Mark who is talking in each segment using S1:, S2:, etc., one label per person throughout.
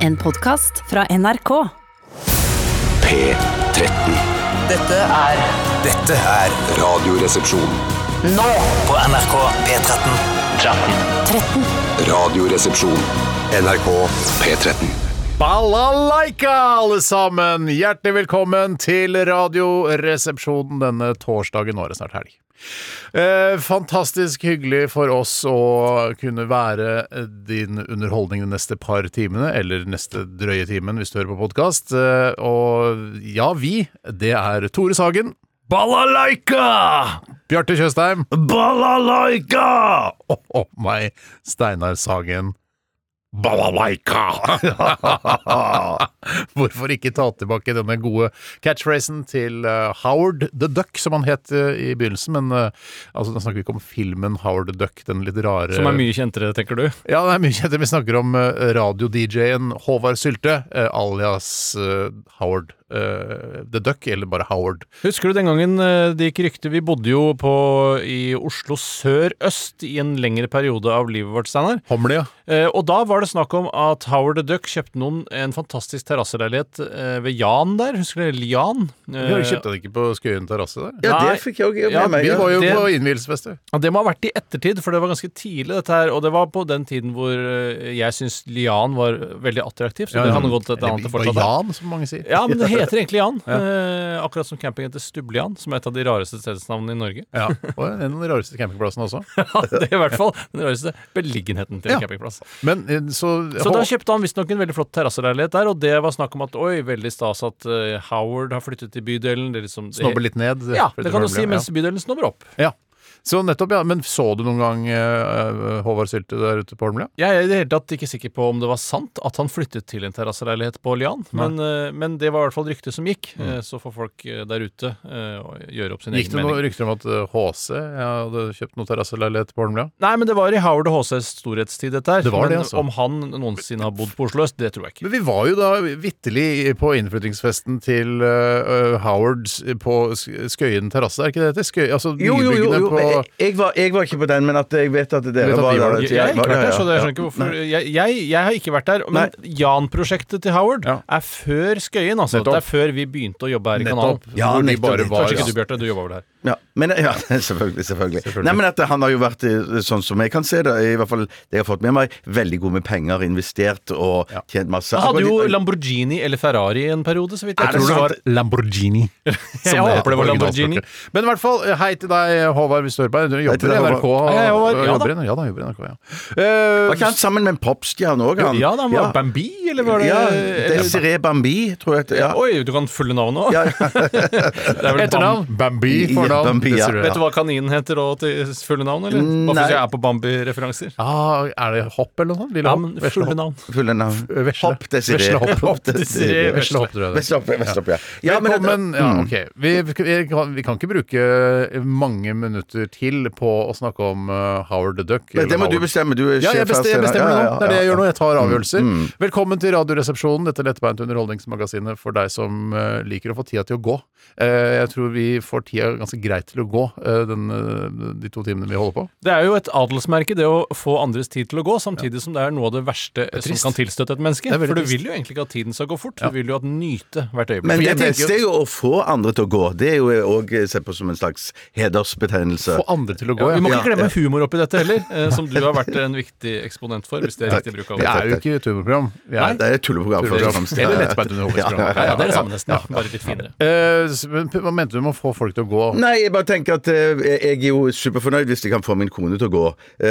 S1: En podkast fra NRK.
S2: P13.
S3: Dette er Dette er
S2: Radioresepsjon.
S3: Nå på NRK P13
S2: Radioresepsjon. NRK P13.
S4: Balalaika, alle sammen! Hjertelig velkommen til Radioresepsjonen denne torsdagen. Nå er det snart helg. Eh, fantastisk hyggelig for oss å kunne være din underholdning de neste par timene, eller neste drøye timen hvis du hører på podkast. Eh, og ja, vi, det er Tore Sagen. Balalaika! Bjarte Tjøstheim. Balalaika! Og meg, Steinar Sagen. Balalaika! Hvorfor ikke ta tilbake denne gode catchphrasen til eh, Howard the Duck, som han het eh, i begynnelsen? Men eh, altså, da snakker vi ikke om filmen Howard the Duck, den litt rare
S5: Som er
S6: Eh,
S5: mye kjentere, tenker du?
S4: Ja, det er mye kjent. Vi snakker om eh, radio-DJ-en Håvard Sylte, eh, alias eh, Howard eh, the Duck, eller bare Howard.
S5: Husker du den gangen eh, det gikk rykte Vi bodde jo på, i Oslo sør-øst i en lengre periode av livet vårt, Steinar.
S4: Homli, ja.
S5: Eh, og da var det snakk om at Howard the Duck kjøpte noen en fantastisk terrasseleilighet eh, ved Jan der. Husker du det? Lian?
S4: Vi
S5: Eh,
S4: kjøpte den ikke på Skøyen terrasse der.
S6: Ja,
S5: Nei.
S6: det fikk jeg òg med
S5: Ja,
S6: meg.
S4: Vi
S6: ja.
S4: var jo
S5: det-
S4: på innvielsesfest.
S5: Ja, Det må ha vært i ettertid, for det var ganske tidlig, dette her. Og det var på den tiden hvor eh, jeg syns Lian var veldig attraktiv, så det kan godt et annet fortsatt er.
S4: Jan, som mange sier.
S5: Ja, men det heter egentlig Jan. Eh, akkurat som campingen heter Stublian, som er et av de rareste stedsnavnene i Norge.
S4: Ja, og en av de rareste campingplassene også.
S5: Ja, det er i hvert fall den rareste beliggenheten til
S4: Ja.
S5: en campingplass.
S4: Men eh, så,
S5: Så da kjøpte han visstnok en veldig flott terrasseleilighet der, og det var snakk om at oi, veldig stas at eh, Howard har flyttet til bydelen. Det er liksom, det,
S4: Snobbe litt ned.
S5: Ja, det kan du
S4: Ja.
S5: si, mens bydelen snobber opp.
S4: Ja. Så nettopp, ja. Men så du noen gang eh, Håvard Sylte der ute på Holmlia?
S5: Jeg er i det hele tatt ikke sikker på om det var sant at han flyttet til en terrasseleilighet på Lian, men, eh, men det var i hvert fall ryktet som gikk. Eh, Så får folk eh, der ute eh, gjøre opp sin
S4: Mm. Gikk
S5: egen
S4: det
S5: mening.
S4: noen rykter om at eh, HC hadde kjøpt noen terrasseleilighet på Holmlia?
S5: Nei, men det var i Howard og HCs storhetstid, dette her.
S4: Det var det,
S5: men
S4: altså.
S5: om han noensinne har bodd på Oslo øst, det tror jeg ikke.
S4: Men vi var jo da vitterlig på innflyttingsfesten til eh, Howards på Sk- Skøyen terrasse, er ikke det det heter? Skøy, altså
S6: Jo, jo, jo.
S4: nybyggene
S6: jo.
S4: på
S6: Jeg, jeg, var, jeg var ikke på den, men at jeg vet at dere
S4: vet at
S6: var
S4: vi var der.
S6: der.
S5: Jeg, jeg har ikke
S6: Ja,
S5: vært
S6: ja,
S5: der, så
S6: ja.
S5: jeg skjønner ikke hvorfor jeg, jeg, jeg har ikke vært der, men Jan-prosjektet til Howard
S4: Ja.
S5: er før Skøyen, altså.
S4: Nettopp.
S5: Det er før vi begynte å jobbe her i
S4: Nettopp.
S5: kanalen.
S6: Ja,
S4: hvor de
S6: nettopp.
S4: bare var
S5: Kanskje ikke du, Bjarte, du jobba vel her.
S6: Ja, men, ja selvfølgelig, selvfølgelig. Nei, men at Han har jo vært, eh, sånn som jeg kan se det, i hvert fall det jeg har fått med meg, veldig god med penger, investert og tjent masse.
S5: Han hadde jo
S6: Akkurat-
S5: Lamborghini eller Ferrari en periode, så vidt jeg
S6: Er det
S5: tror det
S6: sant?
S5: var.
S4: Lamborghini.
S5: Jeg håper det var Lamborghini.
S4: Men i hvert fall, eh, hei til deg, Håvard Vistorberg. Du
S6: til
S4: jobber i
S6: deg,
S4: NRK.
S5: Hei, hei, Håvard. Ja
S4: og
S5: da.
S4: jobber i- Ja da, jobber i NRK, ja. Eh,
S6: Var ikke han sammen med en popstjerne òg, han?
S5: Ja da, han var Bambi, eller var det
S6: Ja,
S5: eller,
S6: Desiree Bambi, tror jeg. at- Ja.
S5: Oi, du kan fulle navn òg.
S6: Ja,
S4: Etternavn? Bambi,
S6: Ja,
S4: fornavn.
S6: Bambi, ja.
S4: Desiree.
S5: Vet du hva kaninen heter òg til fulle navn, eller? Bare
S6: Nei.
S5: fordi jeg er på Bambi-referanser.
S4: Ah, er det hopp eller noe sånt? Lille
S5: Ja,
S4: hopp?
S5: men
S4: Vesle
S5: fulle
S4: hopp?
S5: navn.
S6: Fulle navn.
S4: øh, Vesle.
S6: Hopp, Desiree.
S4: Vesle hopp.
S6: Hopp,
S5: Desiree.
S6: Desiree.
S4: Vesle hopp, tror jeg det.
S6: Vest opp, vest opp, ja. ja men-
S4: Velkommen. Ja, ok. Vi, vi, kan, vi kan ikke bruke mange minutter til på å snakke om eh, Howard the Duck.
S6: Men
S4: eller
S6: det må du
S4: Howard-
S6: bestemme. Du er
S4: Ja, jeg
S6: sjef her,
S4: bestemmer, jeg
S6: Steinar.
S4: bestemmer
S6: Ja,
S4: det
S6: ja,
S4: nå. Det er det jeg
S6: ja, mm,
S4: gjør nå.
S6: ja.
S4: Jeg tar avgjørelser. Velkommen til Radioresepsjonen, dette lettbeinte underholdningsmagasinet for deg som eh, liker å få tida til å gå. Eh, jeg tror vi får tida ganske greit til å gå eh, den, eh, de to timene vi holder på.
S5: Det er jo et adelsmerke det å få andres tid til å gå, samtidig som det er noe av det verste som
S4: trist.
S5: kan tilstøtte et menneske.
S4: Det er veldig
S5: For du
S4: trist.
S5: vil jo egentlig ikke at tiden skal gå fort, du vil jo at den nyte hvert øyeblikk.
S6: Men
S4: For
S6: det
S4: jeg tenker jo-
S6: beste er jo å få andre til å gå. Det er jo òg sett på som en slags hedersbetegnelse.
S4: Få andre til
S5: ja,
S4: å gå.
S5: vi må
S4: Ja.
S5: ikke glemme humor oppi dette heller, eh, som du har vært en viktig eksponent for, hvis det er riktig bruk av
S4: Vi
S5: ordet.
S4: er jo ikke et humorprogram. Vi er-
S6: Det er et tulleprogram. først og fremst.
S4: Eller lettbeint underholdningsprogram.
S5: Ja, det er det samme nesten, ja. bare litt finere.
S4: Eh, s- men p- Hva mente du med å få folk til å gå?
S6: Nei, jeg bare tenker at eh, jeg er jo superfornøyd hvis jeg kan få min kone til å gå. Eh,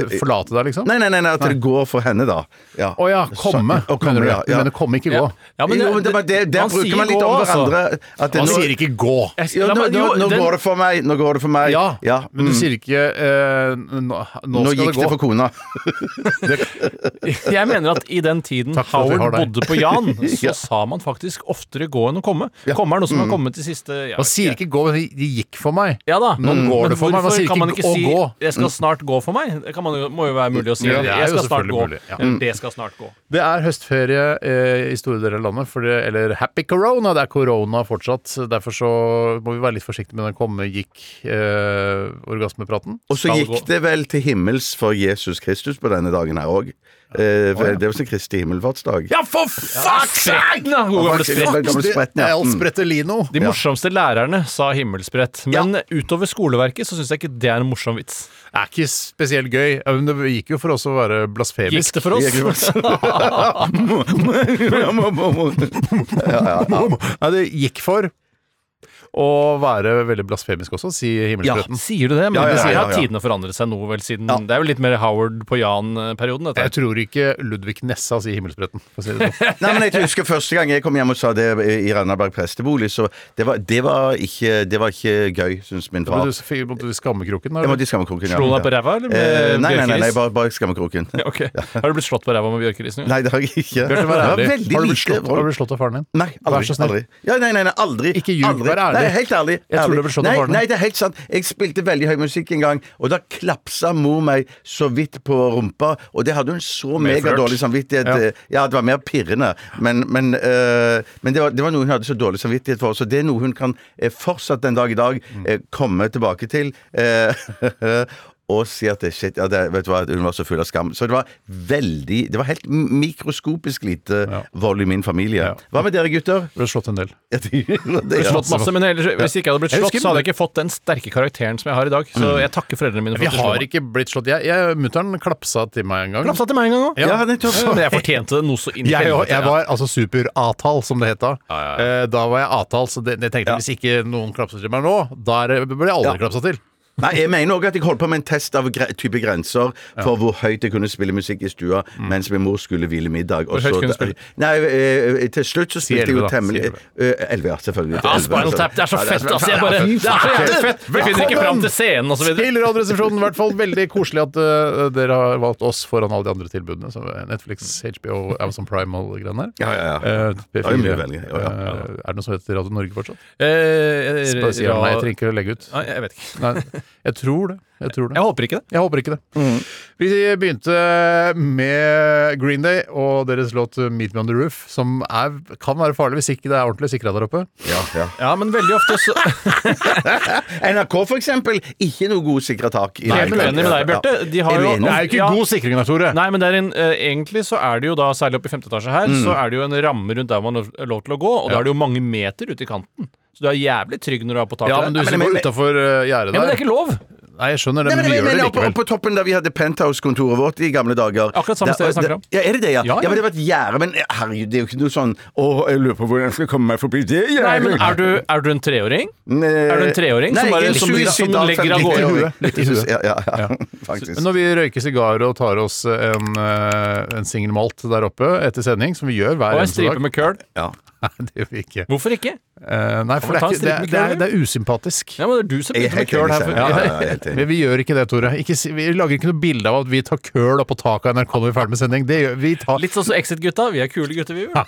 S4: Hjem- Forlate deg, liksom?
S6: Nei, nei, nei, nei at det går for henne, da. Ja.
S4: Å ja, komme. mener
S6: Å, komme
S4: du,
S6: ja,
S4: du
S6: ja.
S4: mener komme, ikke gå?
S5: Ja, men
S6: jo, men det, det, der
S5: han sier
S6: bruker man litt
S5: gå,
S6: om
S5: altså.
S6: hverandre. At det,
S4: Han
S6: nå,
S4: sier ikke 'gå'.
S5: Jeg-
S6: jo,
S5: la
S6: nå,
S5: meg-
S6: nå,
S5: jo,
S6: nå
S5: den-
S6: går det for meg. Nå går det for meg.
S4: Ja,
S6: ja. Mm.
S4: men du sier ikke eh, nå, nå,
S6: Nå
S4: skal
S6: gikk
S4: det gå.
S6: det for kona.
S5: Jeg mener at i den tiden
S4: Takk for at vi
S5: Howard
S4: har deg.
S5: bodde på Jan, så
S6: Ja.
S5: sa man faktisk oftere gå enn å komme. Komme er noe som har kommet de siste jeg
S4: Mm. Man
S5: vet
S4: sier
S5: ikke.
S4: ikke 'gå', men de- de gikk for meg.
S5: Ja da,
S4: Nå går det for meg. Man
S5: hvorfor
S4: sier
S5: kan
S4: ikke
S5: man ikke
S4: å
S5: si
S4: gå. Mm.
S5: 'jeg skal snart gå' for meg? Det kan man jo, må jo være mulig å si.
S4: Ja, det er
S5: 'Jeg
S4: jo
S5: skal snart
S4: selvfølgelig
S5: gå'.
S4: mulig, ja.
S5: Eller 'det skal snart gå'.
S4: Det er høstferie eh, i store deler av landet, for det, eller happy corona. Det er korona fortsatt. Derfor så må vi være litt forsiktige med den komme, gikk, eh, orgasmepraten.
S6: Og så
S5: Skal
S6: gikk
S5: gå.
S6: det vel til himmels for Jesus Kristus på denne dagen her òg. Eh, for Det er jo sånn Kristi himmelfartsdag.
S4: Ja, for fuck sake!
S5: Spretten, da, gode gamle Spretten.
S6: Gamle spretten, ja.
S4: El
S6: Mm.
S4: Sprettelino.
S5: De morsomste lærerne sa himmelsprett. Men utover skoleverket så syns jeg ikke det er en morsom vits.
S4: Det er ikke spesielt gøy. Men det gikk jo for oss å være blasfemisk.
S5: Gikk det for oss?
S4: Nei, det gikk for å være veldig blasfemisk også, si
S5: Ja,
S4: himmelspretten.
S5: sier du det? Men
S6: Ja, ja,
S5: det sier
S6: ja,
S5: at
S6: ja.
S5: tidene forandret seg noe, vel, siden Det er jo litt mer Howard på Jan-perioden, dette.
S4: Jeg tror ikke Ludvig Nessa sier himmelspretten. For å si det sånn.
S6: Nei, men jeg husker Første gang jeg kom hjem og sa det i Randaberg prestebolig, så det var, det var, ikke, det var ikke gøy, syns min
S4: Men
S6: far.
S4: du fikk- Måtte du i skammekroken?
S6: Jeg
S4: eller?
S6: måtte i skammekroken. ja.
S5: Slo han deg på ræva, eller?
S6: Eh, nei, nei, nei, nei,
S5: bjørkeris?
S6: bare, bare i skammekroken.
S5: Ok. Har du blitt slått på ræva med bjørkerisen?
S6: Nei, det har jeg ikke.
S4: Bjarte, vær
S6: Det var
S4: ærlig.
S6: veldig
S4: Har du blitt
S6: lite
S4: slått, har du blitt slått av faren din?
S6: Nei,
S4: Vær
S6: aldri.
S4: så snill.
S6: aldri. Ja, nei, nei, nei, aldri.
S4: Ikke ljug,
S6: aldri.
S4: vær ærlig.
S6: Nei, helt ærlig.
S4: Jeg tror sånn
S6: ærlig.
S4: du ble slått av
S6: nei,
S4: barnet.
S6: Nei, det er helt sant. Jeg spilte veldig høy musikk en gang, og da klapsa mor meg så vidt på rumpa, og det hadde hun så megadårlig samvittighet
S4: Ja.
S6: Ja. ja, det var mer pirrende, men, men, øh, men det, var, det var noe hun hadde så dårlig samvittighet for, så det er noe hun kan eh, fortsatt den dag i dag
S4: Mm.
S6: eh, komme tilbake til. eh, Og si at det, shit, ja, det, vet du hva, hun var så full av skam. Så det var veldig Det var helt mikroskopisk lite vold i min familie.
S4: Ja.
S6: Hva med dere, gutter?
S4: Ble slått en del.
S6: Ja, det gjorde det,
S5: Jeg ble
S6: ja.
S5: slått masse, men ellers, Hvis ikke jeg hadde blitt
S4: Jeg
S5: slått,
S4: husker-
S5: så hadde jeg ikke fått den sterke karakteren som jeg har i dag. Så jeg takker foreldrene mine for
S4: Vi
S5: at de slo
S4: har
S5: meg.
S4: ikke blitt slått. Jeg, jeg, Mutter'n klapsa til meg en gang.
S5: Klappsa til meg en gang òg.
S6: Ja, nettopp.
S5: Men jeg fortjente det noe så inn i
S4: Jeg, og,
S5: helvete,
S4: jeg
S5: ja.
S4: var altså super-A-tall, som det het da. Eh, Da var jeg A-tall, så det, det tenkte jeg hvis ikke noen klapset til meg nå, da er det- blir jeg aldri klapsa til.
S6: Nei, jeg mener også at jeg holdt på med en test av gre type grenser for hvor høyt jeg kunne spille musikk i stua mens min mor skulle hvile middag.
S5: Mm.
S6: og
S5: Hvor høyt
S6: så-
S5: kunne du spille?
S6: Nei, eh, til slutt så spilte jeg
S4: elleve,
S6: jo
S4: da.
S6: temmelig
S4: Si
S6: eh, Elleve, ja, selvfølgelig.
S5: Ja, Spinal Tap, det er så fett, ass! Jeg bare, det er så jævlig fett! Vi finner ikke fram til scenen, og så videre.
S4: Til Radioresepsjonen, i hvert fall. Veldig koselig at eh, dere har valgt oss foran alle de andre tilbudene. Som Netflix, HBO, Amazon Prime og alle greiene der.
S6: Ja, ja, ja.
S4: Eh, P4,
S6: Ja, det er mye å velge. Ja, ja.
S4: eh, er det noe som heter Radio Norge fortsatt?
S5: Eh, eh,
S4: Bare si ja,
S5: ra-
S4: nei, jeg trenger ikke å legge ut.
S5: Nei, jeg vet ikke.
S4: Nei, jeg tror det. Jeg tror det.
S5: Jeg håper Mm. ikke det.
S4: Jeg håper ikke det. Vi begynte med Green Day og deres låt 'Meet Me On The Roof', som er, kan være farlig hvis ikke det er ordentlig sikra der oppe.
S6: Ja, ja.
S5: Ja, men veldig ofte så
S6: NRK, for eksempel, ikke noe god sikra tak. i
S5: Jeg
S6: det
S5: er
S6: hele tatt.
S5: uenig med deg, Bjarte. De har jo
S6: Er du enig? Det er
S5: Ja.
S4: sikring der, Tore.
S5: Nei, men det er en, eh, egentlig så er det jo da, særlig oppe i femte etasje her, så er det jo en ramme rundt der man har lov til å gå, og da er det jo mange meter ute i kanten. Så du er jævlig trygg når du er på taket.
S4: Ja, men du
S5: der.
S4: hvis du
S6: men-
S4: går
S6: men-
S4: utafor gjerdet
S5: ja, men det
S4: der
S5: er ikke lov!
S4: Nei, jeg skjønner det,
S6: Nei,
S4: men
S6: men,
S4: du
S6: men,
S4: gjør det
S6: oppe,
S4: likevel.
S6: oppe på toppen der vi hadde penthouse-kontoret vårt i gamle dager
S5: Akkurat samme
S6: Der-
S5: sted jeg snakker
S6: der-
S5: om.
S6: Ja, er det det, ja?
S5: Ja,
S6: Ja,
S5: ja.
S6: men Det var et gjerde, men herregud, det er jo ikke noe sånn Å, jeg lurer på hvordan jeg skal komme meg forbi det gjerdet.
S5: Nei, men er du, er du en treåring?
S6: Er
S5: du en treåring som bare- som- som legger av gårde?
S4: Litt i huet.
S6: Ja, ja, ja, faktisk.
S4: Men når vi røyker sigarer og tar oss en, eh, en singel malt der oppe etter sending, som vi gjør
S5: Og
S4: hver
S5: en
S4: eneste dag
S5: stripe med køl?
S6: ja.
S4: Nei, det gjør vi ikke.
S5: Hvorfor ikke?
S4: Eh, nei,
S5: vi
S4: for det
S5: ta
S4: er,
S5: en
S4: ikke, det,
S5: stripe
S4: er,
S5: med
S4: det, er,
S5: køl,
S4: det er usympatisk.
S5: Ja, men det er du som
S6: Jeg er
S5: begynte med
S6: helt enig,
S5: køl her.
S6: Sam.
S5: For,
S6: Ja,
S5: ja,
S6: ja, ja, jeg er helt enig.
S4: Men vi gjør ikke det, Tore. Ikke, si- vi lager ikke noe bilde av at vi tar køl opp på taket av NRK når vi er ferdig med sending. Det gjør, vi tar,
S5: Litt sånn som Exit-gutta. Vi er kule gutter, vi. vel?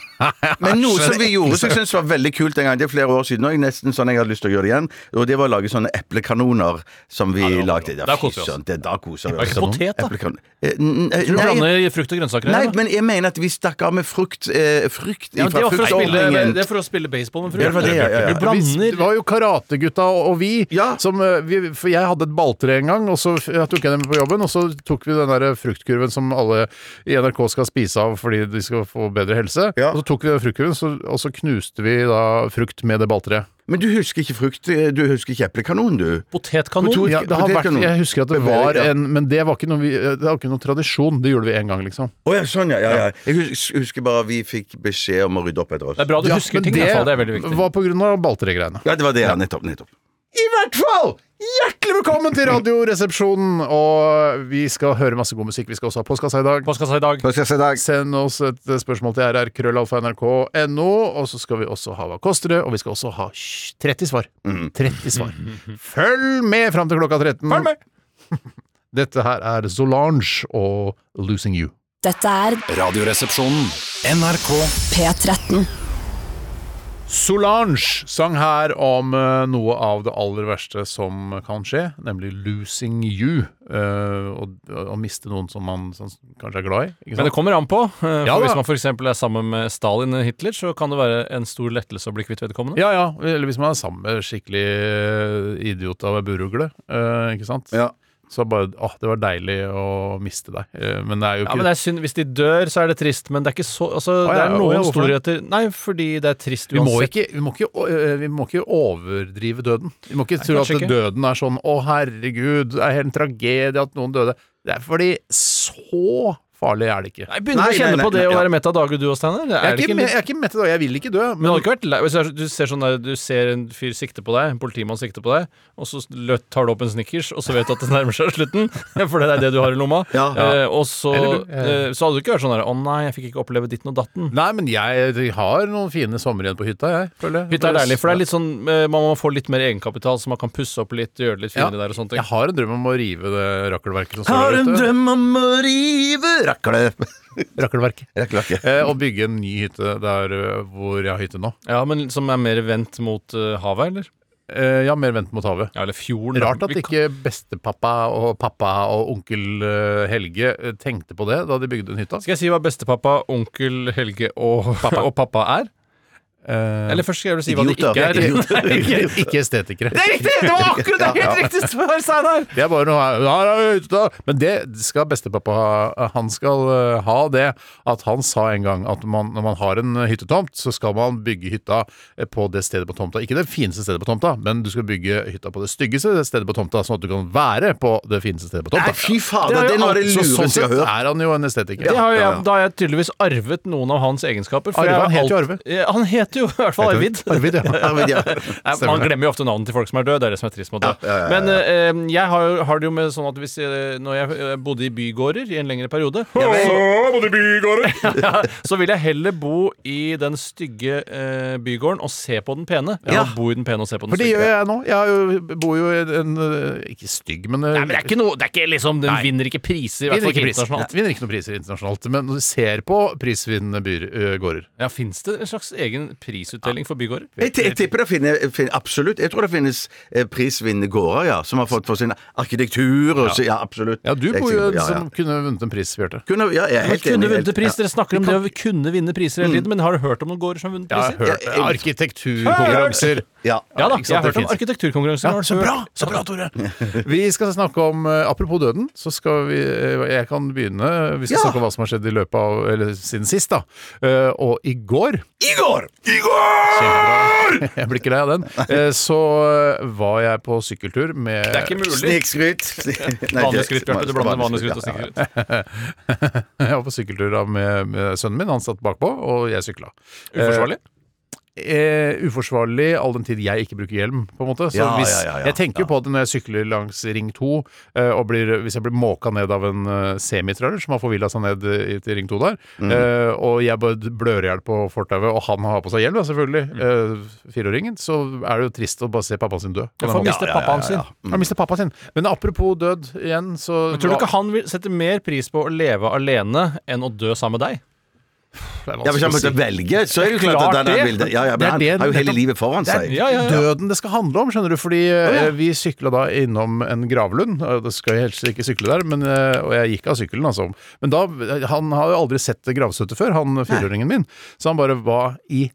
S6: Men noe som vi gjorde som jeg syntes var veldig kult en gang, det er flere år siden, og jeg nesten sånn jeg hadde lyst til å gjøre det igjen, og det var å lage sånne eplekanoner som vi lagde. Ja,
S5: Da
S6: fy
S5: koser vi oss.
S6: søren, det- Da
S5: Var
S6: koser vi oss.
S5: det ikke potet, da?
S6: Eplekan- Eh, n- eh,
S5: Du
S6: nei,
S5: blander frukt og grønnsaker her.
S6: Nei,
S5: da.
S6: men jeg mener at vi stakk av med frukt, eh, frukt
S5: ja, men det,
S6: fra
S5: var for å spille,
S6: fruktordningen.
S5: det er for å spille baseball med
S6: Ja, det var
S5: frukt.
S6: det, ja, ja, ja.
S5: Du
S4: vi,
S5: blander
S4: det var jo Karategutta og, og vi,
S6: Ja.
S4: som eh, vi, For jeg hadde et balltre en gang, og så f- jeg tok jeg dem på jobben, og så tok vi den der eh, fruktkurven som alle i NRK skal spise av fordi de skal få bedre helse.
S6: Ja.
S4: Og så tok vi den fruktkurven, så, og så knuste vi da frukt med det balltreet.
S6: Men du husker ikke frukt, eh, du husker ikke eplekanon, du?
S5: potetkanon.
S6: Potet-
S4: Ja, det har vært, jeg husker at det var
S6: Ja.
S4: en Men det var ikke noe, vi, det var ikke noe tradisjon. Det gjorde vi én gang, liksom.
S6: Å ja, sånn ja, ja, ja. Jeg hus- husker bare vi fikk beskjed om å rydde opp etter oss.
S5: Det er bra du
S4: Ja,
S5: husker
S4: men
S5: ting, i hvert fall. Det er veldig viktig.
S4: var på grunn av balltregreiene.
S6: Ja, det var det, ja. Nettopp. nettopp.
S4: I hvert fall! Hjertelig velkommen til Radioresepsjonen! Og vi skal høre masse god musikk. Vi skal også ha postkassa i dag.
S5: Postkassa i dag.
S4: Send oss et spørsmål til rrkrøllalfa.nrk.no, og så skal vi også ha Hva koster det? Og vi skal også ha hysj, 30 svar. 30 svar. Følg med fram til klokka 13. Mm. Følg med! Dette her er Solange og Losing You.
S1: Dette er
S2: Radioresepsjonen.
S1: P13.
S4: Solange sang her om eh, noe av det aller verste som kan skje, nemlig losing you. eh, og- Å miste noen som man som kanskje er glad i. Ikke
S5: Men det
S4: sant?
S5: kommer an på. eh, For
S4: Ja, da.
S5: Hvis man f.eks. er sammen med Stalin og Hitler, så kan det være en stor lettelse å bli kvitt vedkommende.
S4: Ja, ja. Eller hvis man er sammen med skikkelig eh, idiot av ei burugle. eh, Ikke sant?
S6: Ja.
S4: Så bare Åh, det var deilig å miste deg. Eh, Men det er jo
S5: Ja,
S4: ikke
S5: men det er synd. Hvis de dør, så er det trist, men det er ikke så altså,
S4: Å, ja,
S5: Det er
S4: ja,
S5: noen
S4: å, ja, hvorfor
S5: storheter Nei, fordi det er trist
S4: vi må,
S5: uansett.
S4: ikke, vi, må ikke, øh, vi må ikke overdrive døden. Vi må ikke tro at
S5: kanskje ikke.
S4: døden er sånn 'Å, herregud, det er en tragedie at noen døde'. Det er fordi så farlig er det ikke.
S5: Nei, begynner
S6: Nei,
S5: du å kjenne
S6: nei, nei,
S5: på det
S6: nei,
S5: å
S6: ja.
S5: være mett av dage, du og Steinar? Det
S4: Jeg er,
S5: det
S4: ikke,
S5: ikke
S4: me- jeg er ikke mett i dag, jeg vil ikke dø.
S5: Men
S4: Men
S5: det hadde ikke vært lei hvis det er- Du ser sånn der, du ser en fyr sikte på deg, en politimann sikter på deg, og så lø- tar du opp en Snickers, og så vet du at det nærmer seg slutten, for det er det du har i lomma.
S6: Ja.
S5: Eh, og så,
S4: Eller du-
S5: eh, så hadde du ikke vært sånn der Å nei, jeg fikk ikke oppleve ditten og datten.
S4: nei, men jeg, jeg har noen fine somre igjen på hytta, jeg. Føler jeg.
S5: Hytta er deilig, for det er litt sånn eh, man må få litt mer egenkapital, så man kan pusse opp litt, gjøre det litt
S4: Ja.
S5: finere der og sånne ting.
S4: Jeg har en drøm om å rive det rakkelverket som
S6: Har
S4: står
S6: en
S4: der ute.
S6: drøm om å rive Rakkeløp.
S4: Rakkelverk.
S6: Rakkeløpet.
S4: Eh, og bygge en ny hytte der øh, hvor jeg har hytte nå.
S5: Ja, men som er mer vendt mot eh, havet, eller?
S4: Eh, ja, mer vent mot havet.
S5: Ja, eller fjorden. da.
S4: Rart at
S5: Vi kan-
S4: ikke bestepappa og pappa og onkel eh, Helge eh, tenkte på det da de bygde den hytta.
S5: Skal jeg si hva bestepappa, onkel Helge og pappa, og pappa er?
S4: Eh,
S5: Eller først skal jeg vel si hva de
S6: Idioter.
S5: ikke er.
S6: Idioter.
S4: ikke, ikke estetikere.
S5: Det er riktig! Det var akkurat det er helt riktig svar, Steinar!
S4: Det er bare noe her, her er jo hytta. Men det skal bestepappa ha. Han skal eh, ha det at han sa en gang at man, når man har en hyttetomt, så skal man bygge hytta eh, på det stedet på tomta. Ikke det fineste stedet på tomta, men du skal bygge hytta på det styggeste stedet på tomta, sånn at du kan være på det fineste stedet på
S6: Nei,
S4: tomta.
S6: fy fader, det er noe av det
S4: Så sånn
S6: lureste
S4: sett
S6: jeg har hørt.
S4: er han jo en estetiker.
S5: Det har jo
S6: ja,
S5: jeg,
S6: ja.
S5: da har jeg tydeligvis arvet noen av hans egenskaper. for
S4: Arve,
S5: jeg har
S4: han heter jo
S5: alt-
S4: Arve.
S5: Ja, Han heter jo i hvert fall Arvid.
S4: Arvid, ja.
S6: Arvid, ja.
S5: Nei,
S4: Stemmer
S5: Man
S4: det.
S5: glemmer jo ofte navnet til folk som er døde. Det er det som er trist med å dø. Men eh, jeg har, jo- har det jo med sånn at hvis jeg, når jeg eh, bodde i bygårder i en lengre periode ja, Så vil jeg heller bo i den stygge eh, bygården og se på den pene. enn
S6: Ja.
S5: å bo i den pene og se på den
S4: For det
S5: stygge.
S4: gjør jeg nå. Jeg har jo, bor jo i en eh, Ikke stygg, men, eh,
S5: Nei, men det er ikke noe, det er ikke liksom, Den
S4: Nei.
S5: vinner ikke priser, i hvert
S4: vinner,
S5: fall ikke internasjonalt.
S4: ikke priser. Nei, vinner ikke noen priser internasjonalt. Men når du ser på prisvinnende byer, ø, gårder
S5: Ja, Fins det en slags egen prisutdeling for bygårder?
S6: Jeg, jeg tipper det finnes, finnes Absolutt. Jeg tror det finnes eh, prisvinnende gårder, ja. Som har fått for sin arkitektur og så Ja, absolutt.
S4: Ja, du
S6: Jeg er
S4: bor
S6: sikker
S4: jo
S6: på- ja, ja.
S4: som kunne vunnet en pris, Bjarte.
S6: Kunne, ja, jeg er
S5: Man
S6: helt
S5: kunne
S6: enig, helt-
S5: vunnet pris.
S6: ja.
S5: Dere snakker om det å kunne vinne priser hele tiden, men har du hørt om noen gårder som har vunnet
S4: Mm. Jeg har
S5: priser?
S4: hørt
S6: Ja, jeg-
S4: arkitekturkonkurranser.
S6: Ja.
S5: Ja da,
S4: ikke sant,
S5: jeg har
S4: det
S5: hørt om
S4: finnes.
S5: arkitekturkonkurransen. har du hørt?
S4: så bra, Tore! Vi skal snakke om eh, Apropos døden, så skal vi eh, Jeg kan begynne. Vi skal
S6: Ja.
S4: snakke om hva som har skjedd i løpet av Eller siden sist, da. Eh, og i går
S6: Igor!
S4: Jeg blir ikke lei av den. eh, Så eh, var jeg på sykkeltur med
S5: Det er ikke mulig.
S6: Snikskryt.
S5: Vanlig skritt, Bjarte. Du blander vanlig skritt og snikskritt.
S4: Jeg var på sykkeltur da med, med sønnen min. Han satt bakpå, og jeg sykla.
S5: Uforsvarlig.
S4: Eh, uforsvarlig all den tid jeg ikke bruker hjelm, på en måte. Så
S6: Ja,
S4: hvis,
S6: ja, ja, ja.
S4: Jeg tenker jo på det når jeg sykler langs Ring 2, eh, og blir, hvis jeg blir måka ned av en eh, semitrailer som har forvilla seg ned i- til Ring 2 der, eh, og jeg bare blør i hjel på fortauet, og han har på seg hjelm, da, selvfølgelig, eh, fireåringen, så er det jo trist å bare se pappaen sin dø. på den
S5: For å
S4: måten.
S5: miste pappaen sin.
S4: Han mister pappaen sin. Men apropos død igjen, så
S5: Men tror du ikke han vil sette mer pris på å leve alene enn å dø sammen med deg?
S4: Det er
S6: Ja, Hvis han
S4: vanskelig å si.
S6: måtte velge, så er det jo klart at
S5: Klart
S6: han er
S5: det.
S6: bildet. Ja, ja,
S4: Det er
S6: men han
S4: det-
S6: har jo hele
S4: nettopp-
S6: livet foran
S4: Det er
S6: seg.
S5: Ja, ja, ja.
S4: døden det skal handle om, skjønner du. Fordi eh, vi sykla da innom en gravlund. Eh, Da skal jeg helst ikke sykle der, men, eh, og jeg gikk av sykkelen, altså. Men da, han har jo aldri sett gravstøtte før, han fireåringen min. Så han bare Hva i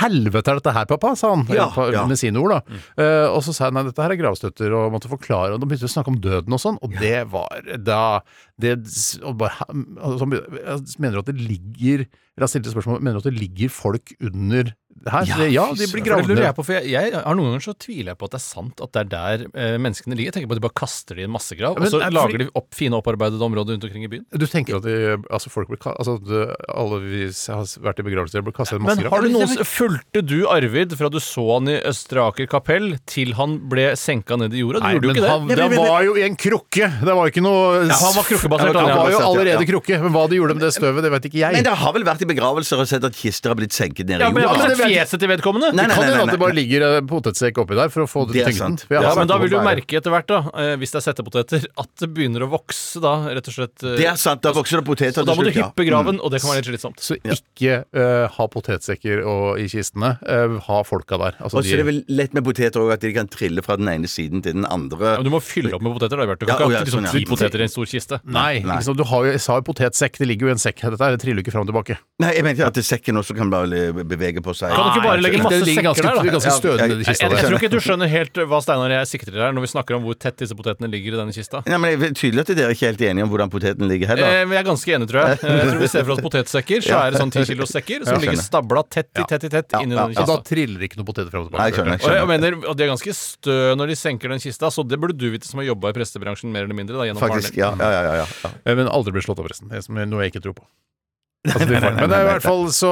S4: helvete er dette her, pappa? sa han
S6: Ja,
S4: på-
S6: ja.
S4: med sine ord, da.
S5: Mm.
S4: Eh, og så sa jeg nei, dette her er gravstøtter, og måtte forklare. Og da begynte vi å snakke om døden og sånn, og det var da det, og bare, og så begynte- jeg Mener du at det ligger Jeg stilte spørsmål, mener du at det ligger folk under her?
S6: Ja,
S4: Ja, ja de
S6: fy
S4: blir
S6: søren.
S5: For
S4: gravd
S5: det lurer
S4: ned.
S5: jeg på, for jeg, jeg har Noen ganger så tviler jeg på at det er sant at det er der eh, menneskene ligger. Jeg tenker på at De bare kaster de i en massegrav,
S4: Ja, men
S5: og så
S4: det er fordi-
S5: lager de opp fine opparbeidede områder rundt omkring i byen.
S4: Du tenker at de, altså folk blir ka- altså, at, eh, Alle vi s- har s- vært i begravelser og blir kastet i en
S5: Men har
S4: massegrav?
S5: du noen, fulgte du Arvid fra du så han i Østre Aker kapell, til han ble senka ned i jorda? Du
S4: Nei,
S5: gjorde jo
S4: men
S5: ikke det.
S4: han, det var jo i en krukke! Det var jo ikke noe
S5: Ja, han var krukkebasert,
S4: Han
S5: han,
S4: var
S5: ja.
S4: jo allerede
S6: Ja.
S4: krukke, men hva de gjorde med det støvet, det vet ikke jeg.
S6: Men
S4: Det
S6: det har vel vært i begravelser og sett at kister har blitt senket ned i
S5: Ja, men jeg har ikke
S4: det
S6: jorda.
S4: vet
S5: sett
S4: jeg
S5: fjeset til vedkommende.
S6: Nei, nei,
S4: kan
S6: nei,
S4: hende
S6: nei,
S4: at det bare ligger eh, potetsekk oppi der for å få det
S6: Det
S4: til
S6: er
S4: tyngden.
S6: sant.
S4: For jeg
S5: Ja,
S6: Det er
S4: har
S5: men
S4: vært
S5: da
S4: på
S5: vil du
S4: Bærum.
S5: merke etter hvert, da, eh, hvis det er settepoteter, at det begynner å vokse, da, rett og slett. eh,
S6: Det er sant, da vokser det poteter
S5: Så da må
S6: til
S5: du
S6: slutt, ja.
S5: hyppe graven, og det kan være litt slitsomt.
S4: Så ikke eh, ha potetsekker og, i kistene. eh, ha folka der. Altså,
S6: Og så er det
S4: de,
S6: vel lett med poteter òg, at de kan trille fra den ene siden til den andre.
S5: Ja, men du må fylle opp med poteter, da, Bjarte. Du
S6: Ja,
S5: kan ikke
S6: å, ja,
S5: ha liksom,
S6: sånn, ja.
S5: ti poteter i en stor kiste.
S4: nei,
S6: Nei.
S4: Ikke sant? du har jo, jeg sa jo potetsekk, det ligger jo i en sekk. Dette her, det triller jo ikke fram og tilbake.
S6: Nei, jeg mente at sekken også kan bare bevege på seg.
S5: kan du ikke bare legge masse
S4: Det
S5: sekker
S4: ligger ganske-
S5: der, da?
S4: Ganske stødig
S6: Ja,
S4: nedi
S5: Jeg,
S4: kista.
S5: jeg
S4: der.
S5: tror ikke du skjønner helt eh, hva Steinar og jeg sikter her når vi snakker om hvor tett disse potetene ligger i denne kista.
S6: Nei, men Det er tydelig at dere er ikke helt enige om hvordan poteten ligger heller.
S5: Eh, vi er ganske enige, tror jeg. Eh, Jeg tror Vi ser for oss potetsekker, så er det sånn 10 kilos sekker som
S6: skjønner.
S5: ligger stabla tett i tett i tett inni denne
S4: Så da
S5: kista.
S4: triller ikke noe poteter fram og tilbake.
S6: Nei, jeg skjønner,
S5: Og
S6: jeg
S5: jeg
S6: skjønner.
S5: mener, og De er ganske stø når de senker den kista, så det burde du vite som har jobba i prestebransjen mer eller mindre. da, gjennom
S6: Faktisk, ja, ja, ja, ja, ja.
S4: Eh, Men aldri blir slått av, forresten. Det er som- Noe jeg ikke tror på. Altså, det er faren. Men det er i hvert fall så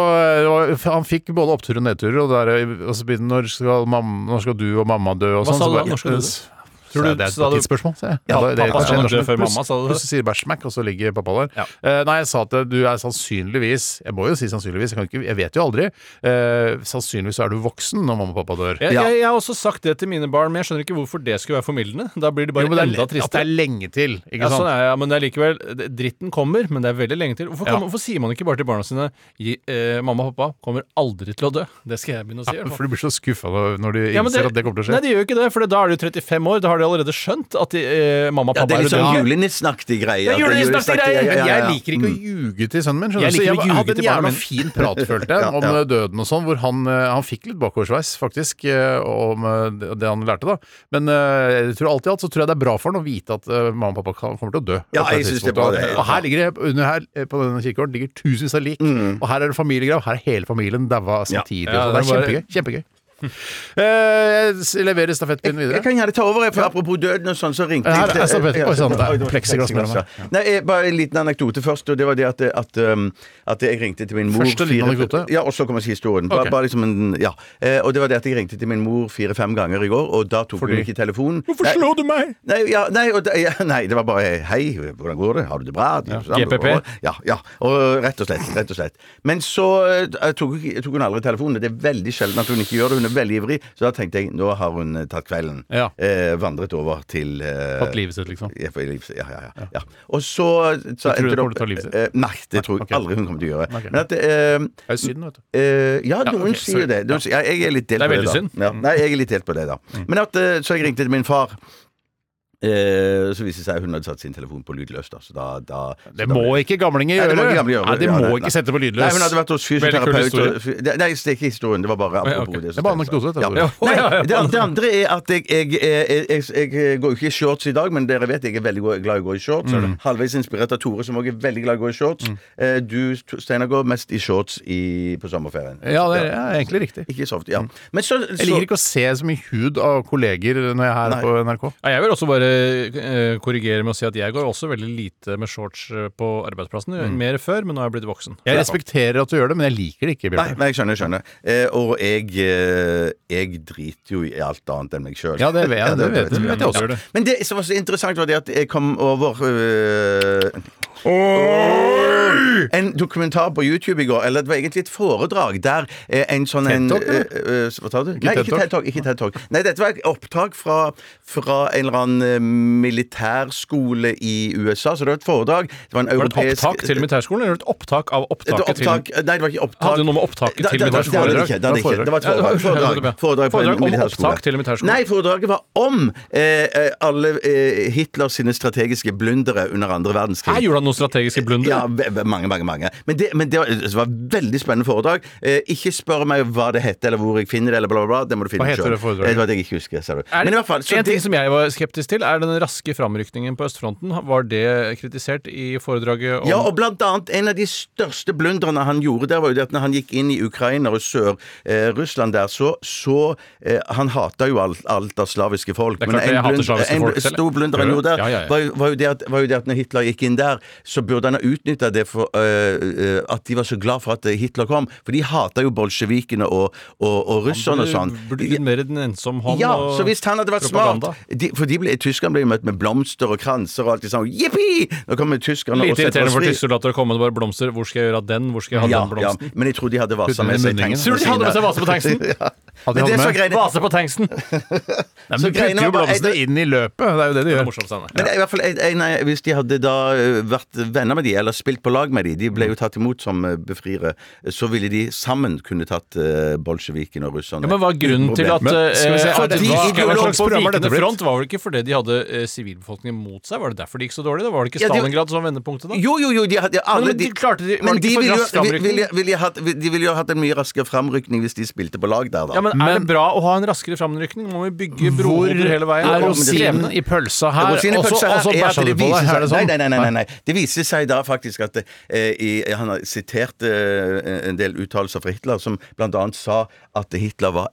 S4: eh, Han fikk både opptur og nedturer, og, der, eh, og så begynner når skal, mamma, når skal du og mamma dø og
S5: Hva
S4: sånn.
S5: sa
S4: så
S5: du da?
S4: bare-
S5: Når skal du dø?
S4: Så
S5: Tror du-
S4: det er et
S5: så da du-
S4: tidsspørsmål, sier jeg.
S5: Ja,
S4: det- det-
S5: pappa
S4: det-
S5: skal
S4: det-
S5: dø før
S4: pluss-
S5: mamma, sa du det?
S4: Pluss sier bæsj smack, og så ligger pappa der. Eh, nei, jeg sa at du er sannsynligvis Jeg må jo si sannsynligvis, jeg, kan ikke, jeg vet jo aldri. Eh, sannsynligvis så er du voksen når mamma og pappa dør.
S5: Jeg,
S6: Ja.
S5: jeg, jeg har også sagt det til mine barn, men jeg skjønner ikke hvorfor det skulle være formildende. Da blir det bare
S4: Jo, men det
S5: enda
S4: er, lett at det
S5: tristere.
S4: er lenge til, ikke
S5: Ja, sånn
S4: sant?
S5: er, det, ja, men det er likevel det- Dritten kommer, men det er veldig lenge til. Hvorfor, kan,
S4: Ja.
S5: hvorfor sier man ikke bare til barna sine «Gi- eh, 'Mamma og pappa kommer aldri til å dø'? Det skal jeg begynne å si. i hvert fall.
S4: For du blir så skuffa når de
S5: Ja, men
S4: innser at det kommer til å skje.
S5: Nei, de gjør jo ikke det, for da er du 35 år. Da har de allerede skjønt at de, eh, mamma og
S6: Ja,
S5: pappa
S6: det er litt
S5: døde.
S4: liksom
S6: sånn julenissenaktig greie.
S5: Det er julenissenaktig greie,
S6: Ja, ja, ja, Mm.
S4: Men
S6: ja.
S4: jeg liker ikke å ljuge til sønnen min. skjønner
S5: Jeg
S4: du? Så
S5: liker å
S4: jeg
S5: ljuge
S4: hadde en
S5: til barna
S4: jævla
S5: mine.
S4: fin prat, følte jeg, om eh, døden og sånn, hvor han, eh, han fikk litt bakoversveis, faktisk, eh, om eh, det det han lærte, da. Men eh, jeg tror alt i alt så tror jeg det er bra for han å vite at eh, mamma og pappa kan- kommer til å dø.
S6: Ja,
S4: på et
S6: jeg synes
S4: tidspunkt.
S6: det er bra, Mm. det er helt
S4: Og her ligger det, under her eh, på denne kirkegården ligger tusenvis av lik, og her er det familiegrav, her er hele familien daua samtidig.
S5: Ja,
S4: og
S5: det er
S4: sånn. det er kjempegøy. kjempegøy. Eh, jeg s- leverer stafettpinnen videre.
S6: Jeg kan gjerne ta over, jeg, for apropos døden og sånn, så ringte
S4: Her er-
S6: til-
S4: altså, vet du,
S6: Ja,
S4: oi, sånn, det er
S6: oi, det var
S4: plexiglass mellom her.
S6: ja. Nei, eh, Bare en liten anekdote først. Og det var det at, at, um, at jeg ringte til min mor
S4: Først en liten
S6: fire-
S4: anekdote?
S6: Ja, og så kommer historien. Bare,
S4: Ok.
S6: bare liksom en, ja. Eh, Og det var det at jeg ringte til min mor fire-fem ganger i går, og da tok hun ikke telefonen. Nei,
S5: du meg?
S6: Nei, ja, nei, og, da- ja, nei, det var bare Hei, hvordan går det? Har du det bra? Ja,
S5: GPP.
S6: Ja, ja, og rett og slett. rett og slett Men så eh, tok, hun- tok hun aldri telefonen. og Det er veldig sjelden at hun ikke gjør det. Hun er veldig ivrig. Så da tenkte jeg nå har hun eh, tatt kvelden.
S4: Ja.
S6: Eh, vandret over til eh,
S4: Tatt livet sitt, liksom.
S6: ja, for liv- ja, ja, ja, ja. Og så, så
S4: du
S6: endte
S4: hun
S6: det
S4: kommer til
S6: opp-
S4: å ta livet sitt?
S6: eh, Nei, det tror jeg
S4: ok.
S6: aldri hun kommer til å gjøre.
S4: Ok.
S6: Men at eh,
S4: Det er jo synd, vet du.
S6: Eh, ja, noen
S4: ok,
S6: sier
S4: sorry.
S6: det. Noen, sier- ja, jeg er litt delt
S5: Det er
S6: på det.
S5: veldig
S6: da.
S5: synd.
S6: Ja. Nei, jeg er litt delt på det, da.
S4: Mm.
S6: Men at, eh, så jeg ringte til min far. Eh, så viste det seg at hun hadde satt sin telefon på lydløs. Da, så da, da, så
S4: Det
S6: da
S4: må ikke gamlinger
S6: Nei,
S4: gjøre.
S6: det må ikke gamlinger gjøre.
S4: Nei, de
S6: Ja,
S4: må
S6: det-
S4: ikke sette på
S6: Nei,
S4: lydløs.
S6: hun hadde vært hos
S5: Veldig kul
S6: fysioterapeut.
S5: historie.
S6: og- fy- Nei, det er ikke historien. Det var bare
S5: ja,
S6: apropos
S5: ok.
S6: det.
S4: Det er
S6: som
S4: bare
S6: tenkte jeg.
S4: anekdote, dette,
S6: Ja.
S4: Tore.
S6: Nei, det, an- det andre er at jeg, jeg, jeg, jeg, jeg, jeg går jo ikke i shorts i dag, men dere vet jeg er veldig go- glad i å gå i shorts.
S4: Mm.
S6: Halvveis inspirert av Tore, som også er veldig glad i å gå i shorts. Eh, Du, T- Steinar, går mest i shorts i, på sommerferien.
S4: Ja, det er er egentlig riktig.
S6: Ikke så ofte, ja. Men så, så
S4: Jeg liker ikke å se så mye hud av kolleger når jeg er her
S6: Nei.
S4: på NRK.
S5: Ja, jeg vil også bare eh, korrigere med å si at jeg går også veldig lite med shorts eh, på arbeidsplassen.
S6: Mm.
S5: Mer før, men nå har jeg blitt voksen.
S4: Jeg respekterer at du gjør det, men jeg liker det ikke.
S6: Nei,
S4: Bjørn.
S6: nei, jeg skjønner. jeg skjønner eh, Og jeg, eh, jeg driter jo i alt annet enn meg sjøl.
S4: Ja, det vet jeg, det vet, det vet jeg også.
S6: Men det som var så interessant, var det at jeg kom over øh, En dokumentar på YouTube i går, eller det var egentlig et foredrag der eh, en sånn en
S4: TED Talk, eller?
S6: eh, eh, Hva sa du? Nei,
S4: TED
S6: ikke
S4: Talk?
S6: TED Talk. Ikke TED Talk. Nei, dette var et opptak fra, fra en eller annen eh, militærskole i USA, så det var et foredrag. Det var en
S5: Var det et
S6: europeisk
S5: opptak til militærskolen, eller et opptak av
S6: et
S5: opptaket
S6: opptak,
S5: til
S6: Nei, det var ikke opptak.
S5: Hadde du noe med opptaket
S6: Da- da-
S5: til
S6: da-
S5: militærskole
S6: Det
S5: å
S6: hadde det
S5: gjøre?
S6: ikke. Det, hadde det, ikke. det var
S5: Ja,
S6: et
S5: det var-
S6: foredrag. Foredrag, foredrag,
S5: Foredrag om
S6: på en militærskole.
S5: opptak til militærskole.
S6: Nei, foredraget var om eh, eh, alle eh, Hitlers sine strategiske blundere under andre verdenskrig.
S5: Her gjorde han noen strategiske blunder.
S6: Ja, ve- ve- mange, mange. mange Men det, men det, var, det var et veldig spennende foredrag. Eh, ikke spør meg hva det heter, eller hvor jeg finner det, eller bla, bla, bla. Det må du finne
S4: Hva heter
S6: selv.
S4: det foredraget?
S6: Eh, Det var det jeg ikke husker. Ser du.
S5: Er det,
S6: Men i hvert fall, så
S5: en ting
S6: det,
S5: som jeg var skeptisk til, er den raske framrykningen på østfronten. Var det kritisert i foredraget om
S6: ja, og blant annet en av de største blunderne han gjorde der, var jo det at når han gikk inn i Ukraina og Sør-Russland der, så, så eh, Han hata jo alt, alt av slaviske folk.
S5: Det er klart jeg hater slaviske
S6: en
S5: folk
S6: bl-
S5: selv.
S6: stor blunder han
S5: Gjør du?
S6: gjorde der,
S5: Ja, ja, ja.
S6: Var, jo- var, jo det at, var jo det at når Hitler gikk inn der, så burde han ha utnytta det for eh, eh, at de var så glad for at eh, Hitler kom, for de hata jo bolsjevikene og, og, og russerne og sånn.
S5: Burde litt mer en ensom hånd
S6: Ja,
S5: og
S6: så hvis han hadde vært
S5: propaganda.
S6: smart de, For de ble, tyskerne ble jo møtt med blomster og kranser og alt de sa. Jippi! Nå kommer tyskerne og
S5: Litt
S6: setter
S5: irriterende
S6: oss
S5: for
S6: fri.
S5: tyske soldater å komme med bare blomster. Hvor skal jeg gjøre av den? Hvor skal jeg ha
S6: Ja,
S5: den blomsten?
S6: ja, men jeg tror de hadde vasa
S4: Putte den i
S6: med seg
S4: munningen.
S6: tanksene
S5: Tror du de hadde med seg vasa på tanksen?
S6: ja.
S4: Ja, de
S6: Men
S4: hadde
S6: det er så
S4: med.
S6: greiene
S5: Vase på tanksen! Det
S4: Nei, men Du
S6: Så greiene
S4: putter jo
S6: var bare-
S4: blomstene inn i løpet. Det er jo det du
S5: er
S4: gjør.
S5: morsomt, Steinar.
S6: Men i hvert fall, eh, nei, hvis de hadde da eh, vært venner med de, eller spilt på lag med de, de ble
S4: Mm.
S6: jo tatt imot som eh, befriere, så ville de sammen kunne tatt eh, bolsjevikene og russerne.
S5: Ja, men Hva er grunnen til at
S4: Men, skal vi se,
S5: eh,
S4: for
S5: at
S4: de
S5: det var-
S4: ideologiske
S5: hva slags
S4: program har dette
S5: vikende
S4: blitt?
S5: front var vel ikke fordi de hadde eh, sivilbefolkningen mot seg? Var det derfor det gikk så dårlig? Da? Var det ikke
S6: Ja, de-
S5: Stalingrad som var vendepunktet da?
S6: Jo, jo, jo, de hadde alle
S5: men de klarte de- var
S6: Men
S5: det ikke
S6: de
S5: for
S6: ville jo,
S5: rask framrykning?
S6: ville- ville hatt- de ville jo hatt en mye raskere framrykning hvis de spilte på lag der, da.
S5: Ja, men Er det bra å ha en raskere framrykning? Må vi bygge
S4: Hvor
S5: broer hele veien?
S4: er
S6: Ja,
S4: rosinen i pølsa her?
S6: Rosin i
S4: Og
S6: pølsa
S4: så- og så
S6: er at
S4: bæsja du
S6: det
S4: på
S6: viser
S4: deg? Er
S6: seg-
S4: det sånn?
S6: Nei, nei, nei, nei, nei. Det viser seg da faktisk at eh, i, Han har sitert eh, en del uttalelser fra Hitler som bl.a. sa at Hitler var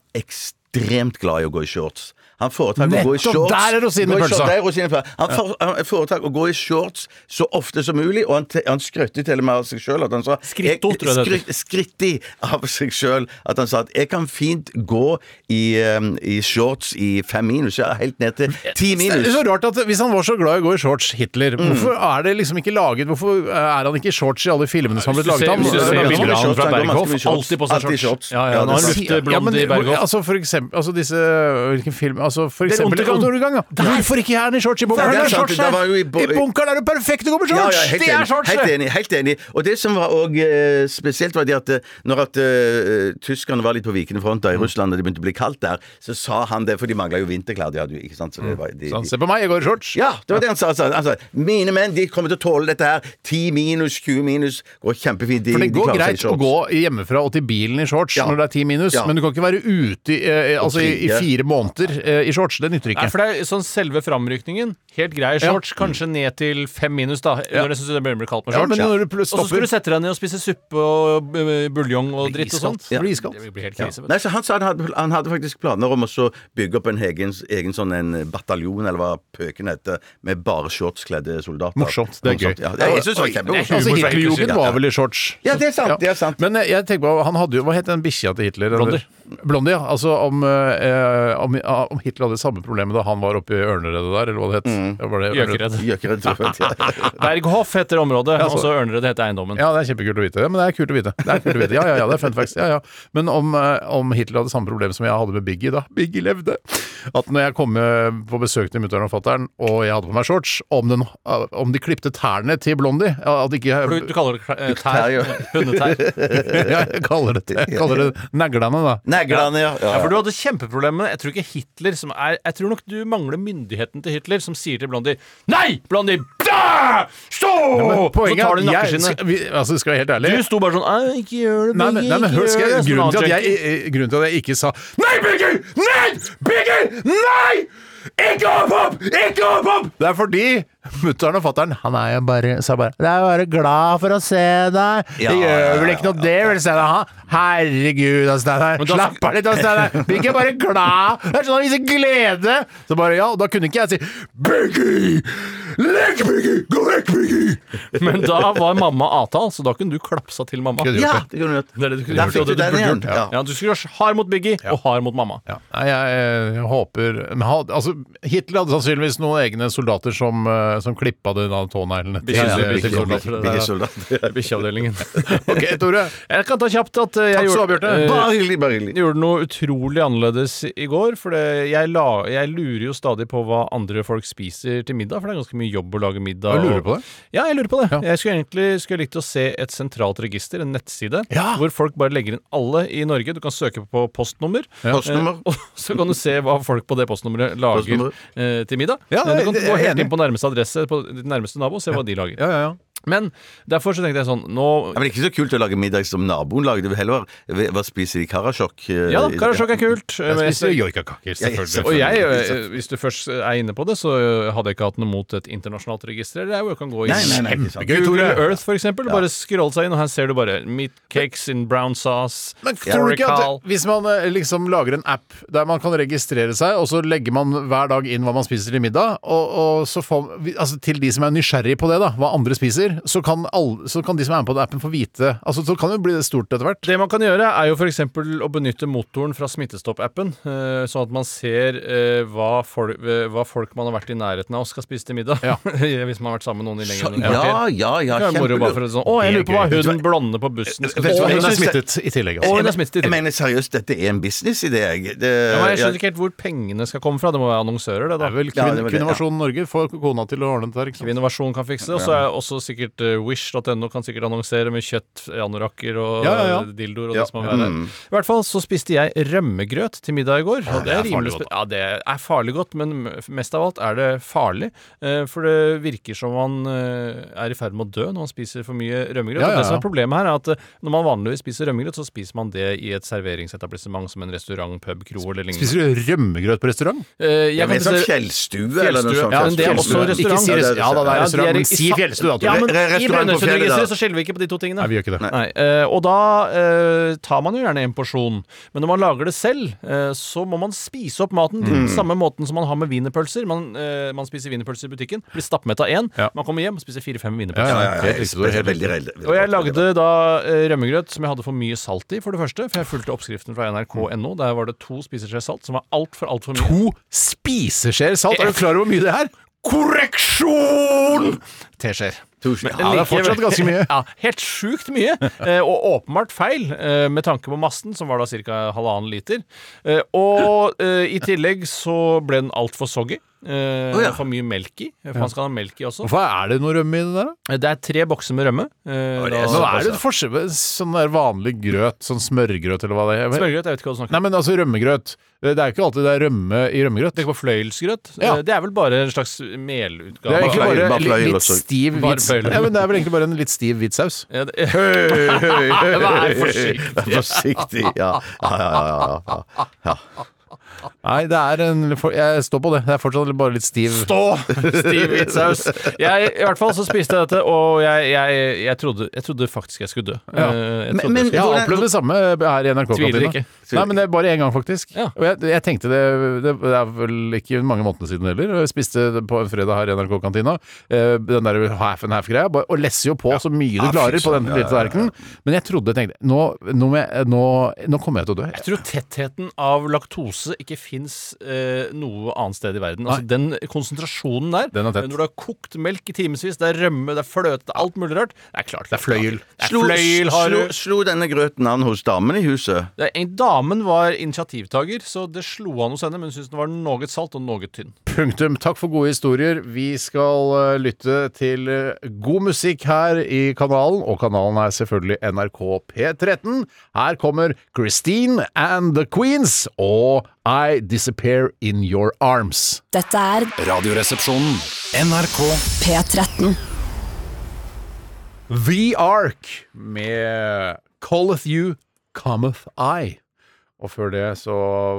S6: ekstremt glad i å gå i shorts. Han foretrakk å gå i
S4: Nettopp!
S6: shorts
S4: Der er rosinen i
S6: Gå
S4: pølsa.
S6: shorts, der er rosinen i pølsa. Han, for, han foretrakk å gå i shorts så ofte som mulig, og han, te- han skrøtte til og med av seg sjøl at han sa
S5: Skritto,
S6: jeg-
S5: tror jeg det heter.
S6: skryt- Skrittig av seg sjøl at han sa at 'jeg kan fint gå i, eh, i shorts i fem minus', ja, helt ned til ti
S4: Det
S6: minus.
S4: er så rart at Hvis han var så glad i å gå i shorts, Hitler, hvorfor er det liksom ikke laget Hvorfor er han ikke i shorts i alle filmene som har blitt
S5: Hvis du
S4: laget
S5: ser-
S4: av ham?
S5: hvis du
S6: Det er
S5: ser
S6: ganske
S5: bilder
S6: mye
S5: av han
S6: shorts,
S5: fra
S6: han går ganske
S5: Berghoff.
S6: mye shorts.
S5: Alltid på seg
S6: Alltid
S5: shorts.
S6: shorts.
S5: Ja, ja,
S6: Ja,
S5: han har
S6: det er sant.
S4: Ja, men
S5: lufteblond i Berghoff.
S4: altså for eksempel Altså disse Hvilken film Altså for
S5: er
S4: eksempel
S5: Untergang.
S4: Undergang, ja. Hvorfor ikke er han i shorts i
S6: Ja,
S4: bunkeren? Han
S6: det er
S4: har
S6: sant,
S4: shorts
S6: det
S4: her.
S6: var jo i bo-
S4: I bunkeren er det perfekt å gå med shorts!
S6: helt,
S4: det er
S6: enig,
S4: shorts!
S6: helt
S4: det.
S6: enig. helt enig Og det som var òg eh, spesielt, var det at eh, når at eh, tyskerne var litt på vikende
S4: Mm.
S6: front da i Russland, og det begynte å bli kaldt der, så sa han det, for de mangla jo vinterklær. De hadde jo, ikke sant? Så det var, de,
S4: Så han
S6: de,
S4: Mm. Sånn ser på meg, jeg går i shorts.
S6: ja, det var det han sa. Altså, altså, mine menn de kommer til å tåle dette her. 10 minus, 20 minus, går kjempefint. De,
S4: For det
S6: de
S4: går
S6: klarer seg i
S4: greit å
S6: shorts.
S4: gå hjemmefra og til bilen i shorts
S6: Ja.
S4: når det er ti minus,
S6: Ja.
S4: men du kan ikke være ute i, eh, altså i, i
S6: krige.
S4: fire måneder eh, i shorts. Det nytter
S5: Nei,
S4: ikke.
S5: for det er sånn Selve framrykningen, helt grei shorts, kanskje ned til fem minus, da. Når jeg synes det begynner å bli kaldt med
S4: Ja,
S5: shorts.
S4: men når du pl-
S5: Og så
S4: stopper-
S5: skulle du sette deg ned og spise suppe og eh, buljong og dritt og sånt.
S4: Det blir iskaldt.
S5: Det blir helt krise. vet du.
S6: Nei, så han sa han hadde, han hadde faktisk planer om å så bygge opp en egen, egen sånn en bataljon, eller hva pøken heter, med bare shortskledde soldater.
S4: Morsomt. Det er gøy.
S6: Ja, jeg jeg synes det var kjempemorsomt.
S4: Altså,
S5: Humor fra
S4: Hitlerjugend
S6: Hitlers side.
S4: var vel i shorts.
S6: Ja, det er sant, det er sant.
S4: Men eh, jeg tenker på, han hadde jo, hva het den bikkja til Hitler?
S5: Blondie.
S4: Blondie, ja. Altså om, eh, om, om Hitler hadde samme problemet da han var oppe i ørneredet der, eller hva det het.
S6: Mm.
S4: Ja, var det ørneredet?
S5: Gjøkeredd.
S6: Gjøkeredd, tror jeg. Ja.
S5: Berghoff heter området,
S4: Ja, så-
S5: og så Ørnered heter eiendommen.
S4: Ja, det er kjempekult å vite. Ja, men det er kult å vite. Det er kult å vite. Ja, ja, ja, det er fun facts. Ja, ja. Men om, eh, om Hitler hadde samme problem som jeg hadde med Biggie da Biggie levde. At når jeg kom eh, på besøk til mutter'n og fatter'n, og jeg hadde på meg shorts, om, den, eh, om de klipte tærne til Blondie ja, At ikke
S5: Du, du kaller det eh, tær.
S6: Tær, jo.
S5: Hundetær.
S4: ja, Jeg kaller det det. Jeg kaller det neglene, da.
S6: Neglene, ja.
S5: Ja, for du hadde kjempeproblemer med Jeg tror ikke Hitler som er Jeg tror nok du mangler myndigheten til Hitler, som sier til Blondie Nei! Blondie! Da! Stå!
S4: Men
S5: så
S4: poenget
S5: tar du
S4: er at jeg,
S5: nakkeskinnet.
S4: skal, vi, altså, skal jeg være helt ærlig
S5: Du sto bare sånn «Nei, Ikke gjør det,
S4: Nei, men, nei, men hør, skal jeg, grunnen, til at jeg, eh, grunnen til at jeg ikke sa Nei, Biggie! Nei! Biggie! Nei! Ikke hopp opp! Ikke hopp opp! Det er fordi mutter'n og fatter'n Han er jo bare, sa bare Jeg er bare glad for å se deg.
S6: Ja,
S4: det
S6: ja,
S4: gjør
S6: ja,
S4: vel ikke noe, det, vel, Steinar? Ha? Herregud, da, Steinar.
S5: da-
S4: Slapp av litt, da, Steinar. Biggie er bare glad. Det er sånn han viser glede. Så bare, ja, og da kunne ikke jeg si Biggie! Lek, Biggie! Gå vekk, Biggie!
S5: Men da var mamma avtale, så da kunne du klapsa til mamma.
S4: Kunne du
S6: Ja,
S4: gjort
S6: det kunne du gjort.
S5: Det er det du kunne
S6: Der
S5: gjort.
S6: fikk du
S5: Det er det
S6: den
S5: du
S6: igjen.
S5: burde
S6: Ja.
S5: gjort. Ja, du skulle være hard mot Biggie og hard mot mamma.
S4: Ja. Nei, jeg, eh, håper men had, altså, Hitler hadde sannsynligvis noen egne soldater som, eh, som klippa den av tåneglene. til-
S5: Ja, ja,
S4: til- til
S5: bikkje-
S4: soldater.
S5: bikkje-
S6: Bikkje soldat.
S5: Bikkjeavdelingen.
S4: Ok, Tore.
S5: Jeg kan ta kjapt at eh, jeg
S4: Takk skal
S5: gjorde-
S4: du ha, Bjarte.
S5: eh,
S6: Bare hyggelig, bare hyggelig.
S5: Jeg gjorde noe utrolig annerledes i går. For det, jeg, la, jeg lurer jo stadig på hva andre folk spiser til middag, for det er ganske mye jobb å lage middag.
S4: Ja, lurer
S5: og-
S4: du på det?
S5: Ja, jeg lurer på det.
S4: Ja.
S5: Jeg skulle egentlig skulle likt å se et sentralt register, en nettside,
S4: Ja.
S5: hvor folk bare legger inn alle i Norge. Du kan søke på postnummer.
S6: Postnummer.
S5: Eh, og så kan du se hva folk på det postnummeret lager
S6: Postnummer.
S5: eh, til middag.
S4: Ja,
S5: Eh, du kan
S4: jeg- jeg
S5: gå
S4: er
S5: helt
S4: enig.
S5: inn på nærmeste adresse på ditt nærmeste nabo og se hva de lager.
S4: Ja, ja, ja.
S5: Men derfor så tenkte jeg sånn Nå
S6: Ja, men det er ikke så kult å lage middag som naboen lagde. Det vil heller være- Hva spiser de? Karasjok? eh,
S5: Ja da, Karasjok er kult. eh, men-
S4: Jeg spiser joikakaker,
S5: Og
S4: selvfølgelig.
S6: selvfølgelig.
S5: jeg, eh, hvis du først er inne på det, så eh, hadde jeg ikke hatt noe mot et internasjonalt register. Eller jeg kan gå inn
S6: Nei, nei, nei, ikke sant.
S4: Gøy,
S5: Google
S4: Tore.
S5: Earth, for eksempel. Bare scrolle seg inn, og her ser du bare meat cakes in brown sauce.
S4: Men tror du ikke
S5: Oracle.
S4: at Hvis man eh, liksom lager en app der man kan registrere seg, og så legger man hver dag inn hva man spiser til middag, og, og så får, vi- altså, til de som er nysgjerrig på det, da, hva andre spiser, her, så kan, alle, så kan de som er med på den appen, få vite Altså, Så kan det jo bli stort etter hvert.
S5: Det man kan gjøre, er jo f.eks. å benytte motoren fra Smittestopp-appen, eh, sånn at man ser eh, hva, fol eh, hva folk man har vært i nærheten av, skal spise til middag.
S4: Ja.
S5: Hvis man har vært sammen med noen i lenger enn et
S6: Ja,
S5: kvarter.
S6: ja, ja.
S5: Det er jo moro bare for
S6: kjempelurt.
S5: å sånn, Å, jeg
S4: Det er
S5: lurer på hva
S4: gøy.
S5: hun blonde på bussen skal
S6: Vet du
S5: spise.
S4: Og hun er
S6: hva, jeg synes det-
S4: smittet i tillegg.
S5: Og
S4: Altså.
S5: hun er smittet i
S6: Jeg
S5: tillegg.
S6: mener seriøst, dette er en businessidé. jeg. Det,
S5: Ja, men jeg
S6: ja,
S5: skjønner ikke helt hvor pengene skal komme fra. Det må være annonsører, det,
S4: Det
S5: da.
S4: er vel
S6: Ja, det
S4: kvin
S6: var det, ja.
S4: Kvinnovasjon Norge får kona til å ordne dette her. ikke sant?
S5: Innovasjon kan fikse. Og så er også sikkert eh, Wish.no kan sikkert annonsere med kjøtt, anorakker og
S4: Ja, ja, ja.
S5: eh, dildoer og
S4: Ja, Mm.
S5: det som er verre. I hvert fall så spiste jeg rømmegrøt til middag i går. og det,
S4: det er
S5: er rimelig
S4: farlig godt,
S5: spe- Ja, det er farlig godt, men m- mest av alt er det farlig. eh, For det virker som man eh, er i ferd med å dø når man spiser for mye rømmegrøt.
S4: Ja, ja,
S5: Og det som
S4: ja.
S5: er problemet her, er at eh, når man vanligvis spiser rømmegrøt, så spiser man det i et serveringsetablissement som en restaurant, pub, kro eller lignende.
S4: Spiser du rømmegrøt på restaurant?
S5: Eh, jeg
S6: Jeg
S5: kan
S6: vet sånn
S5: spise-
S6: fjellstue eller noe
S5: Fjellstue,
S6: sånt.
S5: ja, men det er også
S6: Fjellstue.
S5: restaurant.
S4: Ikke si restaurant. Ja, da, det er
S5: Ja,
S4: restaurant,
S5: de er i-
S4: men si fjellstue, da.
S5: Ja,
S4: Tore.
S5: men
S6: Re-
S5: I
S6: restaurant på fjellet,
S5: Brønnøysundregisteret
S6: da.
S5: så skjelver vi ikke på de to tingene.
S4: Nei, vi gjør ikke det.
S5: Nei, eh, og da eh, tar man jo gjerne en porsjon, men når man lager det selv, eh, så må man spise opp maten på den
S6: Mm.
S5: samme måten som man har med wienerpølser. Man, eh, man spiser wienerpølser i butikken, blir stappmett av én,
S4: Ja.
S5: man kommer hjem og spiser fire-fem
S4: Ja,
S5: wienerpølser.
S4: ja,
S6: Ja, ja, ja,
S4: Helt riktig, du er
S6: det
S4: helt
S6: er veldig redd.
S5: Og jeg lagde da eh, rømmegrøt som jeg hadde for mye salt i, for det første. For jeg fulgte oppskriften fra nrk.no. Der var det to spiseskjeer salt, som var altfor, altfor mye.
S4: To spiseskjeer salt! Er du klar over hvor mye det er? Korreksjon!
S5: teskjeer.
S6: Tusen-
S5: Men
S6: Ja,
S4: det er
S5: likevel-
S4: fortsatt ganske mye.
S5: Ja, helt sjukt mye, eh, og åpenbart feil eh, med tanke på massen, som var da ca. halvannen liter. Eh, Og eh, i tillegg så ble den altfor soggy. Eh,
S6: Å, ja.
S5: For mye melk i. eh, For man skal ha melk i også.
S4: Hvorfor er det noe rømme i det der? da?
S5: Eh, Det er tre bokser med rømme. Eh,
S6: det er
S5: da-
S4: Nå er det et forskjell på sånn der vanlig grøt, sånn smørgrøt eller hva det er.
S5: Smørgrøt, jeg vet ikke hva du snakker om.
S4: Nei, men altså rømmegrøt. Det er jo ikke alltid det er rømme i rømmegrøt.
S5: Det går fløyelsgrøt.
S4: Ja.
S5: Eh, Det er vel bare en slags melutgave.
S4: Det er egentlig
S6: Bakfløyel,
S4: bare
S6: bakfløyel
S4: li- litt
S6: også.
S4: stiv
S5: Bare
S4: hvit
S5: bøyler.
S4: ja, men Det er vel egentlig bare en litt stiv hvit saus.
S5: Ja, det-
S6: Vær
S5: forsiktig.
S6: Forsiktig, ja. Ja, ja, ja, ja, ja. ja.
S4: Nei, det er en for- Jeg står på det. Det er fortsatt bare litt stiv
S5: Stå! Stiv hvitsaus. Jeg, I hvert fall så spiste jeg dette, og jeg, jeg, jeg, trodde, jeg trodde faktisk jeg skulle dø. Eh, jeg
S6: Men-
S5: trodde
S6: men-
S5: jeg
S4: Jeg
S5: skulle.
S4: har opplevd det samme her i
S5: Tviler
S4: NRK-kantina.
S5: ikke.
S4: Nei, men det er bare én gang, faktisk.
S5: Ja.
S4: Og jeg, jeg tenkte det, det Det er vel ikke mange månedene siden heller. Jeg spiste det på en fredag her i NRK-kantina. eh, Den der half and half-greia. bare- Og lesser jo på så mye du
S6: Ah, fy
S4: klarer på
S6: søren,
S4: den
S6: ja,
S4: lille
S6: ja, ja.
S4: tallerkenen. Men jeg trodde tenkte, nå, nå, må jeg- nå, nå kommer jeg til å dø.
S5: Jeg tror tettheten av laktose ikke fins eh, noe annet sted i verden. Altså, den konsentrasjonen der,
S4: Den er tett.
S5: når du har kokt melk i timevis, det er rømme, det er fløte, det er alt mulig rart, det er klart. Det er
S4: fløyel.
S5: Det er
S6: Slo,
S5: fløyel, har
S6: slo,
S5: du.
S6: slo denne grøten an hos damen i huset?
S5: Det er, en, damen var initiativtaker, så det slo an hos henne, men hun syntes den var noe salt og noe tynn.
S4: Punktum. Takk for gode historier. Vi skal eh, lytte til eh, god musikk her i kanalen, og kanalen er selvfølgelig NRK P13. Her kommer Christine and the Queens og I Disappear In Your Arms.
S1: Dette er
S2: Radioresepsjonen.
S4: NRK
S1: P13.
S4: The Ark med Calleth You, Cometh I. Og før det så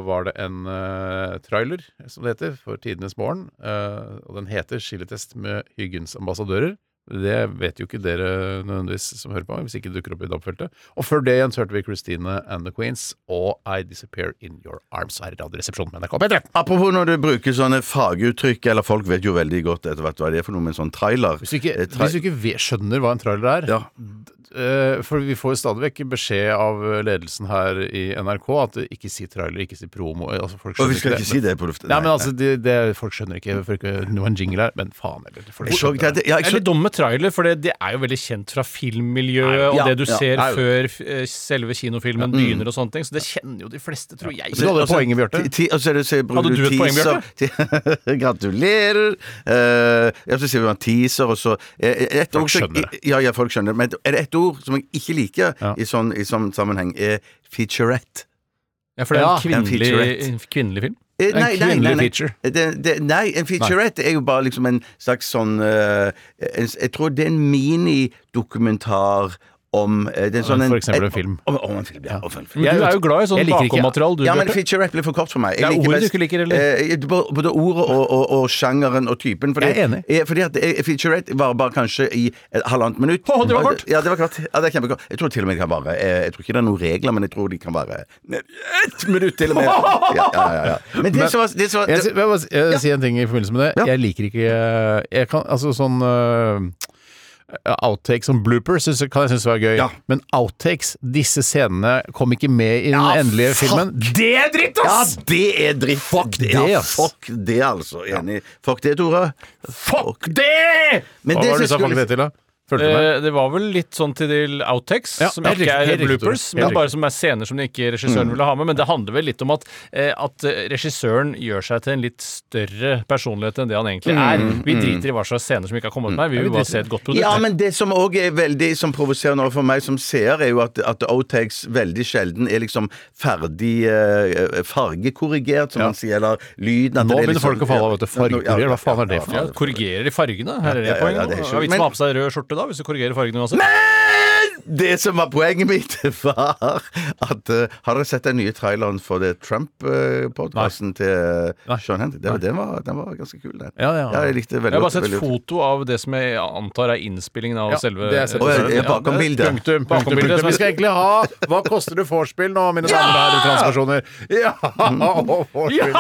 S4: var det en eh, trailer, som det heter, for Tidenes morgen. eh, og den heter Skilletest med Hyggens ambassadører. Det vet jo ikke dere nødvendigvis som hører på, hvis ikke det dukker opp i DAB-feltet. Og før det igjen så hørte vi Christine and the Queens og I Disappear In Your Arms her i Radioresepsjonen med NRK P13.
S6: Apropos når du bruker sånne faguttrykk, eller folk vet jo veldig godt etter hvert hva det er for noe med en sånn trailer.
S4: Hvis du ikke,
S6: Eh, tra-
S4: hvis du ikke ve- skjønner hva en trailer er,
S6: Ja.
S4: Eh, For vi får jo stadig vekk beskjed av ledelsen her i NRK at ikke si trailer, ikke si promo. Altså, folk
S6: Og vi
S4: skjønner
S6: skal
S4: det.
S6: ikke si det på luften.
S4: Nei, men altså, det, det, folk skjønner ikke for ikke noe en jingle er, men faen heller. folk
S6: Jeg så
S4: skjønner
S6: ikke det. Ja,
S5: Det
S6: jeg
S5: er litt
S6: så,
S5: dumme trailer, for det, det er jo veldig kjent fra filmmiljøet
S6: ja,
S5: og det du
S6: ja,
S5: ser
S4: er jo-
S5: før eh, selve kinofilmen begynner og sånne ting, så det kjenner jo de fleste, tror jeg. Altså,
S4: Så du hadde et poeng, Bjarte.
S6: Ti- ti- og så er det, så bruker
S5: Hadde du et poeng,
S6: teaser- ti- Gratulerer! Eh, ja, så sier man teaser, og så eh, et
S4: Folk
S6: ord som-
S4: skjønner det.
S6: Ja, ja, folk skjønner det. Men er det ett ord som jeg ikke liker
S4: Ja.
S6: i sånn, i sånn sammenheng, er featurette.
S5: Ja, for det er en
S6: Ja, en
S5: kvinnelig,
S6: featurette.
S5: en kvinnelig film.
S6: Eh,
S4: En kvinnelig feature.
S6: Det, det, nei, en featurette er jo bare liksom en slags sånn eh, en, Jeg tror det er en minidokumentar om eh, det er sånn
S4: For eksempel en film.
S6: Om, om en film, ja. Om en film.
S5: Men du er jo glad i sånn
S4: jeg liker ikke-
S5: bakommateriale, du,
S6: Ja, men
S5: Bjarte.
S6: featurette blir for kort for meg. Jeg
S5: Det er
S6: liker
S5: ordet du
S6: best-
S5: ikke liker, eller?
S6: Eh, jeg- både både ordet og, og, og sjangeren og typen. Fordi,
S4: Jeg er enig.
S6: eh, fordi at eh, featurette varer bare kanskje i et halvannet minutt.
S5: Å, det var kort.
S6: Ja, det var kort. Ja, det er kjempekort. Jeg tror til og med det kan vare eh, Jeg tror ikke det er noen regler, men jeg tror de kan vare ett minutt til og med. Ja, ja, ja, ja. Men det
S4: Men-
S6: som var, det som var
S4: Jeg, si- jeg, må bare si- jeg, si en ting i forbindelse med det.
S6: Ja.
S4: Jeg liker ikke Jeg kan Altså sånn øh, outtakes som bloopers synes, jeg- kan jeg synes var gøy.
S6: Ja.
S4: Men outtakes, disse scenene kom ikke med i den
S6: Ja,
S4: endelige
S6: fuck.
S4: filmen. Det er dritt,
S6: Ja, det er dritt. Fuck
S4: det,
S6: ja,
S4: ass.
S6: fuck det, altså. Enig. Fuck det, Tore.
S4: Fuck det!
S6: Men
S4: Hva
S6: det
S4: var det du
S6: som
S4: sa fuck
S6: skulle-
S4: det til, da? Følte du med?
S5: Eh, det var vel litt sånn til de outtakes,
S4: Ja,
S5: som
S4: helt
S5: ikke er
S4: riktig, helt riktig, Mm.
S5: bloopers,
S4: Tore. Helt
S5: men bare som er scener som ikke regissøren ville ha med. Men det handler vel litt om at, eh, at regissøren gjør seg til en litt større personlighet enn det han egentlig er.
S4: Mm.
S5: Vi driter i hva slags scener som ikke har kommet med. Vi vil bare se et godt produkt.
S6: Ja, men det som òg er veldig som provoserende overfor meg som seer, er jo at, at outtakes veldig sjelden er liksom ferdig eh, fargekorrigert, som man sier, eller lyden at
S4: Nå
S6: det
S4: begynner
S6: er liksom-
S4: folk å falle av, vet du. Fargekorrigert, hva faen er det for
S5: Ja,
S4: noe?
S5: korrigerer de fargene? Her er det
S6: Ja, ja, ja,
S5: poenget.
S6: det er ikke-
S5: Det er vits med
S6: men-
S5: å ha på seg rød skjorte da, hvis du korrigerer fargene uansett.
S6: Men det som var poenget mitt, var at eh, Har dere sett den nye traileren for det Trump-podkasten til eh,
S4: Nei.
S6: Sean Henry? Det, den, var, den var ganske kul, den.
S4: Ja, ja.
S6: jeg likte det
S5: Jeg
S6: veldig
S5: har bare
S6: godt.
S5: sett
S6: veldig godt.
S5: foto av det som jeg antar er innspillingen av
S4: Ja,
S5: selve
S4: det er selve-
S6: Å, jeg- jeg-
S5: Ja,
S6: Bakombildet.
S4: Punktum, punktum,
S5: Bakombildet,
S4: punktum.
S5: så-
S4: Vi skal egentlig ha Hva koster du vorspiel nå, mine damer og herrer transpersoner? Ja! og vorspiel.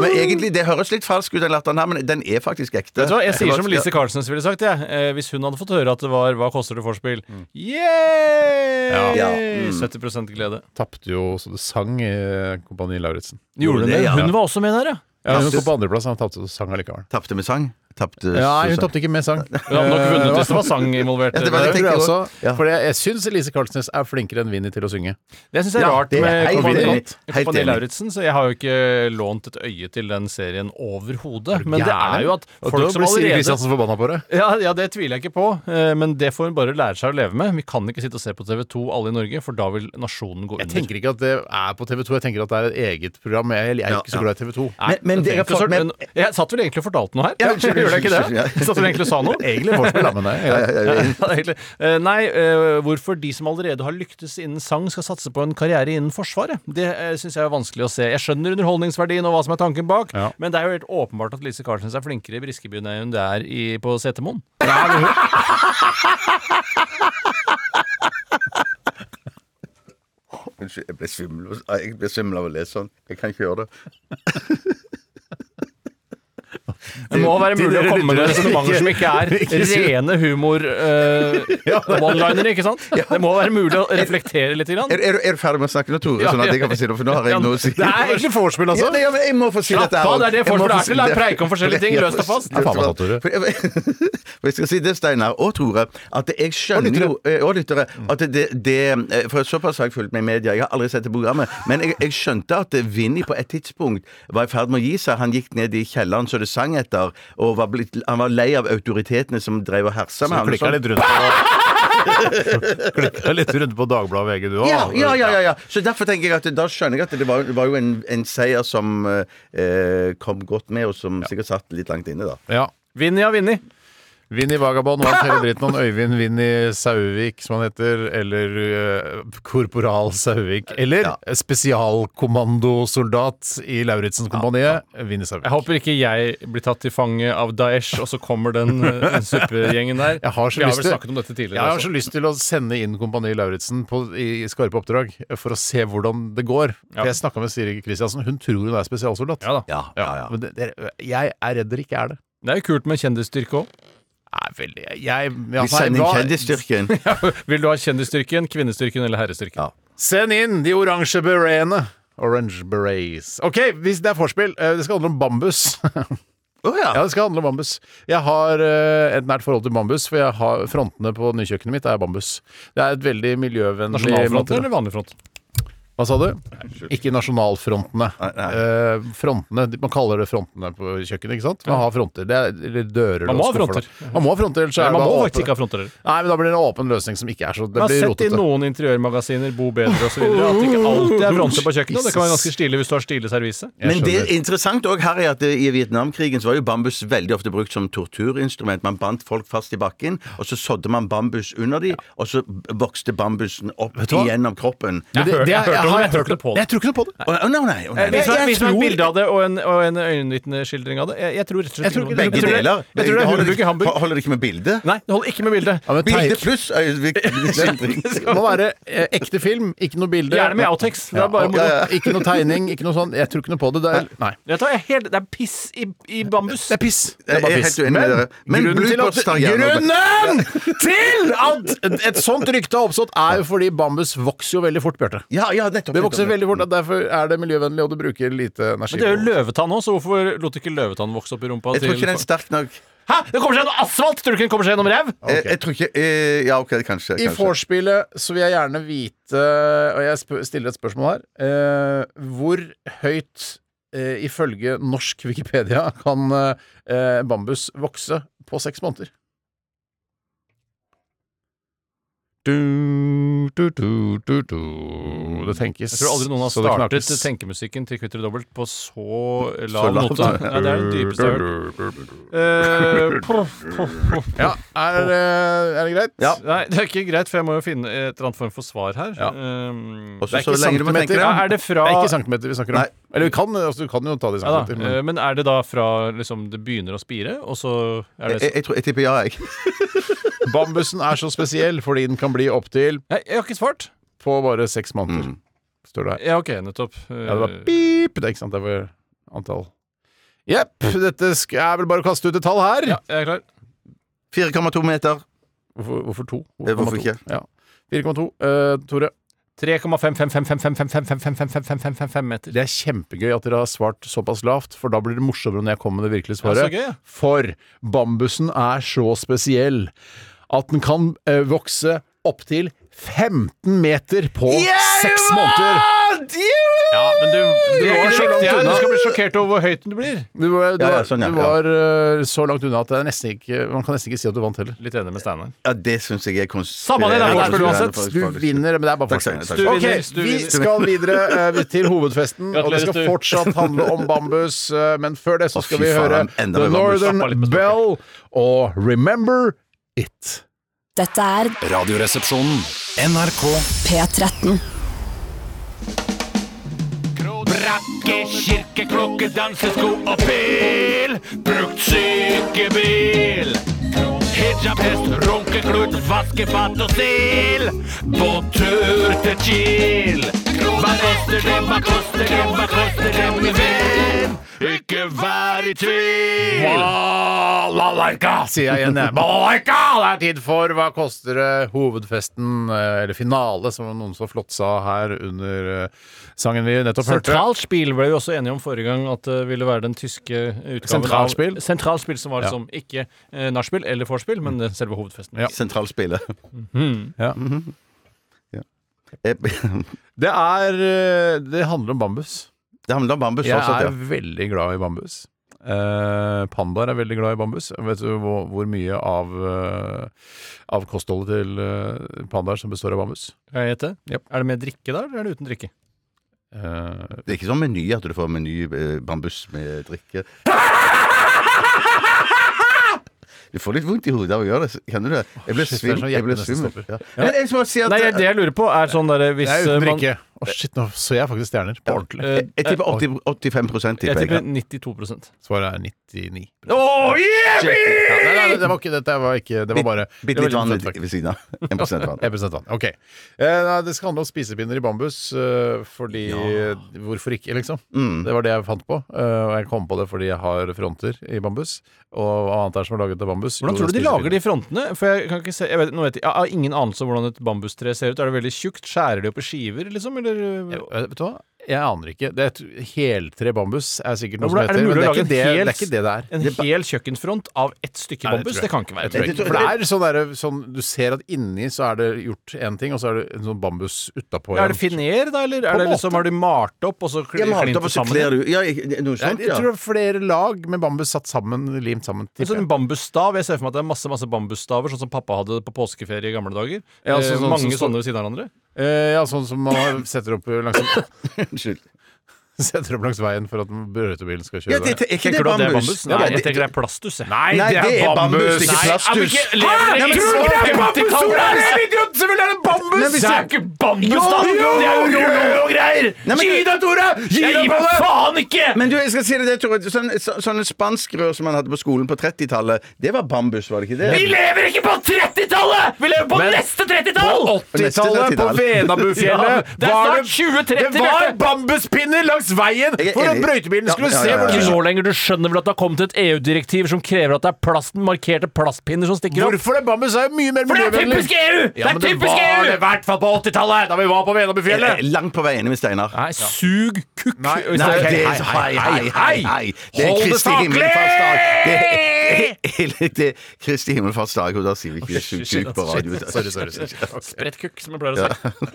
S6: Men egentlig, Det høres litt falsk ut, den latteren her, men den er faktisk ekte.
S5: Vet du hva, Jeg sier som
S6: Ja.
S5: Lise Carlsens ville sagt, jeg. Eh, hvis hun hadde fått høre at det var 'Hva koster det forspill?' Yeah!
S6: Mm. Ja. Mm. Ja,
S5: 70 glede.
S4: Tapte jo så det sang i Kompani Lauritzen.
S5: Gjorde
S6: det,
S5: det?
S6: ja.
S5: Hun var også med der, ja.
S4: Ja, hun
S6: Tapte-
S4: kom på andreplass, han tapte så sang allikevel.
S6: Tapte med sang? Tapte
S4: Nei, hun
S6: sang.
S4: tapte ikke med sang.
S5: Hun hadde nok vunnet hvis det var sang involvert.
S6: Ja, det var
S4: Det
S5: Det,
S4: tror jeg
S6: litt- tenker jeg
S4: også.
S6: også. Ja.
S4: For jeg, jeg syns Elise Karlsnes er flinkere enn Vinni til å synge.
S5: syns jeg er
S6: Ja,
S5: rart
S6: det er
S5: med
S6: helt
S5: Kompani
S6: enig. Helt
S5: Kompani
S6: enig.
S5: Lauritzen, så jeg har jo ikke lånt et øye til den serien overhodet. Men det
S4: Gæren.
S5: er jo at
S4: Og
S5: folk
S4: da
S5: som
S4: blir Siri
S5: allerede
S4: Kristiansen forbanna på det.
S5: Ja, ja, det tviler jeg ikke på, eh, men det får hun bare lære seg å leve med. Vi kan ikke sitte og se på TV 2 alle i Norge, for da vil nasjonen gå
S4: Jeg
S5: under.
S4: tenker ikke at det er på TV 2, jeg tenker at det er et eget program. Jeg, jeg er ikke så glad i TV 2.
S5: Nei,
S6: Men- men
S5: det trenger ikke
S6: dere
S5: å
S6: får-
S5: sørge-
S6: men-
S5: men Jeg satt vel egentlig og fortalte noe her?
S6: Ja, unnskyld,
S5: Gjorde jeg ikke
S6: unnskyld,
S5: det?
S6: ja.
S5: Satt vel egentlig og sa noe?
S4: Egentlig vorspiel, da, men det er greit.
S5: Ja, egentlig. Eh, Nei, eh, hvorfor de som allerede har lyktes innen sang, skal satse på en karriere innen Forsvaret, det syns jeg er vanskelig å se. Jeg skjønner underholdningsverdien og hva som er tanken bak,
S4: Ja.
S5: men det er jo helt åpenbart at Lise Carlsens er flinkere i Briskebyen enn hun det er i, på Setermoen.
S6: Unnskyld, jeg ble svimmel av- jeg ble svimmel av å lese sånn. Jeg kan ikke gjøre det.
S5: Det må være
S4: til
S5: mulig å
S4: dere
S5: komme med
S4: lyttere som
S5: resonnementer som ikke
S4: ikke
S5: er
S4: sier-
S5: rene humor eh, one-linere, ikke sant? Det må være mulig å reflektere litt. Grann.
S6: Er, er, du- er du ferdig med å snakke nå, Tore?
S5: Ja,
S6: Sånn at jeg
S5: ja.
S6: kan få si det, for nå har jeg noe å si.
S5: Det er egentlig vorspiel, altså.
S6: Ja, nei, ja, men jeg må få si
S5: Ja,
S6: dette her
S5: faen,
S6: også.
S5: det er det
S6: Jeg må
S5: vorspiel
S6: få
S5: er
S6: si
S5: til, det er
S6: det.
S5: preik om forskjellige ting, løst og fast.
S6: Ja,
S4: faen,
S6: for-
S4: da, Tore.
S6: for jeg- For jeg skal si det, Steinar og Tore, at jeg skjønner jo eh, Og lyttere. At det, det eh, For såpass har jeg fulgt med i media. Jeg har aldri sett det programmet. Men jeg, jeg skjønte at eh, Vinny på et tidspunkt var i ferd med å gi seg. Han gikk ned i kjelleren så det sang etter, og var blitt, han var lei av autoritetene som drev og hersa med
S4: Du
S5: altså-
S6: ham. og
S4: klikka
S6: sånn.
S4: litt rundt på Klikka litt rundt på Dagbladet VG, du òg.
S6: Ja, ja, ja, ja, ja. Så derfor tenker jeg at da skjønner jeg at det var, var jo en, en seier som eh, kom godt med, og som sikkert satt litt langt inne, da.
S4: ja.
S5: Vinni har vunnet.
S4: Vinni Vagabond vant hele dritten om Øyvind Vinni Sauvik, som han heter, eller eh, Korporal Sauvik, eller
S6: Ja.
S4: spesialkommandosoldat i Lauritzen-kompaniet, Vinni Sauvik.
S5: Jeg håper ikke jeg blir tatt til fange av Daesh, og så kommer den, eh, den suppegjengen der.
S4: Jeg har så
S5: Vi har
S4: lyst
S5: vel
S4: til-
S5: snakket om dette tidligere.
S4: Jeg har
S5: altså.
S4: så lyst til å sende inn Kompani Lauritzen på, i skarpe oppdrag for å se hvordan det går.
S5: Ja.
S4: For Jeg snakka med Siri Kristiansen, hun tror hun er spesialsoldat.
S5: Ja da.
S6: ja, ja.
S4: Men det, det, jeg er redd dere ikke er det.
S5: Det er jo kult med kjendisstyrke òg.
S4: Nei, vel, jeg, jeg ja,
S6: Vi
S4: nei,
S6: sender inn
S4: hva-
S6: kjendisstyrken.
S5: Vil du ha kjendisstyrken, kvinnestyrken eller herrestyrken?
S6: Ja.
S4: Send inn de oransje beretene. Orange berets. OK, hvis det er vorspiel. eh, Det skal handle om bambus.
S6: Å ja.
S4: Ja, det skal handle om bambus. Jeg har eh, et nært forhold til bambus, for jeg har, frontene på nykjøkkenet mitt er bambus. Det er et veldig miljøvennlig
S5: Nasjonalfront
S4: materiale.
S5: eller vanlig front?
S4: Hva sa du? Ikke nasjonalfrontene.
S6: nei.
S4: Eh, frontene, de- Man kaller det frontene på kjøkkenet, ikke sant? Man har fronter. Det er, eller dører
S5: Man må ha
S4: og skuffer,
S5: fronter.
S4: da. Man må ha fronter, ellers
S5: Nei,
S4: er det
S5: man må
S4: bare
S5: faktisk ikke
S4: åpen.
S5: ha fronter. heller.
S4: Nei, men da blir det en åpen løsning som ikke er så Det
S5: Jeg har
S4: blir
S5: sett i
S4: rotete.
S5: noen interiørmagasiner, Bo Bedre osv., at det ikke alltid er fronter på kjøkkenet. Og det kan være ganske stilig hvis du har stilig servise.
S6: Men det er
S4: skjønner.
S6: interessant òg her er at eh, i Vietnamkrigen så var jo bambus veldig ofte brukt som torturinstrument. Man bandt folk fast i bakken, og så sådde man bambus under dem, og så b- vokste bambusen opp
S4: du hva?
S6: igjennom kroppen.
S4: Men det, det,
S5: Jeg
S4: er-
S5: har hørt- jeg har hørt jeg
S4: har-
S5: men jeg tror ikke noe på det.
S4: Jeg tror ikke noe på det.
S6: Å, nei, å, nei, å, nei.
S5: Vis meg-
S4: jeg
S5: vis meg
S4: tror-
S5: et bilde av det og en, og en øyenvitneskildring av det. Jeg, jeg tror rett og slett
S4: Jeg tror
S5: ikke noe på
S4: ikke
S5: det.
S4: begge
S5: Jeg tror
S6: Deler.
S5: det- Jeg tror det er
S6: Holder det
S5: Hulbuk i
S6: ikke-
S5: Hamburg.
S6: Holder det ikke med bilde?
S5: Nei, det holder ikke med bildet.
S4: Ja, men teip.
S6: Bilde pluss øyeblikkskildring.
S4: Det må være eh, ekte film, ikke noe bilde.
S5: Gjerne med outtakes. Det
S4: Ja,
S5: er bare
S4: og-
S5: moro.
S4: ja, ja. Ikke noe tegning, ikke noe sånn. Jeg tror ikke noe på det. Det er, nei.
S5: Vet du hva, jeg er helt, det er piss i, i bambus.
S4: Det er piss. Det
S6: Jeg
S4: er
S6: er
S4: bare
S6: helt
S4: piss.
S6: uenig med dere. Men
S4: grunnen til, at,
S6: Bluepost har gjerne-
S4: grunnen til at et sånt rykte har oppstått, er jo fordi bambus vokser jo veldig fort, Bjarte.
S6: Ja, ja, nettopp.
S4: Det vokser
S6: nettopp.
S4: veldig fort, og derfor er det miljøvennlig, og du bruker lite energi.
S5: Men det er jo
S4: på det.
S5: løvetann òg, så hvorfor lot du ikke løvetann vokse opp i rumpa?
S6: Jeg tror ikke
S5: til-
S6: den er sterk nok.
S5: Hæ! Det kommer seg gjennom asfalt! Tror du ikke den kommer seg gjennom ræv?
S6: Jeg, jeg tror ikke eh, Ja, OK, kanskje.
S4: Ah, I
S6: kanskje.
S4: vorspielet så vil jeg gjerne vite, og jeg sp stiller et spørsmål her, eh, hvor høyt eh, ifølge norsk Wikipedia kan eh, bambus vokse på seks måneder? Du, du, du, du, du. Det
S5: Jeg
S4: tenkes
S5: tror aldri noen har
S4: så det
S5: startet
S4: knakes.
S5: tenkemusikken til Kvitter og dobbelt på så lav
S6: lavt,
S5: note. Ja, det er den dypeste jeg har hørt. Eh, poff, poff, poff.
S4: Ja, er, eh, er det greit?
S6: Ja.
S5: Nei, det er ikke greit, for jeg må jo finne et eller annet form for svar her.
S4: Ja.
S5: Um,
S6: Også
S4: Det er
S6: så
S4: ikke
S6: lenge du må
S4: centimeter.
S6: tenke deg
S5: ja,
S6: om.
S5: er det fra
S4: Det er ikke centimeter vi snakker om.
S6: Nei.
S4: Eller vi kan, altså, du kan jo ta det sånn- i
S5: ja,
S4: centimeter.
S5: da,
S4: men-
S5: eh, Men er det da fra liksom det begynner å spire, og så er
S4: Eh,
S5: det
S6: Jeg, jeg, tror, jeg tipper ja, jeg.
S4: Bambusen er så spesiell fordi den kan bli opptil
S5: Nei, jeg har ikke svart!
S4: på bare seks måneder. Står det her.
S5: Ja, OK, nettopp. Eh,
S4: Ja, det var pip! Det er ikke sant, det var antall. Jepp. Dette sk er vel bare å kaste ut et tall her.
S5: Ja, jeg er klar.
S6: 4,2 meter.
S4: Hvorfor, hvorfor to?
S6: Eh, hvorfor
S4: 4,2?
S6: ikke?
S4: Ja. 4,2. Eh, Tore,
S5: 3,555555555 meter.
S4: det er kjempegøy at dere har svart såpass lavt, for da blir det morsommere når jeg kommer med det virkelige
S5: Ja, så
S4: svaret.
S5: gøy, ja.
S4: For bambusen er så spesiell at den kan eh, vokse opptil 15 meter på seks måneder.
S5: Ja, men du, du,
S4: var
S5: er ikke
S4: så langt
S5: riktig her.
S4: unna.
S5: du skal bli sjokkert over hvor høyt du blir.
S4: Du var, du
S6: Ja, ja,
S4: var,
S6: sånn, ja,
S4: du
S6: ja.
S4: var eh, så langt unna at det er nesten ikke, man kan nesten ikke si at du vant heller.
S5: Litt enig med Steinar.
S6: Ja, det syns jeg er konst...
S5: Samme det, det er vorspiel uansett.
S4: Du vinner, men det er bare
S6: Takk,
S4: forskning.
S6: takk, takk.
S5: Du
S4: Ok,
S5: vinner, du
S4: vi
S5: vinner.
S4: skal videre eh, til hovedfesten, og det
S5: Gratulerer,
S4: skal
S5: Stu.
S4: fortsatt handle om bambus. eh, men før det så
S6: Å,
S4: skal
S6: fy
S4: vi
S6: faen,
S4: høre
S6: enda
S4: The
S6: mer bambus.
S5: Slapp av litt
S4: Northern
S5: med språket.
S4: Bell og Remember It.
S1: Dette er
S2: Radioresepsjonen. NRK
S1: P13.
S7: Brakke, kirke, klokke, dansesko og pil. Brukt sykebil. Hijab, hest, runkeklut, vaskefat og stil. På tur til Kiel. Hva koster det, hva koster det, hva koster det, min venn? Ikke vær i tvil.
S4: Balalaika, sier jeg igjen. jeg. Balalaika! Det er tid for Hva koster det? Hovedfesten, eh, eller finale, som noen så flott sa her under eh, sangen vi nettopp hørte.
S5: Sentralspill ble vi også enige om forrige gang at det ville være den tyske utgaven
S4: Sentralspiel?
S5: av Sentralspill, som var liksom ikke eh, nachspiel eller vorspiel, men eh, selve hovedfesten.
S4: Ja.
S6: Sentralspillet.
S4: Ja.
S6: Mhm. Ja. Eh,
S4: Det er eh, Det handler om bambus.
S6: Det handler om bambus
S4: Jeg
S6: fortsatt,
S4: er
S6: ja.
S4: veldig glad i bambus. Eh, pandaer er veldig glad i bambus. Vet du hvor, hvor mye av, eh, av kostholdet til eh, pandaer som består av bambus?
S5: Kan jeg gjette?
S4: Japp.
S5: Er det med drikke der, eller er det uten drikke?
S4: Eh,
S6: Det er ikke sånn meny at du får meny eh, bambus med drikke. Du får litt vondt i hodet av å gjøre det. Kan du det? Jeg ble
S4: shit, det er
S6: svimmel.
S4: sånn
S6: Jeg ble
S4: hjertet nesten
S6: svimmel.
S4: stopper.
S6: Ja. Men jeg skal bare si at
S5: Nei, jeg- det jeg lurer på, er sånn derre hvis
S4: det er
S5: eh,
S4: uten
S5: man-
S4: drikke. Å, shit, nå så jeg faktisk stjerner. På ordentlig.
S5: eh,
S6: Jeg tipper 80,
S5: Jeg
S6: 85 tipper
S5: tipper
S6: jeg.
S5: 92
S4: Svaret er 99.
S5: oh, yeah,
S4: Ja, nei, nei, det var ikke dette. Var ikke, det var bare
S6: Bitte litt
S4: det var
S6: vann
S4: litt fun fact.
S6: ved siden av. 1 vann.
S4: 1% vann. Ok. Eh, nei, det skal handle om spisepinner i bambus, eh, fordi Hvorfor ikke, liksom?
S5: Mm.
S4: Det var det jeg fant på. eh, og jeg kom på det fordi jeg har fronter i bambus. Og hva annet er som er laget av bambus?
S5: Hvordan tror du de lager de frontene? For Jeg kan ikke se Jeg, vet, nå vet jeg, jeg har ingen anelse om hvordan et bambustre ser ut. Er det veldig tjukt? Skjærer de opp i skiver, liksom? Eller
S4: Eh, Vet du hva? Jeg aner ikke. Det er et heltre bambus er sikkert noe som
S5: Hvordan er
S4: heter.
S5: det mulig
S4: men
S5: å
S4: det
S5: lage
S4: er, ikke
S5: en
S4: det,
S5: hel,
S4: det er ikke det det er.
S5: en hel kjøkkenfront av ett stykke
S4: Nei, det
S5: bambus?
S4: tror jeg
S5: Det kan ikke være
S4: Jeg tror ikke. For det er sånn, der, sånn Du ser at inni så er det gjort én ting, og så er det en sånn bambus utapå.
S5: Ja, er det finer, da, eller er det liksom, har de malt opp, og så kl-
S6: Jeg malte
S5: klint
S6: opp,
S5: det
S6: og så
S5: sammen?
S6: kler du Ja, jeg-
S4: Jeg,
S6: noe sånt,
S5: Sånn,
S4: jeg
S6: ja.
S4: tror det er flere lag med bambus satt sammen, limt sammen.
S5: En
S4: tipper jeg.
S5: sånn bambusstav. Jeg ser for meg at det er masse masse bambusstaver, sånn som pappa hadde på påskeferie i gamle dager.
S4: Ja, altså
S5: Eh,
S4: sånn som
S5: Mange
S4: står-
S5: sånne ved siden av hverandre.
S4: Eh, ja, sånn som man har, setter, opp langs,
S6: Unnskyld.
S4: setter opp langs veien for at brøytebilen skal kjøre
S6: Ja, det,
S4: der.
S6: er ikke
S5: Tenker
S6: det
S5: du at det er bambus?
S6: bambus?
S5: Nei,
S6: Ja,
S5: jeg
S6: det-
S5: tenker det er plastus. jeg.
S6: Nei, det er bambus, ikke plastus.
S5: Hæ?! Nei, men tror du det er bambus, Ola?
S4: Selvfølgelig er det bambus! Men
S7: bambus!
S4: hvis
S7: Det er
S4: jeg-
S7: ikke bambus,
S6: Jo,
S7: da!
S6: jo,
S7: Det er jo rød og greier!
S6: Nei, men-
S7: Gi deg, Tore! Gi deg,
S6: Jeg gir meg
S7: Palle! Faen ikke!
S6: Men du, jeg skal si deg det, Tore. Sånn, så, sånne spanskrør som man hadde på skolen på 30-tallet, det var bambus, var det ikke
S7: Vi
S6: det?
S7: lever ikke på 30-tallet! Vi lever på
S4: Men-
S7: neste 30-tall!
S6: Neste
S4: 80-tallet, på
S6: 30-tall.
S4: Venabufjellet,
S7: Ja, det er
S4: var
S7: snart 20-30
S4: det var
S7: dette.
S4: bambuspinner langs veien
S6: Jeg er
S4: for at
S6: enig.
S4: brøytebilen
S6: Ja,
S4: skulle
S6: ja, ja,
S4: se
S6: ja,
S4: hvor
S6: ja.
S5: Ikke nå lenger. Du skjønner vel at det har kommet et EU-direktiv som krever at det er plasten, markerte plastpinner som stikker opp?
S4: Hvorfor det? Bambus er jo mye mer
S7: For det er
S4: miljøvennlig.
S7: typisk EU! Det
S4: Ja,
S7: er
S4: men det
S7: typisk
S4: var det i
S7: EU!
S4: hvert fall på 80-tallet, da vi var på Venabufjellet.
S6: Eh, Langt på vei enig med Steinar.
S5: Nei, sug kukk.
S4: Nei,
S5: i stedet.
S6: Nei,
S4: ok,
S6: det
S4: hei,
S6: er hei, hei, hei, hei. Det er
S4: Hold det
S6: Kristi
S4: saklig!
S6: himmelfartsdag. Det er- Det er eh, Kristi himmelfartsdag, og da sier vi ikke sjuk kuk på radio.
S4: Sorry, sorry, sorry.
S5: Spredt kukk, som jeg pleier å si.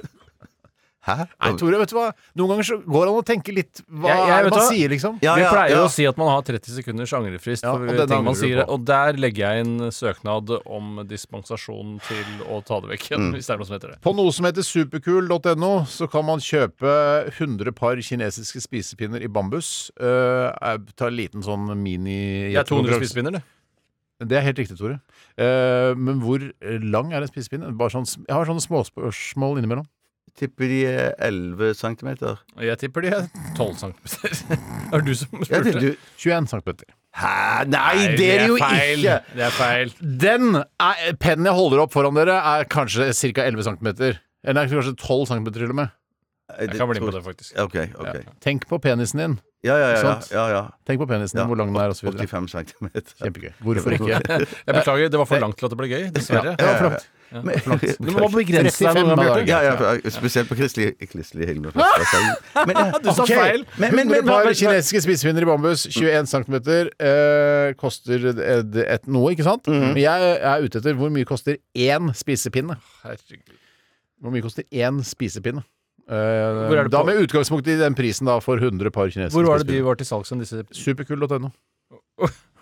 S6: Hæ?
S4: Nei, Tore, vet du hva? Noen ganger så går det an å tenke litt hva
S5: Jeg- jeg
S4: er det
S5: vet
S4: man
S5: hva.
S4: sier, liksom.
S6: Ja,
S5: Vi
S6: ja,
S5: pleier
S6: ja.
S5: å si at man har 30 sekunders angrefrist.
S4: Ja,
S5: for
S4: og den
S5: ting man
S4: angrer du
S5: sier,
S4: på.
S5: og der legger jeg inn søknad om dispensasjon til å ta det vekk
S4: Mm.
S5: igjen, hvis det er noe som heter det.
S4: På noe som heter superkul.no så kan man kjøpe 100 par kinesiske spisepinner i bambus. Eh, jeg tar en liten sånn mini
S5: Det er 200 spisepinner, det.
S4: Det er helt riktig, Tore. Eh, men hvor lang er en spisepinne? Bare sånn, sm- jeg har sånne småspørsmål innimellom.
S6: Tipper de er 11 centimeter.
S5: Jeg tipper de er 12 centimeter. Er det du som
S6: Ja, det,
S5: spurte?
S6: du.
S4: 21 cm.
S6: Hæ? Nei, det er det jo
S5: feil.
S6: ikke!
S5: Det er feil.
S4: Den er, pennen jeg holder opp foran dere, er kanskje ca. 11 cm. Eller kanskje 12 cm til og med.
S5: Jeg kan bli med på det, faktisk.
S6: OK. ok
S4: Tenk på penisen din.
S6: Ja, ja, ja.
S4: Sant?
S6: ja, ja.
S4: Tenk på penisen din,
S6: Ja,
S4: hvor lang den er, osv.
S6: 85 centimeter.
S4: Kjempegøy. Hvorfor ikke?
S5: Jeg beklager, det var for langt til at det ble gøy. Dessverre.
S4: Det var flott.
S6: Men-
S5: Du må begrense deg
S4: 35
S5: noen
S4: av
S5: ganger.
S4: dagen.
S6: Ja, ja, spesielt på kristelig, kristelig himmelfartsdag. sånn. Men, eh,
S5: Du sa
S4: Ok.
S5: feil.
S6: men, men, men
S4: 100
S6: hva-
S4: par
S6: hva-
S4: kinesiske spisepinner i bambus, 21 cm, eh, koster et, et noe, ikke sant? Men jeg er ute etter hvor mye koster én spisepinne.
S5: Herregud.
S4: Hvor mye koster én spisepinne? Eh,
S5: Hvor er det
S4: da
S5: på-
S4: med utgangspunkt i den prisen da for 100 par kinesiske
S5: Hvor var det de
S4: spisepinner.
S5: var til salgs som disse
S4: Superkul.no.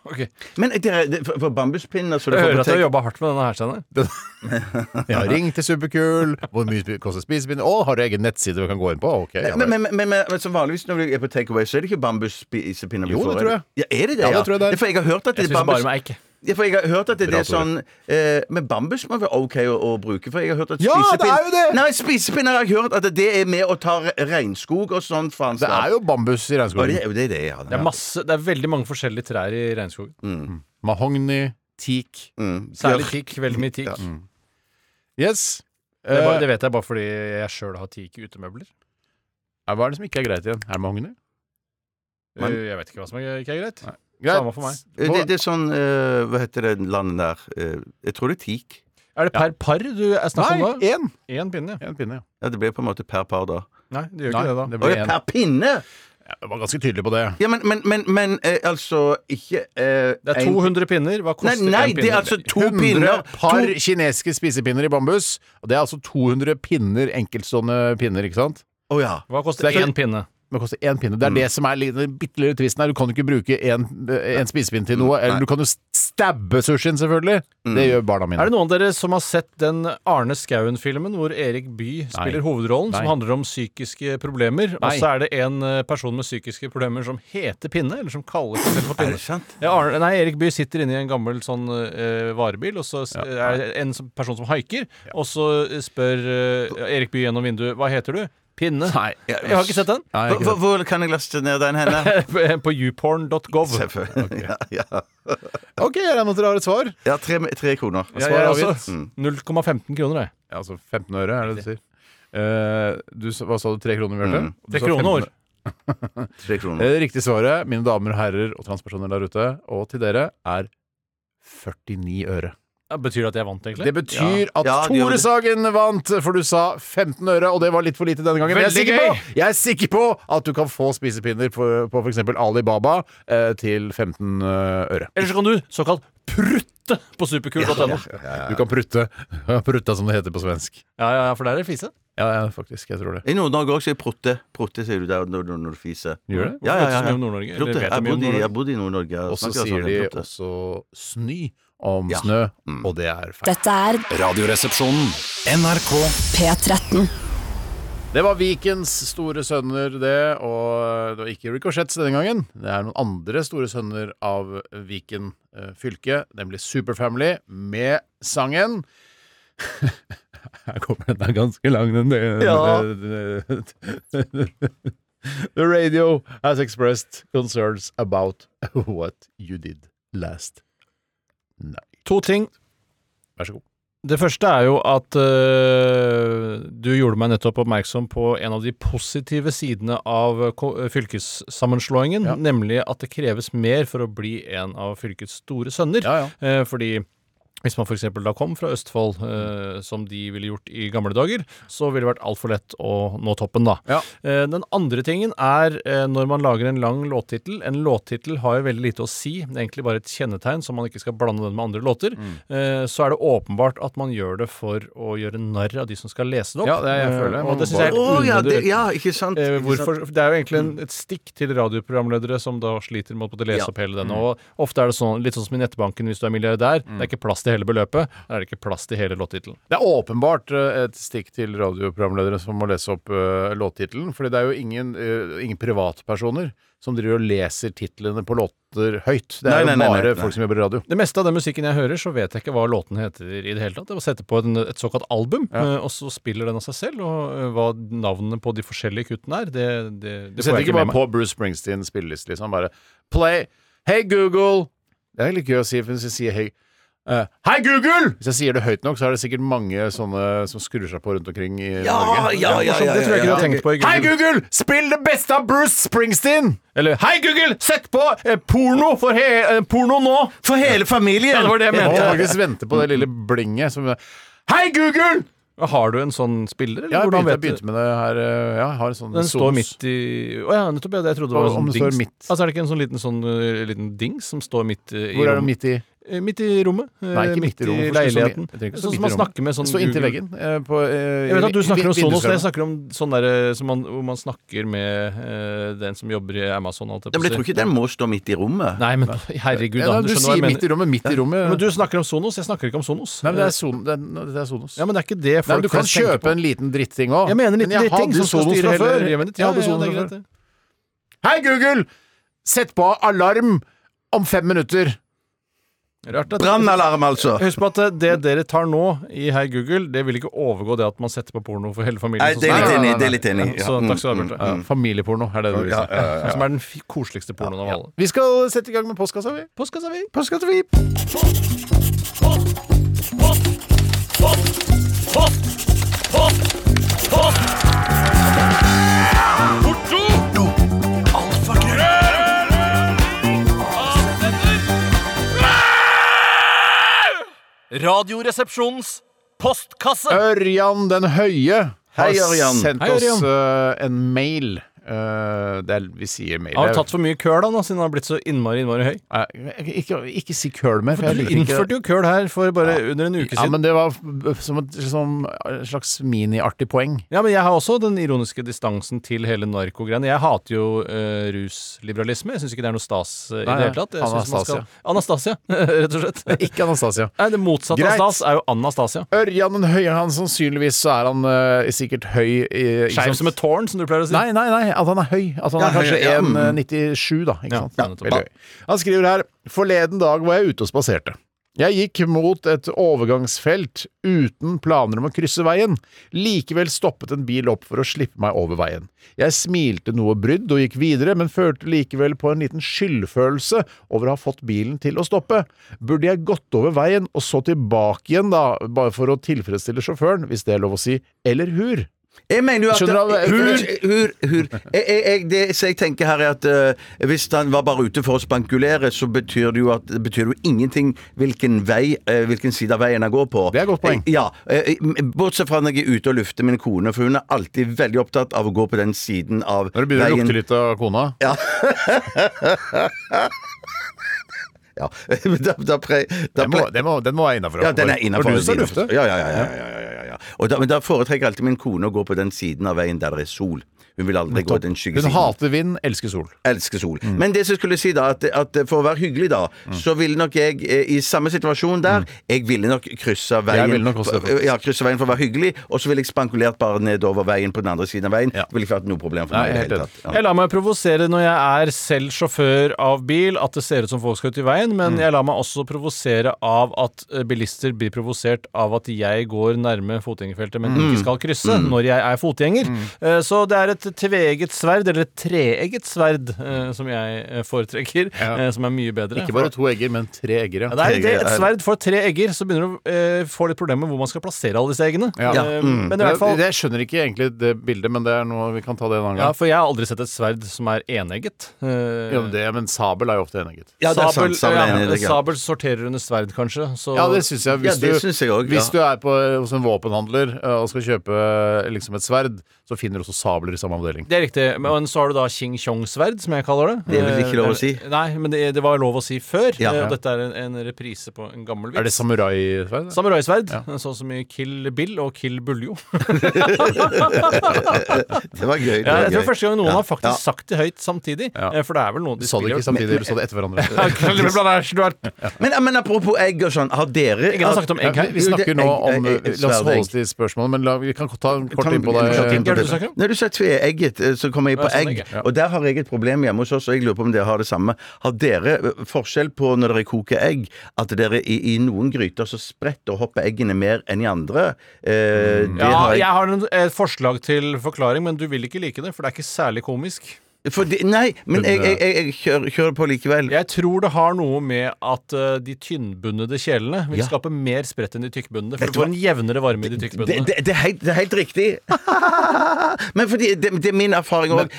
S5: Ok.
S6: men dere, det- for, for bambuspinner så
S5: Jeg
S6: det får
S5: hører at du har
S6: potet-
S5: jobba hardt med denne her, Steinar.
S4: Ja, ring til Superkul. Hvor mye spi- koster spisepinner? Å, har du egen nettside vi kan gå inn på? Ok. Ja,
S6: men,
S4: vel.
S6: men, men, men, men som vanligvis når vi er på takeaway, så er det ikke bambusspisepinner vi
S4: Jo,
S6: får.
S4: det tror jeg.
S6: Ja, er det det?
S4: Ja, det tror jeg det er.
S6: For jeg har hørt at det
S5: Jeg
S6: er
S5: spiser
S6: bambus...
S5: bare med eik.
S6: Ja, for jeg har hørt at det,
S4: Bra,
S6: er sånn eh, Men bambus må være OK å, å bruke, for jeg har hørt at
S4: Ja, det er jo det!
S6: Nei, spisepinner har jeg hørt at det er med å ta re- regnskog og sånn
S4: Det
S6: faenskap.
S4: er jo bambus i
S6: Å, det
S4: regnskogen.
S6: er jo det, det, er, ja.
S5: Det er, masse, det er veldig mange forskjellige trær i regnskogen.
S4: Mahogni, teak.
S6: Mm.
S5: Særlig teak. Veldig mye teak.
S4: Yes.
S5: Det, er bare,
S4: Eh,
S5: det vet jeg bare fordi jeg sjøl har teak i utemøbler.
S4: hva er det som ikke er greit igjen? Er det mahogni?
S6: Men-
S5: Eh, jeg vet ikke hva som er, ikke er greit.
S4: Greit.
S5: Samme for meg.
S6: Eh, Det, det er sånn eh, Hva heter det landet der? Eh, jeg tror det er teak.
S5: Er det per par du er snakk om da?
S4: Nei, én.
S5: Én pinne.
S4: En pinne, ja.
S6: Ja, Det blir på en måte per par, da.
S5: Nei, det gjør
S4: Nei,
S5: ikke det, da.
S4: det
S6: Å,
S4: ble
S6: ja,
S4: en.
S6: per pinne!
S4: Jeg var ganske tydelig på det.
S6: Ja, men, men, men, men eh, altså ikke eh,
S5: Det er
S6: en-
S5: 200 pinner. Hva
S6: Nei,
S5: koster
S6: nei,
S5: en
S6: det er
S5: pinne?
S6: altså to
S4: 100
S6: pinner.
S4: par
S6: To,
S4: kinesiske spisepinner i bambus. Og det er altså 200 pinner, enkeltstående pinner, ikke sant?
S6: Å, ja.
S5: Hva
S4: Så
S5: koster
S4: det er
S5: én pinne?
S4: Men det koster én pinne. Det er det som er litt- den bitte lille tvisten her. Du kan jo ikke bruke én en spisepinne til noe. Eller du kan jo stabbe sushien, selvfølgelig. Mm. Det gjør barna mine.
S5: Er det noen av dere som har sett den Arne Skouen-filmen hvor Erik Bye spiller hovedrollen, som
S4: Nei.
S5: handler om psykiske problemer? Og
S4: Nei.
S5: så er det en eh, person med psykiske problemer som heter Pinne, eller som kaller seg selv for
S6: Er
S5: Pinne.
S6: det sant?
S5: Ja, Arne, nei, Erik Bye sitter inne i en gammel sånn eh, varebil, og så s- er det en som- person som haiker, og så eh, spør eh, Erik Bye gjennom vinduet hva heter du? Pinne. Nei,
S6: ja,
S5: jeg har ikke sett den.
S4: Nei,
S6: Hvor,
S4: ikke
S6: hvor, hvor kan jeg laste ned den henne?
S5: På youporn.gov.
S6: Selvfølgelig. Ja, ja.
S4: det. Ok, jeg regner med at dere har et svar.
S6: ja tre, tre kroner.
S5: Ja,
S6: mm,
S5: altså. jeg
S4: Svar
S5: er
S4: avgitt.
S5: også 0,15 kroner, jeg.
S4: Ja, altså 15 øre, er det det du sier. Eh, du, sa- hva sa du? Tre kroner, Bjarte?
S6: Mm.
S4: Du
S5: Tre
S4: sa
S5: kroner
S4: 15
S5: år.
S6: Tre
S5: Eh.
S6: kroner.
S4: Det riktige svaret, Eh, mine damer og herrer og transpersoner der ute, og til dere, er 49 øre.
S5: Ja, betyr det at jeg vant, egentlig?
S4: Det betyr at
S6: Ja, det gjør
S4: Tore
S6: det.
S4: Sagen vant, for du sa 15 øre, og det var litt for lite denne gangen. Men Jeg er,
S5: Veldig
S4: sikker på, jeg er sikker på at du kan få spisepinner på, på f.eks. Alibaba eh, til 15 øre.
S5: Eller så kan du såkalt prutte på superkul.no.
S4: Du kan prutte. Prutta, som det heter på svensk.
S5: Ja, ja, ja, for der er det fise.
S4: Ja, ja, faktisk. Jeg tror det.
S6: I Nord-Norge også sier protte. Protte sier du der når, når, når du fiser.
S4: Gjør det?
S6: Ja, ja,
S5: Hvorfor vet du så
S6: ja.
S5: mye om Nord-Norge? Eller
S6: Protte.
S5: vet du
S6: Jeg
S5: mye om
S6: bodde i-
S5: Nord-Norge?
S6: Jeg bodde i Nord-Norge. Jeg
S4: Og så
S6: snakker altså
S4: sier de
S6: helt protte.
S4: også sny om
S6: Ja.
S4: snø, og det er feil.
S1: Dette er
S2: Radioresepsjonen. NRK.
S1: P13.
S4: Det var Vikens store sønner, det. Og det var ikke Ricochets denne gangen. Det er noen andre store sønner av Viken eh, fylke, nemlig Superfamily, med sangen Her kommer den, den er ganske lang, den. den-
S5: Ja.
S4: The radio has expressed concerns about what you did last night.
S5: To ting.
S4: Vær så god.
S5: Det første er jo at øh, du gjorde meg nettopp oppmerksom på en av de positive sidene av ko- øh, fylkessammenslåingen,
S4: Ja.
S5: nemlig at det kreves mer for å bli en av fylkets store sønner.
S4: Ja, ja.
S5: Eh, fordi hvis man f.eks. da kom fra Østfold, eh, som de ville gjort i gamle dager, så ville det vært altfor lett å nå toppen, da.
S4: Ja.
S5: Eh, den andre tingen er eh, når man lager en lang låttittel. En låttittel har jo veldig lite å si, det er egentlig bare et kjennetegn, så man ikke skal blande den med andre låter.
S4: Mm.
S5: Eh, så er det åpenbart at man gjør det for å gjøre narr av de som skal lese det opp.
S4: Ja, det er- jeg
S5: Eh,
S4: føler det. Man
S5: og det synes jeg er
S6: Å
S5: helt
S6: ja,
S5: unødvendig.
S6: det, ja, ikke sant?
S5: Eh,
S6: Ikke sant?
S5: hvorfor, det er jo egentlig en, et stikk til radioprogramledere som da sliter med å måtte lese
S6: Ja.
S5: opp hele
S4: Mm.
S5: denne. Og ofte er det sånn, litt sånn som i nettbanken hvis du er milliardær. Det er ikke plass til hele beløpet. Da er det ikke plass til hele låttittelen.
S4: Det er åpenbart eh, et stikk til radioprogramledere som må lese opp uh, låttittelen. Fordi det er jo ingen, eh, ingen privatpersoner som driver og leser titlene på låter høyt. Det
S6: Nei,
S4: er
S6: nei,
S4: jo
S6: nei, nei,
S4: bare
S6: nei.
S4: folk som jobber i radio.
S5: Det meste av den musikken jeg hører, så vet jeg ikke hva låten heter i det hele tatt. Jeg må sette på en, et såkalt album, eh, og så spiller den av seg selv. Og eh, hva navnene på de forskjellige kuttene er, det, det,
S4: Du
S5: det får
S4: setter
S5: jeg
S4: ikke
S5: ikke
S4: bare
S5: med meg.
S4: på Bruce Springsteen spilleliste, liksom. Bare play Hey Google. Det er litt gøy å si, for hvis jeg sier hey eh, Hei, Google! Hvis jeg sier det høyt nok, så er det sikkert mange sånne som skrur seg på rundt omkring i
S6: Ja,
S4: Norge.
S6: ja, ja, ja,
S5: Det tror jeg ikke du
S6: ja,
S5: har
S6: ja.
S5: tenkt på i
S4: Hei, Google! Spill det beste av Bruce Springsteen!
S5: Eller Hei, Google! Sett på eh, porno for he, eh, porno nå!
S6: For hele familien!
S5: Ja, det var det jeg
S4: Jeg må
S5: mente.
S4: faktisk vente på det lille blinget som Hei, Google!
S5: Har du en sånn spiller, eller
S4: Ja, jeg
S5: hvordan
S4: begynte, jeg
S5: vet du?
S4: begynte med det her eh, Ja, jeg har en sånn
S5: Den står
S4: Sonos.
S5: midt i Å ja, nettopp. Ja, det jeg trodde det var
S4: Om- om
S5: sånn
S4: det står
S5: dings.
S4: midt.
S5: Altså, er det ikke en sånn liten, sånn, eh, liten dings som står midt eh, i
S4: Hvor er den
S5: rommet?
S4: midt i?
S5: Eh, midt i rommet. eh,
S4: Nei, ikke midt i rommet. for det står
S5: leiligheten.
S4: midt- jeg trenger
S5: Sånn
S4: ikke stå midt i
S5: som man
S4: rommet.
S5: snakker med sånn
S4: Det står inntil
S5: Google-
S4: veggen. eh, på, eh,
S5: Jeg vet at du
S4: i-
S5: snakker om
S4: vi-
S5: Sonos, men jeg
S4: vinduskarmen.
S5: snakker om sånn der, eh, som man, hvor man snakker med eh, den som jobber i Amazon. Alt det
S6: Ja, men jeg tror ikke den må stå midt i rommet.
S5: Nei, men herregud,
S4: Ja,
S5: da,
S4: da,
S5: du
S4: du
S5: skjønner hva
S4: sier
S5: jeg
S4: midt i
S5: mener.
S4: rommet, midt i rommet.
S5: Men du snakker om Sonos, jeg snakker ikke om Sonos.
S4: Nei, men det er,
S5: Eh,
S4: son, det er, det er Sonos.
S5: Ja, men det er ikke det
S4: Nei, men
S5: folk
S4: du kan
S5: flest tenker
S4: kjøpe
S5: på.
S4: en liten drittting òg.
S5: Jeg mener en liten ting som skal styre hele hjemmet ditt.
S4: Jeg hadde Sonos fra før. Hei, Google! Sett på alarm om fem minutter.
S5: Rart at
S6: Brannalarm, altså!
S5: Husk på at eh, det dere tar nå i Hei Google, det vil ikke overgå det at man setter på porno for hele familien.
S6: Nei,
S5: sånn
S6: det er
S5: som det
S4: nei,
S6: litt enig.
S4: nei,
S6: Det er litt enig.
S5: Ja, så takk skal du ha, Bjarte.
S6: mm, mm.
S4: Familieporno er det du vil si.
S6: Ja, ja, ja,
S5: er, som er den fi- koseligste pornoen av alle.
S4: Vi skal sette i gang med postkassa, vi.
S5: Postkassa vi.
S4: Postkassa, vi.
S8: Radioresepsjonens postkasse.
S4: Ørjan den Høye har
S6: Hei, Ørjan.
S4: sendt
S5: Hei, Ørjan.
S4: oss eh, en mail. Eh, det er, vi sier mail.
S5: Han har tatt for mye køl da, nå, siden han har blitt så innmari innmari høy.
S4: Nei, ikke, ikke si køl mer, for jeg
S5: Du
S4: liker ikke det.
S5: innførte jo køl her for bare under en uke
S4: Ja,
S5: siden.
S4: men det var f- som et liksom, slags miniartig poeng.
S5: Ja, men jeg har også den ironiske distansen til hele narkogreiene. Jeg hater jo eh, rusliberalisme. Jeg syns ikke det er noe stas eh, i
S4: Nei,
S5: det hele tatt. Jeg synes man skal- Anastasia, rett og slett.
S4: Ikke Anastasia.
S5: Nei, det motsatte
S4: Greit.
S5: av stas er jo Anastasia.
S4: Ørjan den høye, han sannsynligvis så er han eh, sikkert høy i- ikke
S5: Skeiv
S4: sant?
S5: som et tårn, som du pleier å si.
S4: Nei, nei, nei, at han er høy. At han
S6: Ja,
S4: er kanskje
S6: høy, ja, mm.
S4: 1,97, da. Ikke
S5: Ja,
S4: sant?
S5: ja,
S4: Veldig høy. Han skriver her Forleden dag var jeg ute og spaserte. Jeg gikk mot et overgangsfelt uten planer om å krysse veien. Likevel stoppet en bil opp for å slippe meg over veien. Jeg smilte noe brydd og gikk videre, men følte likevel på en liten skyldfølelse over å ha fått bilen til å stoppe. Burde jeg gått over veien og så tilbake igjen, da, bare for å tilfredsstille sjåføren, hvis det er lov å si, eller hur?
S6: Jeg mener jo at
S4: Skjønner du hva-
S6: Hur, hur, hur. Jeg, jeg, jeg, det som jeg tenker her, er at eh, hvis han var bare ute for å spankulere, så betyr det jo, at, det betyr jo ingenting hvilken vei eh, Hvilken side av veien han går på.
S4: Det er et godt poeng.
S6: Eh, Ja. eh, Bortsett fra når jeg er ute og lufter min kone, for hun er alltid veldig opptatt av å gå på den siden av
S4: Når det begynner å
S6: veien.
S4: lukte litt av kona
S6: Ja, da, da, pre, da
S4: Den må,
S6: pre,
S4: den må, den må være innafor.
S6: Ja, den er innafor.
S4: du som lufte.
S6: Ja, ja, ja. ja, ja, ja, ja, ja. Og da, men da foretrekker alltid min kone å gå på den siden av veien der det er sol. Hun vil aldri gå til en skyggeside.
S4: Hun hater Mm. vind, elsker sol.
S6: elsker sol. Men det som jeg skulle si da, at, at for å være hyggelig da,
S4: Mm.
S6: så ville nok jeg eh, i samme situasjon der, jeg ville nok kryssa veien.
S4: ville nok også det, faktisk.
S6: Ja, kryssa veien for å være hyggelig, og så ville jeg spankulert bare nedover veien på den andre siden av veien.
S4: Ja.
S6: Det ville ikke vært noe problem for
S4: Nei,
S6: meg i det
S4: helt
S6: hele
S4: enig.
S6: tatt. Ja.
S5: Jeg lar meg provosere når jeg er selv sjåfør av bil, at det ser ut som folk skal ut i veien,
S4: Mm.
S5: men jeg lar meg også provosere av at eh, bilister blir provosert av at jeg går nærme fotgjengerfeltet, men
S4: Mm.
S5: ikke skal krysse når jeg er fotgjenger. Eh, Så det er et tveegget sverd, eller et treegget sverd, eh, som jeg eh, foretrekker, eh, som er mye bedre.
S4: Ikke bare to egger, men tre egger.
S5: Ja, det er, det er et
S6: Tre-
S5: sverd for tre egger, så begynner du å eh, få litt problemer med hvor man skal plassere alle disse eggene.
S4: Ja. Mm.
S5: Eh, Men i hvert fall
S4: Jeg skjønner ikke egentlig det bildet, men det er noe vi kan ta det en annen
S5: ja,
S4: gang.
S5: For jeg har aldri sett et sverd som er enegget. Eh,
S4: Ja, men det, men sabel er jo ofte enegget.
S6: Ja, det er sant.
S5: sabel,
S6: Sabel er enig i det,
S5: ja,
S6: ja.
S5: sabel sorterer under sverd, kanskje. Så
S4: Ja, det syns jeg. Hvis,
S6: Ja, det
S4: du,
S6: synes jeg også,
S4: hvis
S6: ja.
S4: du er på, hos en våpenhandler eh, og skal kjøpe eh, liksom et sverd, så finner du også sabler i samme avdeling.
S5: Det er riktig. Men så har du da Ching Chong-sverd, som jeg kaller det.
S6: Det er vel ikke lov å si?
S5: Eh, Nei, men det, det var lov å si før.
S6: Ja.
S5: eh, Og dette er en, en reprise på en gammel vits.
S4: Er det samurai-sverd? da?
S5: Samuraisverd. Sånn som i Kill Bill og Kill Buljo.
S6: Det var gøy.
S5: Ja, jeg
S6: Det var
S5: tror
S6: gøy.
S5: første gang noen har faktisk
S6: Ja.
S5: sagt det høyt samtidig.
S4: Ja.
S5: eh, For det er vel noen
S4: Du
S5: de
S4: sa det
S5: spiller-
S4: ikke samtidig, du sa det etter hverandre.
S6: Men, men apropos egg og sånn, har dere
S5: Ingen har snakket om egg her.
S4: Vi snakker nå
S6: Egg,
S4: om eh,
S6: egg, egg,
S4: La oss holde oss
S6: sverdegg.
S4: til spørsmålet, men la, vi kan ta en kort
S6: Ta-
S4: innpå
S6: kort
S4: deg. eh,
S5: Hva
S6: innpå
S5: er det du
S6: det.
S5: snakker om?
S6: Nei, du sa tveegget, eh, så kommer jeg på
S5: Ja, sånn
S6: egg.
S5: egg, ja.
S6: Og der har jeg et problem hjemme hos oss, og jeg lurer på om dere har det samme. Har dere eh, forskjell på når dere koker egg, at dere i, i noen gryter så spretter og hopper eggene mer enn i andre? Eh, det
S5: Mm. Ja,
S6: har
S5: jeg
S6: jeg.
S5: har en, et forslag til forklaring, men du vil ikke like det, for det er ikke særlig komisk.
S6: Fordi, nei, men jeg, jeg, jeg, jeg kjører, kjører på likevel.
S5: Jeg tror det har noe med at eh, de tynnbundede kjelene vil
S6: Ja.
S5: skape mer spredt enn de tykkbundede, for
S6: Vet
S5: det
S6: du
S5: får
S6: hva?
S5: en jevnere varme i de
S6: Det,
S5: tykkbundede.
S6: det, det, er helt, det er helt riktig. Men fordi det, det er min erfaring òg.
S5: Og er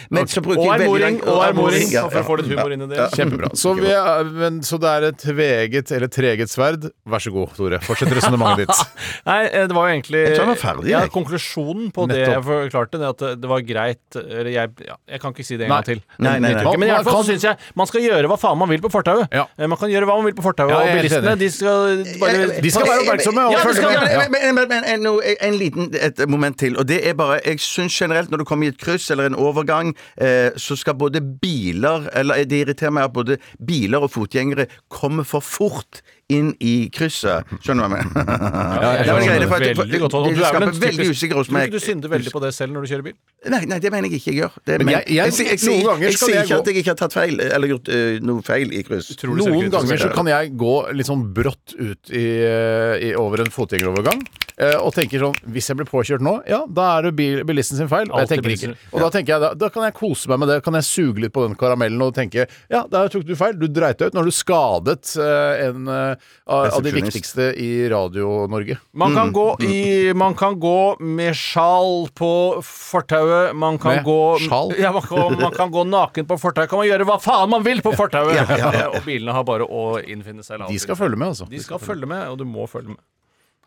S5: moring, og er moring,
S6: Ja,
S5: for å få litt humor inn i det.
S4: Kjempebra. Så, vi er, men, så det er et tveegget eller treegget sverd. Vær så god, Tore. Fortsett resonnementet ditt.
S5: Nei, eh, det var jo egentlig
S6: Jeg tror jeg var ferdig,
S5: ja,
S6: jeg.
S5: Konklusjonen på det jeg forklarte, det er at eh, det- det var greit Eller jeg, ja, jeg kan ikke si det en
S4: Nei.
S5: gang til.
S6: Nei, nei, nei.
S5: Men i
S4: Man
S5: hvert fall
S4: kan-
S5: så syns jeg man skal gjøre hva faen man vil på fortauet.
S4: Ja.
S5: Eh, Man kan gjøre hva man vil på fortauet,
S4: Ja,
S5: og
S4: jeg er helt
S5: bilistene
S4: enig.
S5: de skal
S6: Eh,
S5: bare
S4: De skal være oppmerksomme og
S5: Ja, de
S4: følge
S5: skal
S4: med.
S5: det.
S4: Ja.
S6: Men, men, men, men, men nå, en liten et moment til. Og det er bare Jeg syns generelt når du kommer i et kryss eller en overgang, eh, så skal både biler Eller eh, det irriterer meg at både biler og fotgjengere kommer for fort inn i krysset. Skjønner du hva jeg mener?
S5: jeg
S6: Det var
S5: skjønner
S6: greit, for at- for-
S5: veldig godt, Håkon.
S6: det
S5: Du er vel en
S6: skaper veldig
S5: typisk-
S6: usikker hos
S5: Tror du
S6: meg.
S5: ikke Du synder veldig på det selv når du kjører bil.
S6: Nei, nei, det mener jeg ikke jeg gjør. Det
S4: Men
S6: mener-
S4: jeg- jeg-
S6: sier-
S4: noen
S6: sier-
S4: ganger
S6: jeg
S4: skal
S6: sier
S4: jeg
S6: ikke
S4: gå-
S6: at jeg ikke har tatt feil, eller gjort eh, noe feil i kryss.
S4: Noen ganger så kan jeg gå litt sånn brått ut i, eh, i, over en fotgjengerovergang. eh, Og tenker sånn Hvis jeg blir påkjørt nå, ja, da er det bil, bilisten sin feil. Og, jeg
S5: Alltid
S4: tenker ikke.
S5: bilisten.
S4: og da tenker jeg da, da kan jeg kose meg med det. Kan jeg suge litt på den karamellen og tenke Ja, der tok du feil. Du dreit deg ut. Nå har du skadet eh, en eh, av, av de
S6: Resepsjonist.
S4: viktigste i Radio-Norge.
S5: Man kan, gå i, man kan gå med sjal på fortauet. Man kan
S4: Med
S5: gå
S4: sjal?
S5: Ja, man kan, man kan gå naken på fortauet. Kan man gjøre hva faen man vil på fortauet! Og bilene har bare å innfinne seg. eller
S4: De
S5: avfinne
S4: skal
S5: seg.
S4: følge med, altså.
S5: De skal følge med, og du må følge med.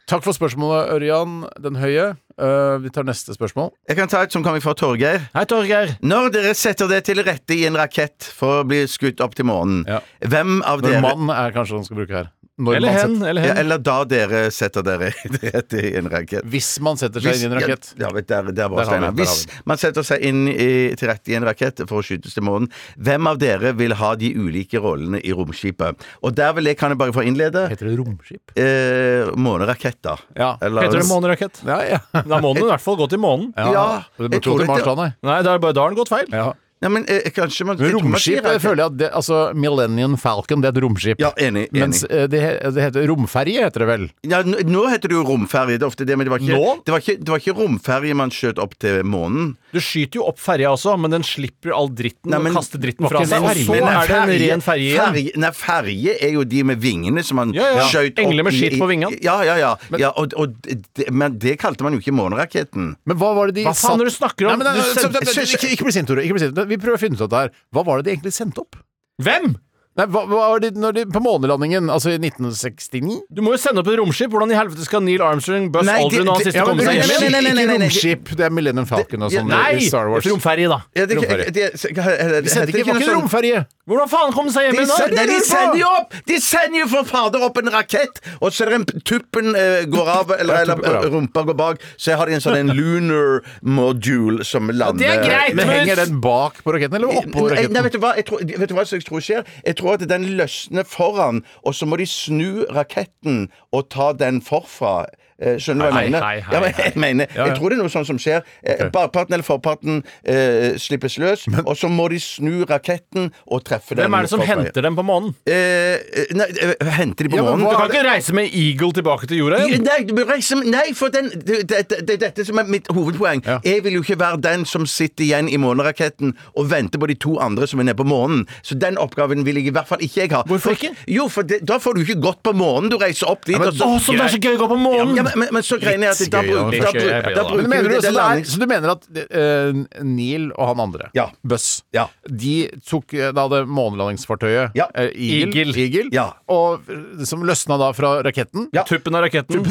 S4: Takk for spørsmålet, Ørjan Den Høye. Eh, vi tar neste spørsmål.
S6: Jeg kan ta et som kommer fra Torgeir.
S5: Hei, Torgeir.
S6: Når dere setter det til rette i en rakett for å bli skutt opp til månen,
S4: Ja.
S6: hvem av
S4: Når
S6: dere
S4: mann er kanskje han skal bruke her. Når
S5: Eller
S4: man
S5: hen.
S4: setter-
S5: Eller
S6: ja,
S5: hen.
S6: Eller da dere setter dere til rette i en rakett.
S4: Hvis man setter seg inn i en rakett.
S6: Ja, ja, vet, der, der
S4: Der har
S6: var Steinar.
S4: vi den, der
S6: Hvis man setter seg inn i, til rette i en rakett for å skytes til månen, hvem av dere vil ha de ulike rollene i romskipet? Og der vil jeg, kan jeg bare få innlede,
S4: Heter det romskip?
S6: eh, måneraketter.
S4: Ja.
S6: Eller-
S5: Heter det månerakett?
S4: Ja, ja.
S5: Da må den i hvert fall gå til månen.
S6: Ja,
S4: Det
S6: jeg
S4: burde
S6: tror
S4: til Mars
S6: det.
S4: da, nei.
S5: Nei, da er det bare- da har den gått feil.
S6: Nei, men eh, kanskje man
S4: Men
S6: jeg tror man sier
S4: romskip jeg
S6: rakett.
S4: føler jeg at det, altså Millennium Falcon, det er et romskip.
S6: Ja, enig. enig.
S4: Mens eh, det, he- det heter romferje, heter det vel?
S6: Ja, n- nå heter det jo romferje. Det er ofte det, men det var ikke,
S5: Nå?
S6: det var ikke, det var ikke romferje man skjøt opp til månen.
S5: Du skyter jo opp ferja også, men den slipper all dritten.
S6: Nei, men-
S5: og kaster dritten
S4: Var
S5: fra
S4: ikke
S5: seg. Og
S4: ferje,
S5: så
S6: Men nei,
S5: er det en ren ferje igjen.
S6: ferje- Nei, ferje er jo de med vingene som man
S5: Ja, ja.
S6: skjøt opp
S5: Engler med
S6: i-
S5: skit på vingene.
S6: Ja, ja, ja. ja og, og, det, men det kalte man jo ikke måneraketten.
S4: Men hva var det de
S5: Hva faen er det du snakker om?
S4: Nei, men, nei,
S5: Du
S4: nei,
S5: sendte-
S4: nei, nei, ikke, ikke bli sint, Tore. Ikke bli sint. Vi prøver å finne ut av det her. Hva var det de egentlig sendte opp?
S5: Hvem?
S4: Nei, hva, hva var det når de, på månelandingen, altså i 1969?
S5: Du må jo sende opp et romskip! Hvordan i helvete skal Neil Armstrong, Buzz
S6: Nei, det-
S5: Aldrin og han
S6: det-
S5: siste
S6: ja, men
S5: komme seg hjem
S6: romskip-
S5: igjen?
S6: nei, nei, nei, nei,
S4: Ikke
S6: nei.
S4: romskip, det er Millennium Falcon og
S6: Det-
S4: sånn
S5: Nei!
S4: i Star Wars.
S5: Romferje, da.
S6: Ja, det,
S4: Romferie.
S6: det, det,
S4: De sendte ikke, var ikke det romferje?
S5: Hvordan faen kom de seg hjem
S6: sånn- De
S5: igjen da?
S6: sender,
S5: Det er det jeg lurer
S6: de
S5: på!
S6: sender jo opp! De sender jo for fader opp en rakett, og så er det en tuppen eh, går av, eller, eller
S4: tuppen går av.
S6: rumpa går bak, så har de en sånn en lunar module som lander
S5: det er greit,
S4: Men henger den bak på raketten, eller oppå
S6: Nei,
S4: raketten?
S6: Eh, Nei, vet du hva jeg tror, vet du hva jeg tror skjer? Jeg tror at den løsner foran, og så må de snu raketten og ta den forfra. Eh, Skjønner du hva jeg
S5: Hei,
S6: mener?
S5: hei, hei,
S6: ja, men jeg, mener jeg tror det er noe sånt som skjer. Eh, Bakparten eller forparten eh, slippes løs, og så må de snu raketten og treffe den.
S5: Hvem er det som
S6: forfra.
S5: henter dem på månen?
S6: eh, Nei, eh, henter de på
S4: Ja, men
S6: morgenen?
S5: Du
S4: hva-
S5: kan ikke reise med Eagle tilbake til jorda igjen?
S6: Nei, du bør reise med- Nei, for den, det, det, det, det er dette som er mitt hovedpoeng.
S4: Ja.
S6: Jeg vil jo ikke være den som sitter igjen i måneraketten og venter på de to andre som er nede på månen. Så den oppgaven vil jeg i hvert fall ikke jeg ha.
S5: Hvorfor
S6: For-
S5: ikke?
S6: Jo, for det, da får du ikke gått på månen. Du reiser opp dit,
S4: men-
S6: og så
S5: Å, som det er så gøy å gå på månen!
S6: ja, men, men, men så greien er at
S4: Litt
S6: da,
S4: gøy, ja,
S6: bruk,
S4: men
S6: da,
S5: først-
S6: bruk,
S5: jeg blir
S6: da
S5: da.
S4: Men
S6: bruker
S4: mener
S6: du
S4: du også
S6: det, det
S4: det er,
S6: landings...
S4: så du mener at eh, Neil og han andre,
S6: Ja.
S4: Buzz,
S6: Ja.
S4: de tok eh, da det månelandingsfartøyet
S6: Ja.
S4: eh, Eagle,
S5: Eagle.
S4: Eagle,
S6: Ja.
S4: og, eh, som løsna da fra raketten,
S6: Ja.
S5: Tuppen av raketten.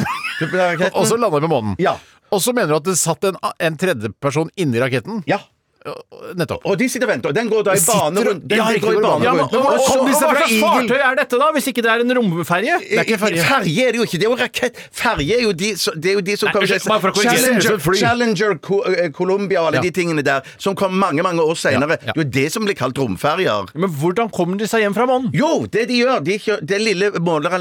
S4: og så landa på månen.
S6: Ja.
S4: Og så mener du at det satt en, en tredjeperson inni raketten? Eh,
S6: Ja.
S4: Nettopp.
S6: Og de sitter og venter. Og den går da i
S4: Sitter
S6: bane
S4: og-
S6: rundt. Den
S4: Ja,
S6: går i
S4: riktig, går i
S6: bane
S4: bane
S5: Ja, men,
S6: rundt.
S5: og, og,
S6: Og så-
S5: og,
S4: kom disse
S5: hva
S4: fra
S5: slags
S4: Eagle.
S5: fartøy er dette, da? Hvis ikke det er en romferje?
S4: er ikke ferje.
S6: Ferje er det jo ikke. Det er jo rakett. Ferje er jo de, så, det er jo de som
S5: Nei,
S6: kommer
S5: unnskyld, bare for å korrigere.
S4: Det ser
S6: Challenger,
S4: ut som et fly.
S6: Challenger Co- eh, Columbia og alle
S4: Ja.
S6: de tingene der, som kom mange mange år senere.
S4: Ja, ja.
S6: Det er jo det som blir kalt romferjer.
S5: Men hvordan kommer de seg hjem fra månen?
S6: Jo, det de gjør de kjører, Den lille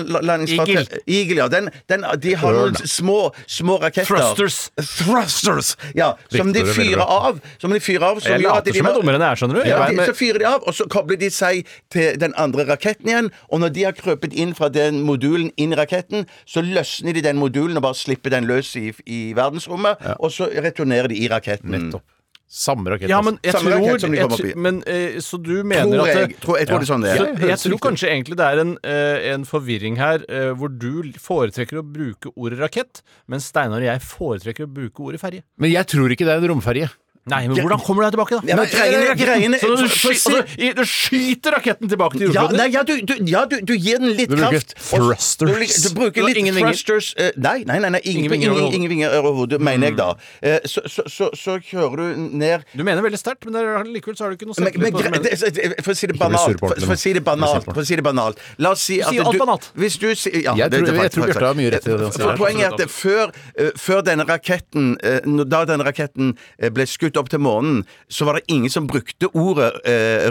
S6: målerlandingsfartøyet
S5: Eagle.
S6: Eagle, ja. Den, den, de har noen små, små raketter.
S5: Thrusters.
S6: Thrusters, Ja, som
S4: Riktig, det
S6: de
S4: er veldig
S6: fyrer
S4: bra.
S6: av. Som de fyrer av som
S5: Jeg
S6: gjør at
S5: later som jeg er dummere enn jeg er, skjønner du.
S6: ja,
S5: Jeg
S6: de,
S5: vet-
S6: så fyrer de av, og så kobler de seg til den andre raketten igjen. Og når de har krøpet inn fra den modulen inn i raketten, så løsner de den modulen og bare slipper den løs i, i verdensrommet, og så returnerer de i raketten.
S4: Nettopp. Samme altså. rakett.
S5: Ja, men jeg
S6: Samme
S5: tror,
S6: rakett som de
S5: jeg,
S6: kom opp i.
S5: tr- men, eh, Så du mener
S6: Tror
S5: at
S6: jeg, tror, jeg tror det er sånn det
S5: Så
S6: er.
S5: jeg tror kanskje egentlig det er en, eh, en forvirring her, eh, hvor du foretrekker å bruke ordet rakett, mens Steinar og jeg foretrekker å bruke ordet ferje.
S4: Men jeg tror ikke det er en romferje.
S5: Nei, men hvordan kommer du deg tilbake, da?
S6: Ja, men greiene- greiene-
S5: så når du,
S6: for- for-
S5: sky, altså, i- du skyter raketten tilbake til
S6: Ja,
S5: jordkloden?
S6: nei, ja, du, du, ja du, du gir den litt
S4: Du bruker
S6: kraft. og-
S4: thrusters.
S6: Du, du
S5: Du
S6: bruker
S5: har
S6: litt
S5: ingen vinger.
S6: thrusters eh, Nei, nei, nei, nei
S5: Ingen
S6: ingen, ingen,
S5: vinger
S6: ingen,
S5: overhodet.
S6: vinger over hodet, mener jeg da. Eh, Så, så, så, så kjører du ned
S5: du mener veldig sterkt, men det er- likevel så har du ikke noe
S6: men,
S5: selvtillit
S6: men,
S5: på hva du
S6: gre-
S5: mener.
S6: det- det- for å si det
S4: bli sur
S6: banalt
S4: på
S6: For,
S4: ordentlig
S6: for
S4: nå.
S6: å si det banalt, for å si det banalt La oss si at
S5: sier alt banalt.
S6: Hvis du sier ja,
S4: Jeg
S6: det-
S4: tror-
S6: det er
S4: jeg tror
S6: faktisk-
S4: Bjarte har mye rett i det han sier
S6: For
S4: her.
S6: Poenget er at det, før, eh, før denne raketten eh, når- Da denne raketten eh, ble skutt opp til månen, så var det ingen som brukte ordet eh,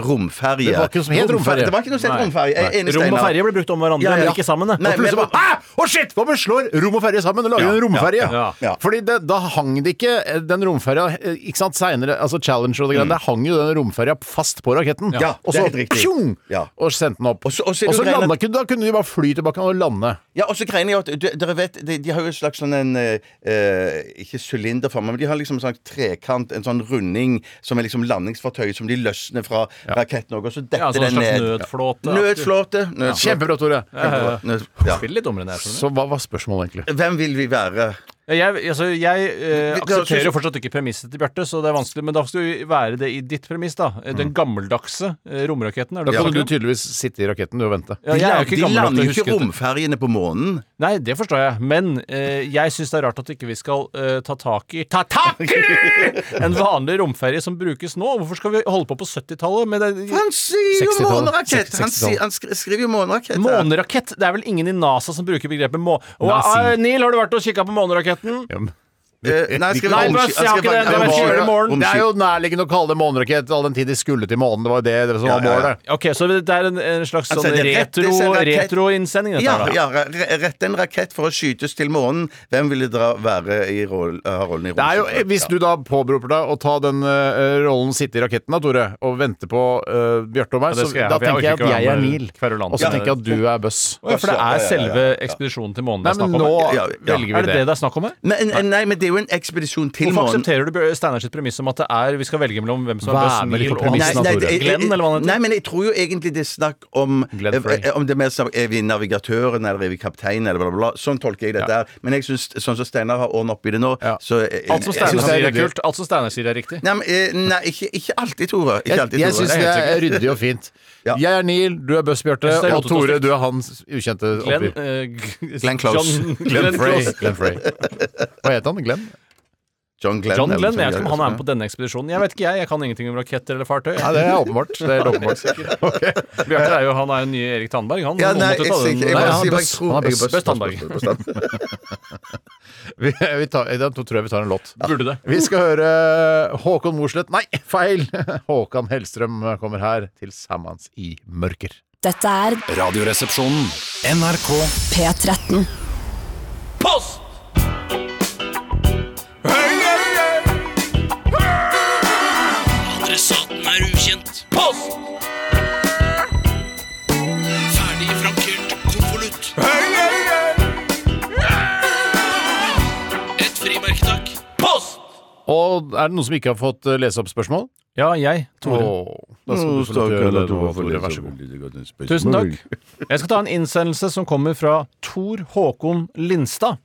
S4: Det
S6: romferje.
S4: var ikke noe som het romferje.
S6: Det var ikke noe som het
S5: Nei.
S6: romferje. Jeg er enig,
S5: Rom og
S6: Steinar.
S5: ferje blir brukt om hverandre,
S6: Ja, ja.
S5: men ikke sammen.
S6: Nei,
S5: Da.
S4: Og plutselig
S6: men-
S4: bare Hæ! Å, shit! Hva om vi slår rom og ferje sammen og lager
S5: Ja,
S4: en romferje?
S5: ja,
S6: ja.
S4: Fordi det, da hang det ikke eh, den romferja eh, Ikke sant, seinere, altså Challenger og det greiene, der hang jo den romferja fast på raketten.
S6: Ja,
S4: og
S6: det
S4: så
S6: er helt riktig.
S4: pjong!
S6: Ja.
S4: Og sendte den opp.
S6: Og så- og så er det jo greien
S4: landa
S6: at-
S4: ikke Da kunne de bare fly tilbake og lande.
S6: Ja, og så greiene er jo at du, dere vet, de, de har jo en slags sånn en eh, eh, Ikke sylinderform, men de har liksom en slags trekant, en sånn runding, som er liksom landingsfartøyet som de løsner fra raketten òg, og så detter
S5: Ja, sånn
S6: den
S5: slags
S6: ned.
S5: nødflåte.
S6: Nødflåte. nødflåte,
S4: Kjempebra, Tore.
S6: kjempebra, nød- Ja.
S5: Spiller litt dummere enn jeg, skjønner du.
S4: Så hva var spørsmålet, egentlig?
S6: Hvem vil vi være?
S5: Ja, Jeg, altså, jeg eh,
S6: Vi- vi-
S5: aksepterer jo fortsatt ikke premisset til Bjarte, så det er vanskelig. Men da skal vi være det i ditt premiss, da. Eh,
S6: Mm.
S5: Den gammeldagse eh, romraketten. Er det
S4: Da
S5: ja,
S4: kan du tydeligvis sitte i raketten du og vente.
S5: ja, jeg er jo ikke
S6: de
S5: gammel nok
S6: lander
S5: til
S6: jo
S5: å
S6: ikke
S5: huske det.
S6: romferjene på månen.
S5: Nei, det forstår jeg. Men eh, jeg syns det er rart at ikke vi skal eh, ta tak i Ta tak i! En vanlig romferje som brukes nå. Hvorfor skal vi holde på på 70-tallet med det?
S6: Han sier jo
S4: 60-tallet.
S6: månerakett! Han, sier-
S4: 60-tallet.
S6: han skri- skriver jo månerakett. her.
S5: Månerakett? Det er vel ingen i NASA som bruker begrepet må... Og,
S4: Nazi.
S5: eh, Neil, har du vært og kikka på måneraketten?
S4: Ja, men-
S6: Eh, Nei, han skriver
S5: Nei,
S6: romskip-
S5: Buzz, jeg
S6: han
S5: har
S6: skriver
S5: ikke det. Det var
S6: romskip.
S5: ikke i morgen.
S4: Det
S6: Romskip.
S4: er jo nærliggende å kalle det månerakett, all den tid de skulle til månen. Det var jo det, det som var
S6: Ja, ja, ja.
S4: målet.
S5: Ok, så det er en, en slags
S6: Altså,
S5: sånn
S6: det er rett- det er sånn
S5: retro-
S6: rakett-
S5: retroinnsending, dette
S6: Ja,
S5: her, da.
S6: ja re- rette en rakett for å skytes til månen. Hvem ville dra, være i roll, ha rollen i
S4: Det er jo, eh,
S6: romskipet?
S4: hvis du da påberoper deg å ta den eh, rollen sitte i raketten da, Tore, og vente på eh, Bjarte og
S5: Ja, det
S4: meg, så,
S5: skal jeg,
S4: da
S5: for jeg
S4: tenker jeg
S5: orker
S4: at
S5: ikke
S4: jeg
S5: å være
S4: er
S5: med
S4: Neil.
S5: kverulanten.
S4: Og så tenker jeg at du er Buzz.
S5: Å ja, for det
S6: Ja, ja,
S5: er
S6: ja, ja,
S5: selve
S6: ja.
S5: ekspedisjonen til månen
S4: Nei,
S5: det er snakk
S4: men
S5: om?
S4: nå
S6: Ja, ja.
S5: Er det
S4: velger vi
S5: det
S4: det.
S5: det er snakk om? her?
S6: Men, nei, men det det er jo en ekspedisjon til
S5: Hvorfor
S6: månen.
S5: aksepterer du Bjør- Steinar sitt premiss om at det er, vi skal velge mellom hvem som er
S4: Vær
S5: best
S4: med de
S5: mil og
S4: kompromissene,
S5: hans
S4: Tore.
S5: store? Glenn, eller hva han heter?
S6: Nei, men jeg tror jo egentlig det er snakk om
S4: Glenn Frey.
S6: eh, Om det er mer snakk Er vi navigatøren, eller er vi kapteinen, eller bla, bla, bla. Sånn tolker jeg dette her. Men jeg syns, sånn som Steinar har ordnet opp i det nå,
S5: Ja.
S6: så eh,
S5: Alt som
S6: jeg
S5: Steinar
S6: synes det
S5: sier
S6: er
S5: er kult, alt som Steinar sier er riktig.
S6: Nei, men, eh, nei ikke, ikke alltid, Tore. Ikke
S4: Jeg,
S6: alltid,
S4: jeg
S6: Tore.
S4: syns det er ryddig og fint.
S6: Ja.
S4: Jeg er Neil, du er Bøss Bjarte,
S5: synes det er
S4: og
S5: rotete og
S4: Tore,
S5: stygt.
S4: du er hans ukjente
S5: Glenn,
S4: oppbyr.
S5: eh, g-
S6: Glenn Close.
S5: John-
S4: Glenn
S5: Glenn
S4: Frey.
S5: Close.
S4: Glenn Frey. Hva het han? Glenn?
S6: John Glenn.
S5: John
S6: eller
S5: Glenn,
S6: noe
S5: men jeg vet ikke
S6: sånt,
S5: om han er med
S6: ja.
S5: på denne ekspedisjonen. Jeg vet ikke, jeg. Jeg kan ingenting om raketter eller fartøy.
S4: Nei, det er åpenbart. Det er helt åpenbart. Ok.
S5: Bjarte er jo han er jo nye Erik Tandberg. Han
S6: Ja,
S5: noen
S6: nei,
S5: måtte
S6: jeg,
S5: ta
S6: jeg,
S5: den.
S6: jeg,
S5: Nei,
S6: bare
S5: han
S6: sier
S5: er
S6: hva jeg
S5: bøss.
S6: tror.
S4: Han er
S6: Jeg
S4: bøss.
S6: bøss,
S5: Tandberg.
S6: bøss, bøss, bøss, bøss.
S4: Vi, vi tar, da tror jeg vi tar en låt.
S5: Burde det.
S4: Vi skal høre Håkon Mosleth Nei, feil! Håkan Hellstrøm kommer her til 'Sammans i mørker'.
S1: Dette er
S2: Radioresepsjonen. NRK
S1: P13.
S8: Post! Adressaten er ukjent. Post! Ferdig frankert konvolutt. Et frimerke, takk. Post!
S4: Og er det noen som ikke har fått eh, lese opp spørsmål?
S5: Ja, jeg, Tore.
S4: Åh, da skal du få lov til å gjøre det, Tore. Vær så god.
S5: Tusen takk. Jeg skal ta en innsendelse som kommer fra Tor Håkon Lindstad.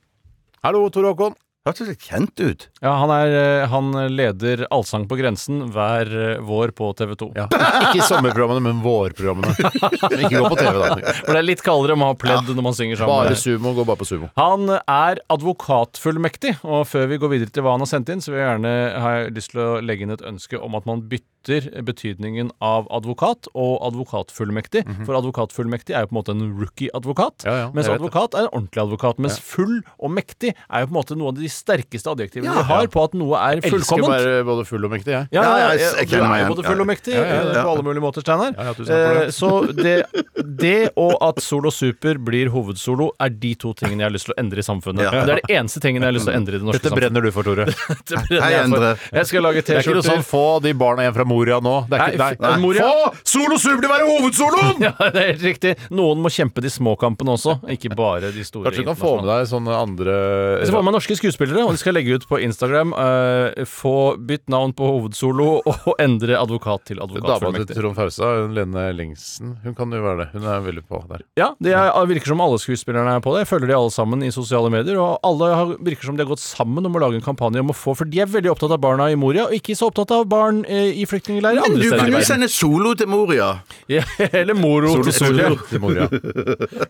S4: Hallo, Tore Håkon.
S6: Hørtes litt kjent ut.
S5: Ja, han, er, eh, han leder Allsang på grensen hver eh, vår på TV 2.
S4: Ja. Ikke sommerprogrammene, men vårprogrammene. Men ikke gå på TV, da.
S5: For det er litt kaldere, man har pledd når man synger sammen.
S4: Bare sumo. Gå bare på sumo.
S5: Han er advokatfullmektig, og før vi går videre til hva han har sendt inn, så vil jeg gjerne ha lyst til å legge inn et ønske om at man bytter betydningen av advokat og advokatfullmektig. For advokatfullmektig er jo på en måte en rookie-advokat,
S4: Mhm. Ja, ja,
S5: mens
S4: jeg vet
S5: advokat er en ordentlig advokat. Mens full og mektig er jo på en måte noe av de sterkeste adjektivene
S6: Ja.
S5: vi har på at noe er
S4: Elsker å
S5: fullkomment.
S4: være både full og mektig, jeg.
S5: Ja,
S6: Ja,
S5: ja,
S6: jeg-
S5: ja,
S6: jeg
S5: du
S6: kjenner meg
S5: er
S6: igjen.
S5: både full og mektig
S4: ja, ja.
S5: eh, på alle mulige måter, Steinar.
S4: Ja, ja, tusen takk for det.
S5: Eh, Så det, det og at solo super blir hovedsolo, er de to tingene jeg har lyst til å endre i samfunnet.
S6: Ja.
S5: Det er det eneste tingen jeg har lyst til å endre i det norske
S4: Dette brenner du for, Tore.
S5: samfunnet. Det brenner
S6: Hei,
S5: jeg for.
S6: Endre.
S5: Jeg skal lage
S4: Det er ikke noe sånn
S5: T-skjorter.
S4: få de barna hjem fra Moria nå. Det er ikke,
S5: Nei,
S4: nei.
S5: f- Moria-
S4: Få solo sub til å være hovedsoloen!
S5: Ja, det er helt riktig. Noen må kjempe de små kampene også, ikke bare de store.
S4: Kanskje du kan få med deg sånne andre
S5: Så får man norske skuespillere, og de skal legge ut på Instagram. eh, få bytt navn på hovedsolo og endre advokat til
S4: Dama til
S5: advokatfullmektig.
S4: Trond Fausa, Lene Lengsen, hun kan jo være det. Hun er veldig på der.
S5: Ja, det er, virker som alle skuespillerne er på det. Jeg følger de alle sammen i sosiale medier. Og alle har, virker som de har gått sammen om å lage en kampanje om å få For de er veldig opptatt av barna i Moria, og ikke så opptatt av barn eh, i flyktningleirer
S6: Men
S5: andre
S6: du
S5: steder
S6: kan
S5: i
S6: jo
S5: verden.
S6: sende solo til Moria.
S5: Ja, Eller Moro til Soria. Det
S4: Til Moria.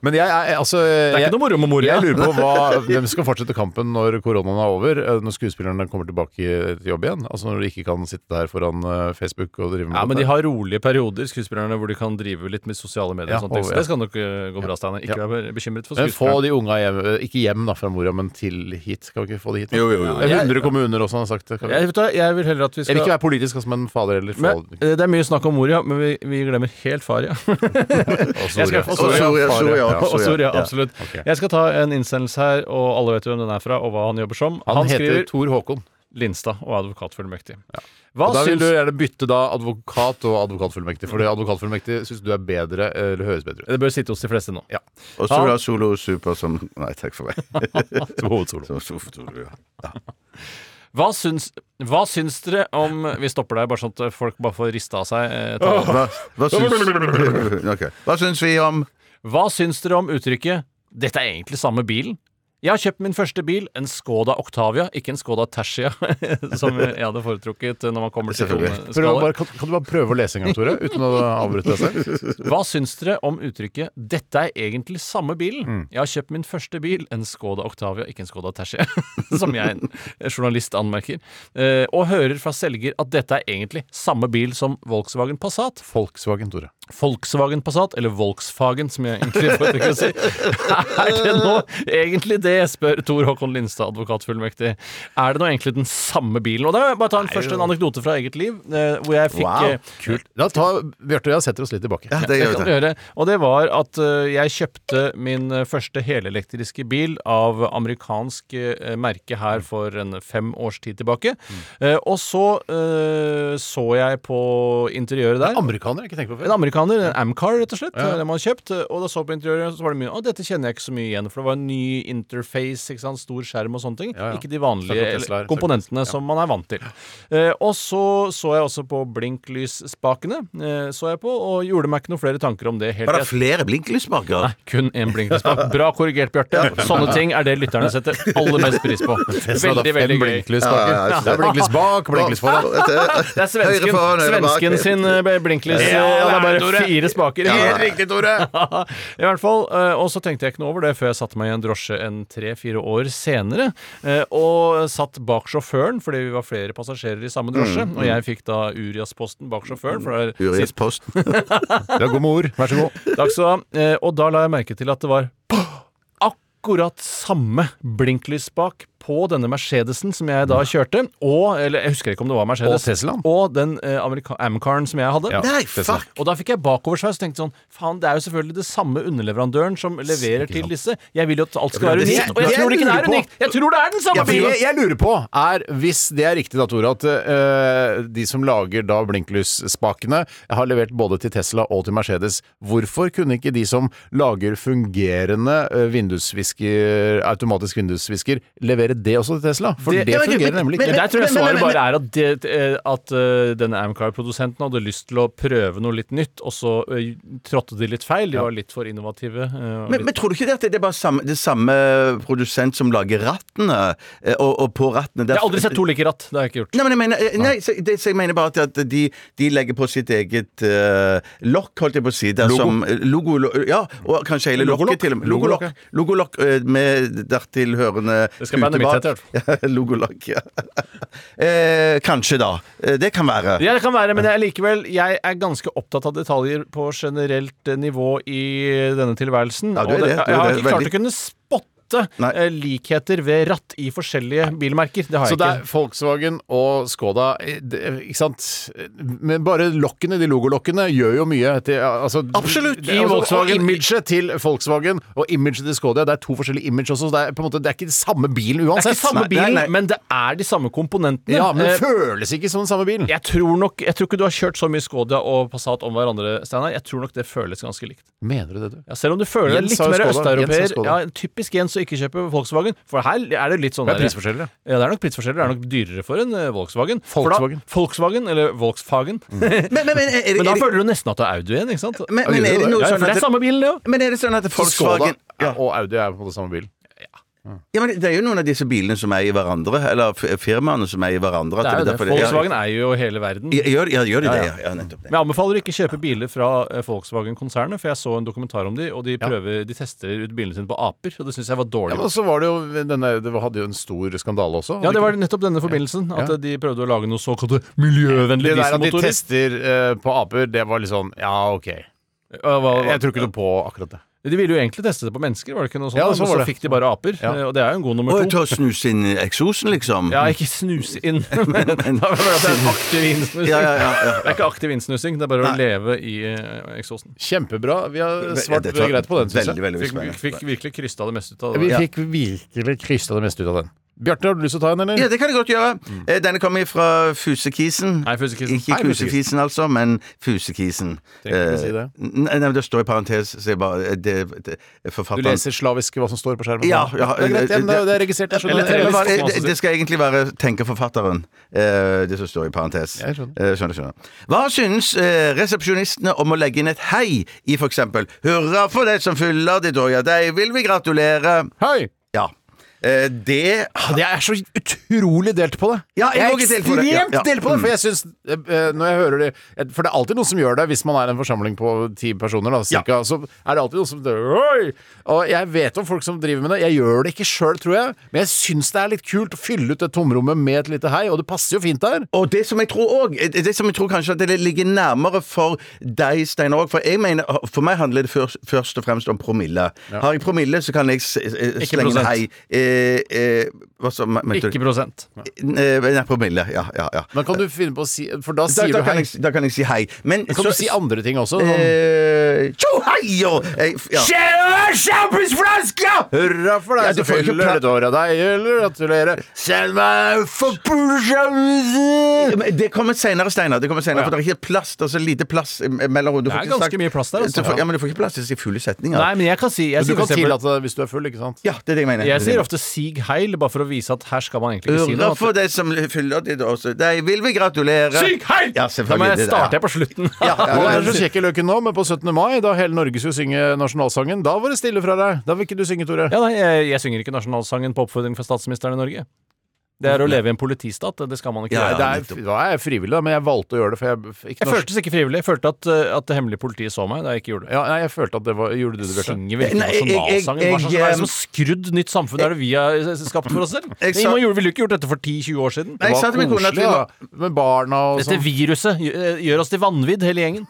S4: Men jeg er altså jeg,
S5: er ikke noe moro med Moria.
S4: jeg lurer på hva, hvem skal fortsette kampen når koronaen er over, eh, når skuespillerne kommer tilbake til jobb igjen? Altså når de ikke kan sitte der foran eh, Facebook og drive med
S5: Ja, men de
S4: dette.
S5: har rolige perioder, skuespillerne, hvor de kan drive litt med sosiale medier.
S4: Ja,
S5: og sånt,
S4: og-
S5: så
S4: ja.
S5: det skal nok eh, gå bra, Steinar. Ikke vær bekymret for
S4: men få
S5: skuespillerne.
S4: de unga hjem, eh, ikke hjem da fra Moria, men til hit. Kan vi ikke få de hit? da?
S6: Jo, jo, jo.
S4: Det er 100 kommuner også, han har sagt. Det. Kan vi-
S5: Jeg, vet du, hva, jeg vil heller at vi
S4: Jeg vil
S5: skal
S4: ikke være politisk altså, men fader heller.
S5: men,
S4: Få
S5: eh, Det er mye snakk om Moria, men vi, vi glemmer helt Faria. Jeg skal-
S4: Og
S5: og
S4: Soria.
S6: Soria,
S4: Fader.
S6: Soria.
S4: Ja.
S5: Og Soria,
S6: ja.
S5: absolutt. Jeg skal ta en innsendelse her, og alle vet jo hvem den er fra, og hva han jobber som.
S4: Han,
S5: Han,
S4: heter
S5: skriver
S4: Tor Håkon.
S5: Lindstad og er advokatfullmektig. Hva
S4: Da vil
S5: syns
S4: du gjerne bytte da advokat og advokatfullmektig, for advokatfullmektig syns du er bedre, eller høres bedre ut.
S5: Det bør sitte hos de fleste nå.
S4: Ja.
S6: Og Soria Solo Super som Nei, takk for meg.
S4: Som hovedsolo.
S6: Som solo, ja.
S5: Hva syns, hva syns dere om Vi stopper der, bare sånn at folk bare får rista av seg. Eh, tallene.
S6: Hva, hva syns Ok. Hva syns vi om
S5: Hva syns dere om uttrykket 'dette er egentlig samme bilen'? Jeg har kjøpt min første bil, en Skoda Octavia, ikke en Skoda Tersia, som jeg hadde foretrukket når man kommer til
S6: Selvfølgelig.
S4: Prøv, å
S5: toneskaler.
S4: bare, kan, kan du bare prøve å lese en gang, Tore? Uten å avbryte deg selv?
S5: Hva syns dere om uttrykket 'dette er egentlig samme bilen'? Jeg har kjøpt min første bil, en Skoda Octavia, ikke en Skoda Tertia, som jeg, en journalist, anmerker, eh, og hører fra selger at dette er egentlig samme bil som Volkswagen Passat.
S4: Volkswagen, Tore.
S5: Volkswagen Passat, eller Volksfagen, som jeg egentlig foretrekker å si. Er det nå egentlig det, spør Tor Håkon Lindstad, advokatfullmektig. Er det nå egentlig den samme bilen? Og da vil jeg bare ta en, først en anekdote fra eget liv, eh, hvor jeg fikk
S6: Wow,
S5: eh,
S4: Kult. Da tar Bjarte og jeg setter oss litt tilbake.
S6: Ja, det
S5: det
S6: gjør
S5: kan
S6: vi.
S5: du gjøre. Og det var at eh, jeg kjøpte min eh, første helelektriske bil av amerikansk eh, merke her for en fem års tid tilbake.
S6: Mm.
S5: Eh, og så eh, så jeg på interiøret der.
S4: Amerikaner, jeg har ikke tenkt på
S5: En
S4: før.
S5: amerikaner, en Amcar, rett og slett. Det er det man har kjøpt. Og da så på interiøret, så var det mye Å, dette kjenner jeg ikke så mye igjen. For det var en ny interface, ikke sant? stor skjerm og sånne ting.
S4: Ja, ja.
S5: Ikke de
S4: Stakkars
S5: vanlige
S4: Teslaer,
S5: ele- komponentene som man er vant til. Eh, og så så jeg også på blinklysspakene, eh, så jeg på, og gjorde meg ikke noen flere tanker om det. helt
S6: Var
S5: til
S6: det
S5: jeg-
S6: flere blinklysmaker?
S5: Nei, kun én blinklyspak. Bra korrigert, Bjarte. Sånne ting er det lytterne setter aller mest pris på. Veldig, veldig gøy.
S4: Blinklys
S6: Ja, ja, ja.
S4: Det er blinklys bak, blinklys foran.
S5: ah, Det er svensken,
S6: Høyre foran, høyre bak.
S5: svensken sin eh, blinklys. Ja,
S4: Ja,
S5: det er
S4: det er Tore.
S5: bare fire spaker.
S4: Helt riktig, Tore!
S5: I hvert fall, eh, Og så tenkte jeg ikke noe over det før jeg satte meg i en drosje en tre-fire år senere. eh, Og satt bak sjåføren, fordi vi var flere passasjerer i samme drosje.
S4: Mm,
S5: Og jeg fikk da Urias-posten bak sjåføren. For det er
S6: Urias post.
S4: Du er god med ord. Vær så god.
S5: Takk skal du ha. Eh, Og da la jeg merke til at det var akkurat samme blinklys bak på denne Mercedesen som jeg da kjørte. Og eller jeg husker ikke om det var Mercedes.
S4: Og Teslaen.
S5: Og den eh, amerika- Amcaren som jeg hadde.
S4: Ja.
S6: Nei,
S4: det er
S6: fuck!
S5: Og da fikk jeg bakoversveis og tenkte sånn Faen, det er jo selvfølgelig det samme underleverandøren som leverer til disse. Jeg vil jo at alt skal være
S6: det
S5: unikt,
S6: sitter-
S5: og jeg
S4: Jeg
S5: tror ikke det
S4: lurer
S5: er
S4: på-
S5: unikt! Jeg tror det er den samme
S4: Ja, for det
S5: bilen!
S4: jeg lurer på, er hvis det er riktig da, Tore, at eh, de som lager da blinklysspakene, har levert både til Tesla og til Mercedes, hvorfor kunne ikke de som lager fungerende eh, vindusvisker, automatisk vindusvisker, levere det også til Tesla? For det,
S5: Det- Ja, men-
S4: fungerer nemlig ikke.
S5: Men der tror jeg
S6: men- men-
S5: svaret
S6: men-
S5: bare er at, det, eh, at eh, denne Amcar-produsenten hadde lyst til å prøve noe litt nytt, og så eh, trådte de litt feil. De var litt for innovative. eh, og
S6: Men,
S5: litt-
S6: men tror du ikke det at det er bare samme, det samme produsent som lager rattene? eh, Og, og på rattene
S5: jeg har aldri sett to like ratt. Det har jeg ikke gjort.
S6: Nei, men jeg mener, eh, nei, så, det, så jeg mener bare at- at de, de legger på sitt eget eh, lokk, holdt jeg på å si. Der,
S4: Logo.
S6: Som, eh, logo. lo- Ja, og kanskje hele
S4: Logolokk.
S6: lokket til og med. Logolokk. Logolokk eh, med dertilhørende
S5: Det skal bandet mitt hete, i
S6: Logolokk, ja. Eh, kanskje, da. Eh, Det kan være.
S5: Ja, det kan være, men jeg, likevel, jeg er ganske opptatt av detaljer på generelt eh, nivå i denne tilværelsen.
S6: Ja, du er
S5: og
S6: det,
S5: jeg
S6: du er
S5: har
S6: det,
S5: ikke klart
S6: veldig.
S5: å kunne spotte
S6: Nei.
S5: eh, likheter ved ratt i forskjellige bilmerker. Det har
S4: Så
S5: jeg
S4: det
S5: ikke.
S4: er Volkswagen og Skoda, eh, det- ikke sant? Men bare lokkene, de logolokkene, gjør jo mye. Til, altså,
S5: Absolutt.
S4: Det,
S5: I
S4: altså,
S5: Volkswagen.
S4: Og imaget til Volkswagen og imaget til Skoda, det er to forskjellige image også, så det er, på en måte, det er ikke samme bilen
S5: Det er
S4: uansett.
S5: ikke samme
S6: Nei, nei,
S5: bilen,
S6: nei.
S5: men det er de samme komponentene.
S4: Ja, men
S5: Eh,
S4: det føles ikke som den samme bilen.
S5: Jeg tror nok, jeg tror ikke du har kjørt så mye Skoda og Passat om hverandre, Steinar. Jeg tror nok det føles ganske likt.
S4: Mener du det, du?
S5: Ja, selv om du føler deg
S4: Jens
S5: litt
S4: sa jo
S5: mer
S4: Skoda. Jens sa
S5: østeuropeer.
S4: Skoda.
S5: Ja, typisk Jens å ikke kjøpe Volkswagen, for her er det litt sånn
S4: Det er
S5: der-
S4: prisforskjeller, det.
S5: Ja, det er nok prisforskjeller. Det er nok dyrere for en eh, Volkswagen. For da-
S4: Volkswagen.
S5: Volkswagen, eller Volksfagen.
S4: Mm.
S6: Men, men, men, er, er,
S5: Men da
S6: er,
S5: føler du nesten at det er Audi igjen, ikke sant?
S6: men, men er det noe
S5: ja,
S6: sånn
S5: for det
S6: at
S5: er samme bilen, det òg.
S6: Men er det sånn at
S4: Skoda
S6: Volkswagen
S4: ja. og Audi er på en måte samme bil.
S6: Ja, men Det er jo noen av disse bilene som er i hverandre, eller f- firmaene som er i hverandre. at
S5: Det er jo det.
S6: derfor-
S5: Volkswagen er jo hele verden.
S6: Ja, gjør, ja, gjør de det? Ja, ja, nettopp det.
S5: Men jeg anbefaler å ikke kjøpe biler fra eh, Volkswagen-konsernet, for jeg så en dokumentar om de, og de prøver, de tester ut bilene sine på aper, og det syns jeg var dårlig.
S4: Ja, men altså, så var det jo denne Det hadde jo en stor skandale også.
S5: Ja, det var nettopp denne forbindelsen. At eh, de prøvde å lage noe såkalte miljøvennlige
S4: Det der at de
S5: dieselmotorer.
S4: tester eh, på aper, det var litt sånn Ja, OK.
S5: Ja, hva- hva-
S4: Jeg tror ikke noe på akkurat det.
S5: De ville jo egentlig teste det på mennesker, var det ikke noe sånt?
S4: Ja,
S5: da?
S4: så
S5: men
S4: var
S5: så
S4: det.
S5: fikk de bare aper,
S4: Ja.
S5: eh, og det er jo en god nummer
S6: Og
S5: to.
S6: ta og snuse inn eksosen, liksom?
S5: Ja, ikke snuse inn. Men da var det at det er aktiv innsnusing.
S6: Ja, ja, ja, ja.
S5: Det er ikke aktiv innsnusing, det er bare å leve i eh, eksosen.
S4: Kjempebra. Vi har
S6: Ve-
S4: svart
S6: det tror jeg-
S4: greit på den, syns
S6: Veldig,
S4: jeg.
S6: veldig
S5: Fikk,
S6: spennende.
S5: fikk virkelig krysta det meste ut av
S4: Vi
S5: det. der.
S4: fikk virkelig krysta det meste ut av den. Bjarte, har du lyst til å ta en, eller?
S6: Ja, det kan jeg godt gjøre. Eh, Denne kommer fra Fusekisen.
S5: Nei, Fusekisen.
S6: Ikke
S4: Mm. Nei,
S6: Kusekisen, altså, men Fusekisen.
S4: Trenger ikke å
S6: Eh,
S4: si det.
S6: Nei, nei, men det står i parentes, så jeg bare eh, det, det,
S4: Du
S6: Forfatteren
S4: leser slavisk hva som står på skjermen?
S6: Ja, eh, ja,
S4: det er greit, ja, men det, er- det er registrert. Jeg skjønner
S5: Eller
S4: det.
S5: tre-
S6: Men hva- eh,
S5: Realistisk,
S6: det, det skal egentlig være tenkerforfatteren, eh, det som står i parentes.
S4: Jeg skjønner.
S6: Eh, skjønner, skjønner. Hva synes eh, resepsjonistene om å legge inn et hei i f.eks.? Hurra for deg som fyller ditt år, ja deg vil vi gratulere.
S4: Hei!
S6: Ja. Eh, det
S4: Ja, Jeg er så utrolig delt på det.
S6: Ja, jeg
S4: jeg
S6: er
S4: er
S6: også delt på det. Ja, Mm.
S4: ekstremt
S6: ja.
S4: delt på det, for jeg syns eh, Når jeg hører det eh, For det er alltid noen som gjør det, hvis man er en forsamling på ti personer, da, cirka, så er det alltid noen som Oi! Og jeg vet om folk som driver med det. Jeg gjør det ikke sjøl, tror jeg, men jeg syns det er litt kult å fylle ut det tomrommet med et lite hei, og det passer jo fint der.
S6: Og det som jeg tror også, eh, det som jeg tror kanskje at det ligger nærmere for deg, Steinar òg, for jeg mener, for meg handler det først, først og fremst om promille. Har jeg promille, så kan jeg s- s- slenge en
S5: prosent.
S6: hei. Eh, eh, eh, Hva så, me- mente
S5: Ikke
S6: du?
S5: prosent.
S6: Eh, Nei, promille. Ja, ja. ja.
S4: Men kan du finne på å si For da
S6: Da,
S4: sier
S6: da,
S4: du
S6: kan
S4: hei.
S6: jeg, da kan jeg si hei. Men
S4: Kan du si andre ting også? Sånn,
S6: Eh, Tjo hei jo! Jeg- ja.
S4: Hurra for
S6: Ja,
S4: deg,
S6: du
S4: så
S6: får ikke
S4: fyller
S6: pla-
S4: det året deg, eller gratulerer. Selv meg for
S6: Ja, men Det kommer senere, Steinar. Det kommer
S5: Å, ja.
S6: senere, For det er ikke plass, det er så lite plass mellom
S5: Det er ganske mye plass der, altså.
S6: Ja, men du får ikke plass til å si fulle setninger.
S5: Nei, men jeg kan si jeg sier for
S4: Men Altså, du kan
S5: eksempel-
S4: tillate deg hvis du er full, ikke sant?
S6: Ja, det er det jeg mener.
S5: Jeg
S6: Det er det
S5: sier
S6: jeg
S5: ofte 'sig heil', bare for å vise at her skal man egentlig ikke si
S6: Hurra
S5: noe.
S6: for
S5: at-
S6: deg som fyller ditt også. Deg vil vi gratulere.
S5: Sig heil!
S6: Ja,
S5: da må
S6: selvfølgelig.
S5: jeg
S6: det-
S5: starte
S6: ja.
S5: jeg på slutten.
S6: Ja, ja,
S4: Og
S6: ja,
S4: det
S6: ja.
S4: er så kjekk i løken nå, men på 17. mai, da hele Norge skulle synge nasjonalsangen, da var det stille fra deg. Da vil ikke du synge, Tore.
S5: Ja, nei, jeg, jeg synger ikke nasjonalsangen på oppfordring fra statsministeren i Norge. Det er å leve i en politistat. Det skal man ikke
S6: Ja,
S5: gjøre.
S4: det er, da er jeg frivillig, da, men jeg valgte å gjøre det, for jeg f- ikke
S5: Jeg føltes ikke frivillig. Jeg følte at, eh, at det hemmelige politiet så meg da jeg ikke gjorde det.
S4: ja, nei, jeg følte at det var Gjorde du det, Bjarte?
S5: Synger vi ikke
S6: Nei, jeg- jeg-
S5: nasjonalsangen? Hva slags
S6: jeg-
S5: er det som skrudd nytt samfunn er det vi har skapt for oss selv?
S6: Jeg sa-
S5: Man gjorde, ville jo ikke gjort dette for 10-20 år siden.
S6: Nei, jeg sa til min kone at vi
S4: Koselig,
S6: må
S4: da. Med barna og
S5: Dette
S4: sånn. Mm.
S5: viruset gjør gjør oss til vanvidd, hele gjengen.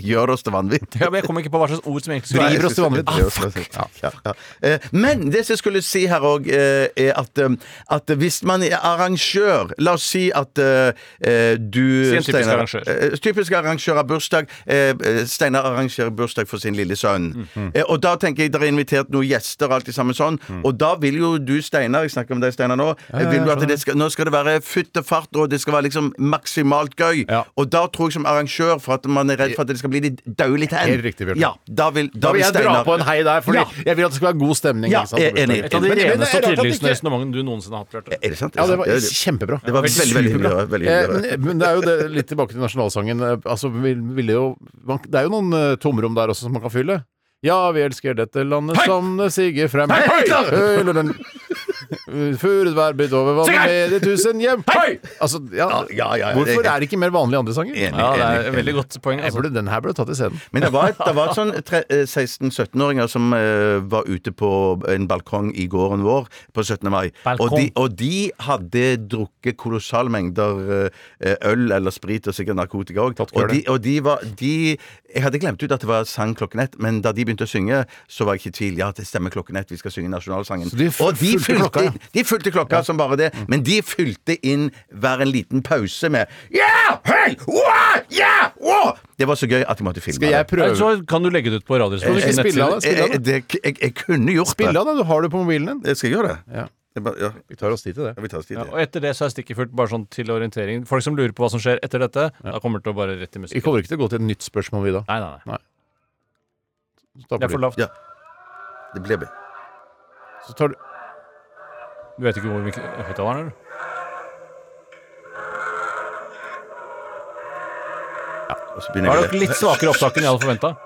S6: gjøre oss til vanvitt.
S5: Ja, men jeg kom ikke på hva slags ord som egentlig
S4: Driver
S5: skulle
S4: oss til vanvidd.
S6: Ah, fuck. Ja, ja. Eh, Men det som jeg skulle si her òg, er at, eh, at hvis man er arrangør La oss si at eh, eh, du
S5: Si en typisk
S6: Steinar,
S5: arrangør.
S6: eh, Typisk arrangør av bursdag. eh, eh, Steinar arrangerer bursdag for sin lille sønn.
S5: Mhm.
S6: Eh, Og da tenker jeg dere er invitert noen gjester og alt det samme sånn. Og da vil jo du, Steinar, jeg snakker om deg, Steinar, nå eh, vil du at det skal, Nå skal det være futt og fart, og det skal være liksom maksimalt gøy.
S5: Ja.
S6: Og da tror jeg som arrangør, for at man er redd for at det skal bli litt daulig til
S4: Helt riktig, Bjørte.
S6: Ja, da vil, da
S4: Da vil
S6: vil
S4: jeg dra
S6: Steinar-
S4: på en hei der, fordi
S6: Ja.
S4: jeg vil at det skal være god stemning.
S6: Ja,
S4: ikke sant?
S6: jeg er enig.
S5: Et av de
S4: Men- men-
S5: reneste og
S4: men-
S5: tydeligste resonnementene du noensinne har hatt, Bjarte.
S6: Er det sant?
S4: Ja, det var
S6: er sant.
S4: kjempebra.
S6: det var veldig, veldig hyggelig. å høre, Veldig
S4: Eh,
S6: hyggelig. å høre.
S4: men, men det er jo det, litt tilbake til nasjonalsangen. eh, Altså, vi, ville jo, man, det er jo noen eh, tomrom der også som man kan fylle. Ja, vi elsker dette landet som det siger frem. Hei, Høyler den Furet vær bydd over vannet med de tusen hjem. Hei! Altså, ja,
S6: ja, ja, det-
S4: hvorfor er det ikke mer vanlig i andre sanger?
S6: Enig,
S5: Ja, det er
S6: enig,
S5: et veldig godt poeng.
S4: Jeg
S5: Altså.
S4: burde, den her ble tatt i scenen.
S6: Men det var, et- det var et sånn tre- eh, 16-17-åringer som eh, var ute på en balkong i gården vår på 17. mai. Og
S5: Balkong.
S6: de, og de hadde drukket kolossale mengder eh, øl eller sprit og sikkert narkotika òg. Og, de, og de var de, Jeg hadde glemt ut at det var sang klokken ett, men da de begynte å synge, så var jeg ikke i tvil. Ja, det stemmer klokken ett, vi skal synge nasjonalsangen.
S4: Så de fu-
S6: og de
S4: fulgte
S6: fylte,
S4: klokka, ja.
S6: de fulgte klokka som bare det, men de fylte inn hver en liten pause med Ja! Hei! Wow! Ja! Wow! Det var så gøy at jeg måtte filme
S4: Skal jeg
S6: det.
S4: prøve?
S5: Så kan du legge det ut på
S4: Skal du
S5: radioresepsjonen.
S4: ikke spille av det? Spille av
S6: Jeg,
S4: det?
S6: Eh, det, jeg, jeg kunne gjort
S4: Spille av det, du har det på mobilen din.
S6: det. Jeg skal gjøre det.
S4: Ja.
S6: Jeg bare, ja.
S4: Vi tar oss tid til det.
S6: Vi tar oss tid
S5: Ja,
S6: til det.
S5: og etter det så er stikket fullt, bare sånn til orientering. Folk som lurer på hva som skjer etter dette, da kommer det til å bare rett i
S4: Vi
S5: musikk.
S4: kommer ikke til å gå til et nytt spørsmål, vi da.
S5: Nei, nei, nei.
S4: Så tar
S5: Det er
S4: du-
S5: for lavt.
S6: Ja. Det ble bedre.
S4: Så tar du
S5: Du vet ikke hvor mik- høyttaleren er? du?
S6: Og så
S5: Det
S6: begynner
S5: var
S6: jeg
S5: nok
S6: med det.
S5: litt svakere opptak enn jeg hadde forventa.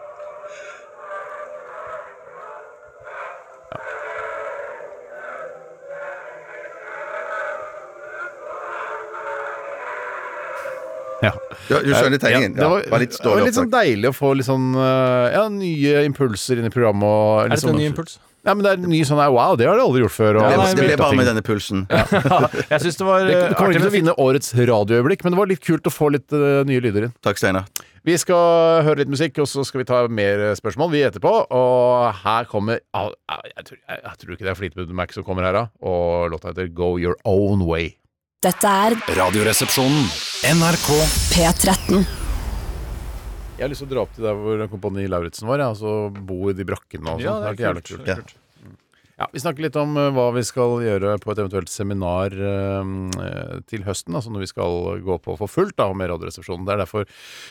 S4: Ja.
S6: Ja, du skjønner tegningen. Ja, det var, litt
S4: det var
S6: dårlig
S4: litt sånn
S6: opptak.
S4: deilig å få litt sånn eh, ja, nye impulser inn i programmet. Og,
S5: Er dette
S4: liksom-
S5: en ny impuls?
S4: Ja, men det er en ny sånn her, wow, det har de aldri gjort før. Og,
S5: Ja,
S6: Det
S5: nei,
S6: det ble
S5: vi-
S6: bare med denne pulsen.
S5: Jeg syns det var
S4: Det
S5: eh,
S4: det kommer
S5: artig
S4: ikke til
S5: med
S4: å vinne årets radioøyeblikk, men det var litt kult å få litt eh, nye lyder inn.
S6: Takk, Steinar.
S4: Vi skal høre litt musikk, og så skal vi ta mer eh, spørsmål vi etterpå. Og her kommer ah, ah, Jeg tror, jeg, jeg tror ikke det er Fleetwood Mac som kommer her, da. Og låta heter Go Your Own Way.
S1: Dette er
S2: Radioresepsjonen. NRK.
S1: P13.
S4: Jeg har lyst til å dra opp til der hvor Kompani Lauritzen var, ja, og så bo i de brakkene og sånn.
S5: Ja, det er
S4: jævlig
S5: kult.
S4: kult. Ja, Vi snakker litt om eh, hva vi skal gjøre på et eventuelt seminar eh, til høsten. Altså når vi skal gå på for fullt da, med Radioresepsjonen. Det er derfor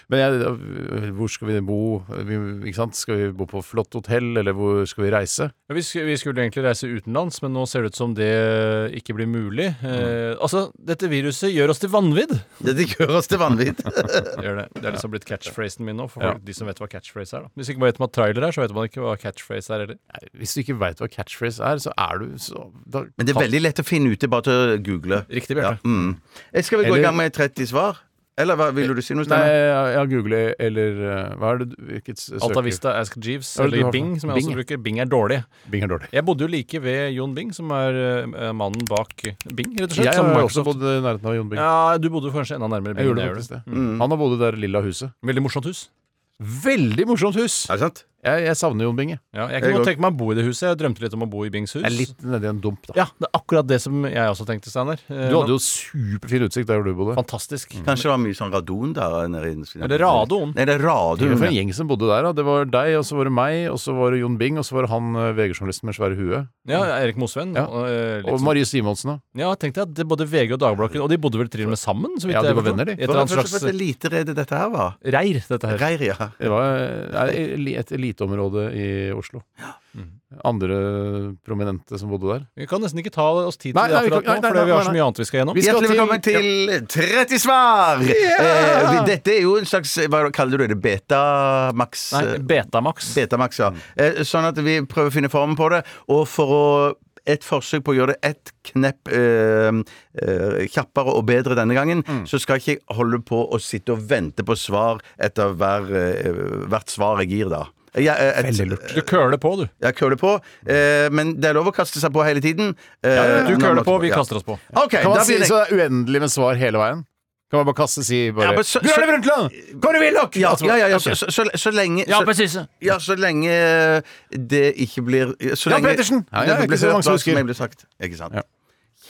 S4: Men jeg, eh, hvor skal vi bo? Vi, ikke sant? Skal vi bo på flott hotell, eller hvor skal vi reise?
S5: Ja, vi, sk vi skulle egentlig reise utenlands, men nå ser det ut som det ikke blir mulig. Eh, altså, dette viruset gjør oss til vanvidd!
S6: Det det gjør oss til vanvidd.
S5: Det Gjør det. det er liksom blitt catchphrasen min nå, for folk- de som vet hva catchphrase er. da. Hvis ikke man vet hva trailer er, så vet man ikke hva catchphrase er heller.
S4: Nei, Hvis du ikke veit hva catchphrase er, så er du så da,
S6: Men det er veldig lett å finne ut. Det er bare til å google.
S5: Riktig, Bjarte.
S6: Mm. Eh, Skal vi gå
S4: Eller-
S6: i gang med 30 svar? Eller hva, ville du si noe,
S4: Nei,
S6: Steinar?
S4: ja, Google eller eh, Hva er det du Hvilket s-
S5: Alta
S4: søker-
S5: Vista, Ask Jeeves,
S4: Hva er det du
S5: eller
S4: har for
S5: Bing,
S4: noe?
S5: som jeg
S4: Bing,
S5: også
S4: ja.
S5: bruker. Bing er dårlig.
S4: Bing er dårlig.
S5: Jeg bodde jo like ved Jon Bing, som er eh, mannen bak Bing, rett og slett.
S4: Jeg
S5: som
S4: har også
S5: Microsoft.
S4: bodd i nærheten av Jon Bing.
S5: Ja, du bodde kanskje enda nærmere
S4: jeg
S5: Bing. enn
S4: gjorde
S5: jeg
S4: faktisk
S5: gjorde.
S4: det. Han har bodd i det der lilla huset.
S5: Veldig morsomt hus.
S4: Veldig morsomt hus!
S6: Er det sant?
S4: Jeg, jeg savner Jon Binge.
S5: Ja, jeg
S6: Jeg
S5: kunne godt
S6: går-
S5: tenke meg å bo i det huset. Jeg drømte litt om å bo i Bings hus.
S4: Jeg er litt nedi en dump, da.
S5: Ja, det er akkurat det som jeg også tenkte, Steinar. Eh,
S4: Du hadde jo Mm. superfin utsikt der hvor du bodde.
S5: Fantastisk.
S6: Kanskje det var mye sånn radon der nede i den-
S5: Eller radon.
S6: Nei, det er
S4: Det var for en
S6: radon.
S4: gjeng som bodde der. Da. Det var deg, og så var det meg, og så var det Jon Bing, og så var det han eh, VG-journalisten med svære huet.
S5: Ja, Erik Mosveen.
S4: Ja.
S5: Og, eh, litt
S4: Og
S5: sånn-
S4: Marie Simonsen, da.
S5: ja, tenkte jeg at det både VG og Dagbladet kunne- Og de bodde vel til og med sammen? Så vidt
S4: Ja, de
S5: jeg
S4: var
S5: forstår.
S4: venner, de.
S5: I Et
S6: Det
S5: eller
S6: var
S5: annet
S6: rett og slett
S5: slags
S6: et lite rede dette her var.
S5: reir, dette her.
S6: Reir, ja.
S4: Det var eh, et- et eliteområde i Oslo. Mm. Andre prominente som bodde der.
S5: Vi kan nesten ikke ta oss tid til
S4: Nei,
S5: det
S4: nei, vi
S5: akkurat
S4: kan- nei,
S5: nå,
S4: nei,
S5: for vi
S4: nei,
S5: har så
S4: nei.
S5: mye annet vi skal gjennom.
S4: Vi skal
S6: Hjertelig velkommen til 30 svar! Eh, vi- dette er jo en slags Hva kaller du det? Betamax? eh,
S5: Nei, Mm. Betamax.
S6: Betamax, ja. Eh, sånn at vi prøver å finne formen på det. Og for å et forsøk på å gjøre det ett knepp eh, eh, kjappere og bedre denne gangen,
S5: Mm.
S6: så skal ikke jeg holde på å sitte og vente på svar etter hver, eh, hvert svar jeg gir, da. Jeg, eh, et, Veldig lurt.
S5: Du køler på, du.
S6: Jeg køler på, eh, men det er lov å kaste seg på hele tiden. Eh,
S5: Du
S6: nå må
S5: køler
S6: jeg-
S5: på, vi
S6: ja.
S5: kaster oss på.
S6: Ok,
S4: Kan
S6: da
S4: man si
S6: begynner jeg.
S4: så det er uendelig med svar hele veien? Kan man bare kaste si bare
S6: Ja, men så-
S4: Bjørne
S6: så-
S4: Brundtland! Kåre Willoch!
S6: Ja,
S4: Altså,
S6: ja, ja, ja.
S4: ok.
S6: Så, så, så, så lenge så,
S5: precis.
S6: ja, så lenge eh, det ikke blir Så
S4: Jan
S6: lenge
S4: Petersen!
S6: Ja,
S4: Det er ikke så mange som
S6: som
S4: husker.
S6: jeg ble sagt. Ikke sant?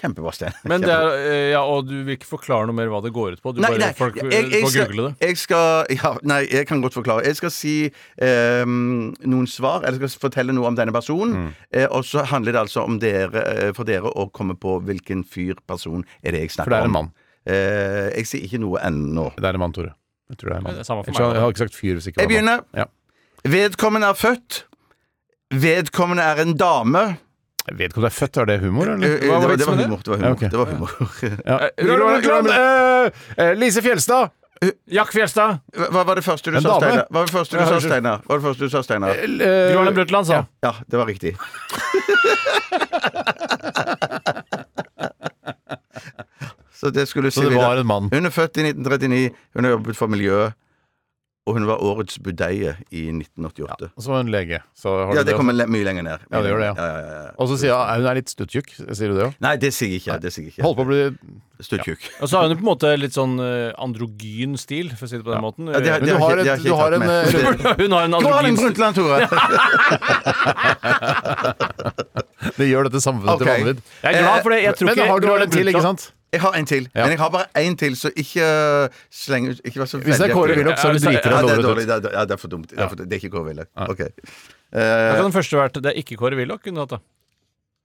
S6: Kjempebra, Sten.
S5: Men det
S6: Kjempebra.
S5: er, eh, ja, og du vil ikke forklare noe mer hva det går ut på? Du
S6: Nei, nei,
S5: bare folk eh,
S6: jeg, jeg,
S5: får
S6: skal,
S5: google det?
S6: jeg skal ja, Nei, jeg kan godt forklare. Jeg skal si eh, noen svar, eller skal fortelle noe om denne
S4: Mm.
S6: personen. Eh, og så handler det altså om dere, eh, for dere å komme på hvilken fyr, person, er det jeg
S4: For det er
S6: snakker
S4: en
S6: om.
S4: mann.
S6: Eh, jeg sier ikke noe ennå.
S4: Det er en mann, Tore. Jeg tror det er en
S5: Ja, det er
S4: mann.
S5: samme for
S4: Ellers
S5: meg,
S4: hadde-
S5: da.
S4: Jeg har ikke sagt fyr hvis ikke
S6: Jeg
S4: det var en mann.
S6: begynner.
S4: Ja.
S6: Vedkommende er født. Vedkommende er en dame.
S4: Jeg vet ikke om det er født, er det humor,
S6: Eh,
S4: eller?
S6: eh, det, var, det var
S5: vitsen med
S6: humor. Det var
S4: Ja,
S6: humor.
S4: ok.
S6: Det var humor.
S4: Ja. Bjørne Brundtland! eh, eh, Lise Fjelstad!
S5: Jack Fjelstad!
S6: Hva- Hva var det første du
S4: En
S6: sa,
S4: dame?
S6: Steinar? Hva var det første du
S4: Ja,
S6: sa,
S4: unnskyld.
S6: Steinar? Hva var det første du sa, Steinar?
S4: L- eh,
S5: Gro Harlem Brundtland, sa
S6: Ja, det var riktig. Så det skulle
S4: Så det var en mann.
S6: Hun er født i 1939, hun har jobbet for miljøet, og hun var årets budeie i 1988.
S4: Og så var hun lege. Så har
S6: Ja,
S4: du
S6: det
S4: også.
S6: kommer le- mye lenger ned.
S4: Ja, det gjør det, ja.
S6: ja. ja, ja, ja.
S4: Og så sier hun at hun er litt stuttjukk. Sier du det òg?
S6: Nei, det sier jeg ikke. Det sier jeg ikke.
S4: Holder på å bli
S6: Stuttjukk.
S5: Og så har hun på en måte litt sånn eh, androgyn stil, for å si det på den måten.
S6: Ja, det har-
S4: Men
S6: det
S4: du
S6: har
S4: har
S6: ikke-
S4: et-
S6: det har ikke
S4: du
S6: jeg
S4: har
S6: tatt
S4: en,
S6: med.
S4: eh,
S6: Det-
S5: hun har en
S6: Gro Harlem
S5: androgyn stil.
S6: Brundtland, Tore!
S4: Det gjør dette samfunnet
S6: Ok.
S4: til vanvidd.
S5: Jeg er glad for det. Jeg tror
S4: Eh, Men da
S5: ikke
S4: har du
S5: Gro
S4: en
S5: Harlem
S4: til, ikke
S5: Brundtland-
S4: sant?
S6: Jeg har en til, men jeg har bare én til, så ikke øh, sleng ut Ikke vær så veldig
S4: Hvis det er Kåre
S6: aktiv.
S4: Willoch, så er du
S5: Ja, hvis
S4: driter
S6: Ja,
S4: av
S6: det er
S4: dårlig.
S6: dårlig. Det er, ja, det er for dumt. Det er, for, det er ikke Kåre Willoch. Ok.
S5: Da
S6: Eh,
S5: kan den første vært Det er ikke Kåre Willoch. kunne du hatt det.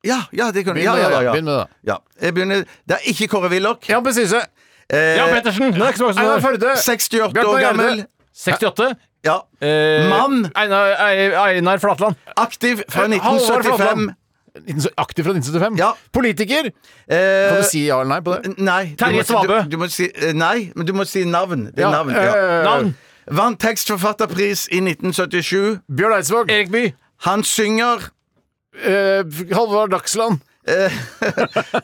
S6: ja, ja, det kan
S4: Begynn
S6: ja,
S4: med
S6: ja,
S4: det,
S6: ja,
S4: da.
S6: ja.
S4: Begynn med det. da.
S6: ja. Jeg begynner Det er ikke Kåre Willoch.
S4: Jan Pessyse!
S6: Eh,
S5: Ja, Pettersen! Det er ikke så mange som har
S4: Einar Førde!
S6: 68
S4: Bjørn
S6: år
S4: Gjerde.
S6: gammel.
S5: 68.
S6: Ja.
S5: Eh,
S6: Mann.
S5: Einar, Ei- Einar Flatland.
S6: Aktiv fra
S4: Eh, Halvard
S6: 1975.
S4: Flatland. 19- sånn Aktiv fra 1975.
S6: Ja.
S4: Politiker!
S6: Eh,
S4: Kan du si ja eller nei på det?
S6: Nei. du
S5: Terje
S6: må-
S5: Svabø.
S6: Du, du må si, eh, nei, men du må si navn. Det er
S4: Ja,
S6: navn. Ja.
S4: eh,
S5: Navn?
S6: Vant tekstforfatterpris i 1977.
S4: Bjørn Eidsvåg.
S5: Erik Bye.
S6: Han synger.
S4: Eh, Halvard Dagsland.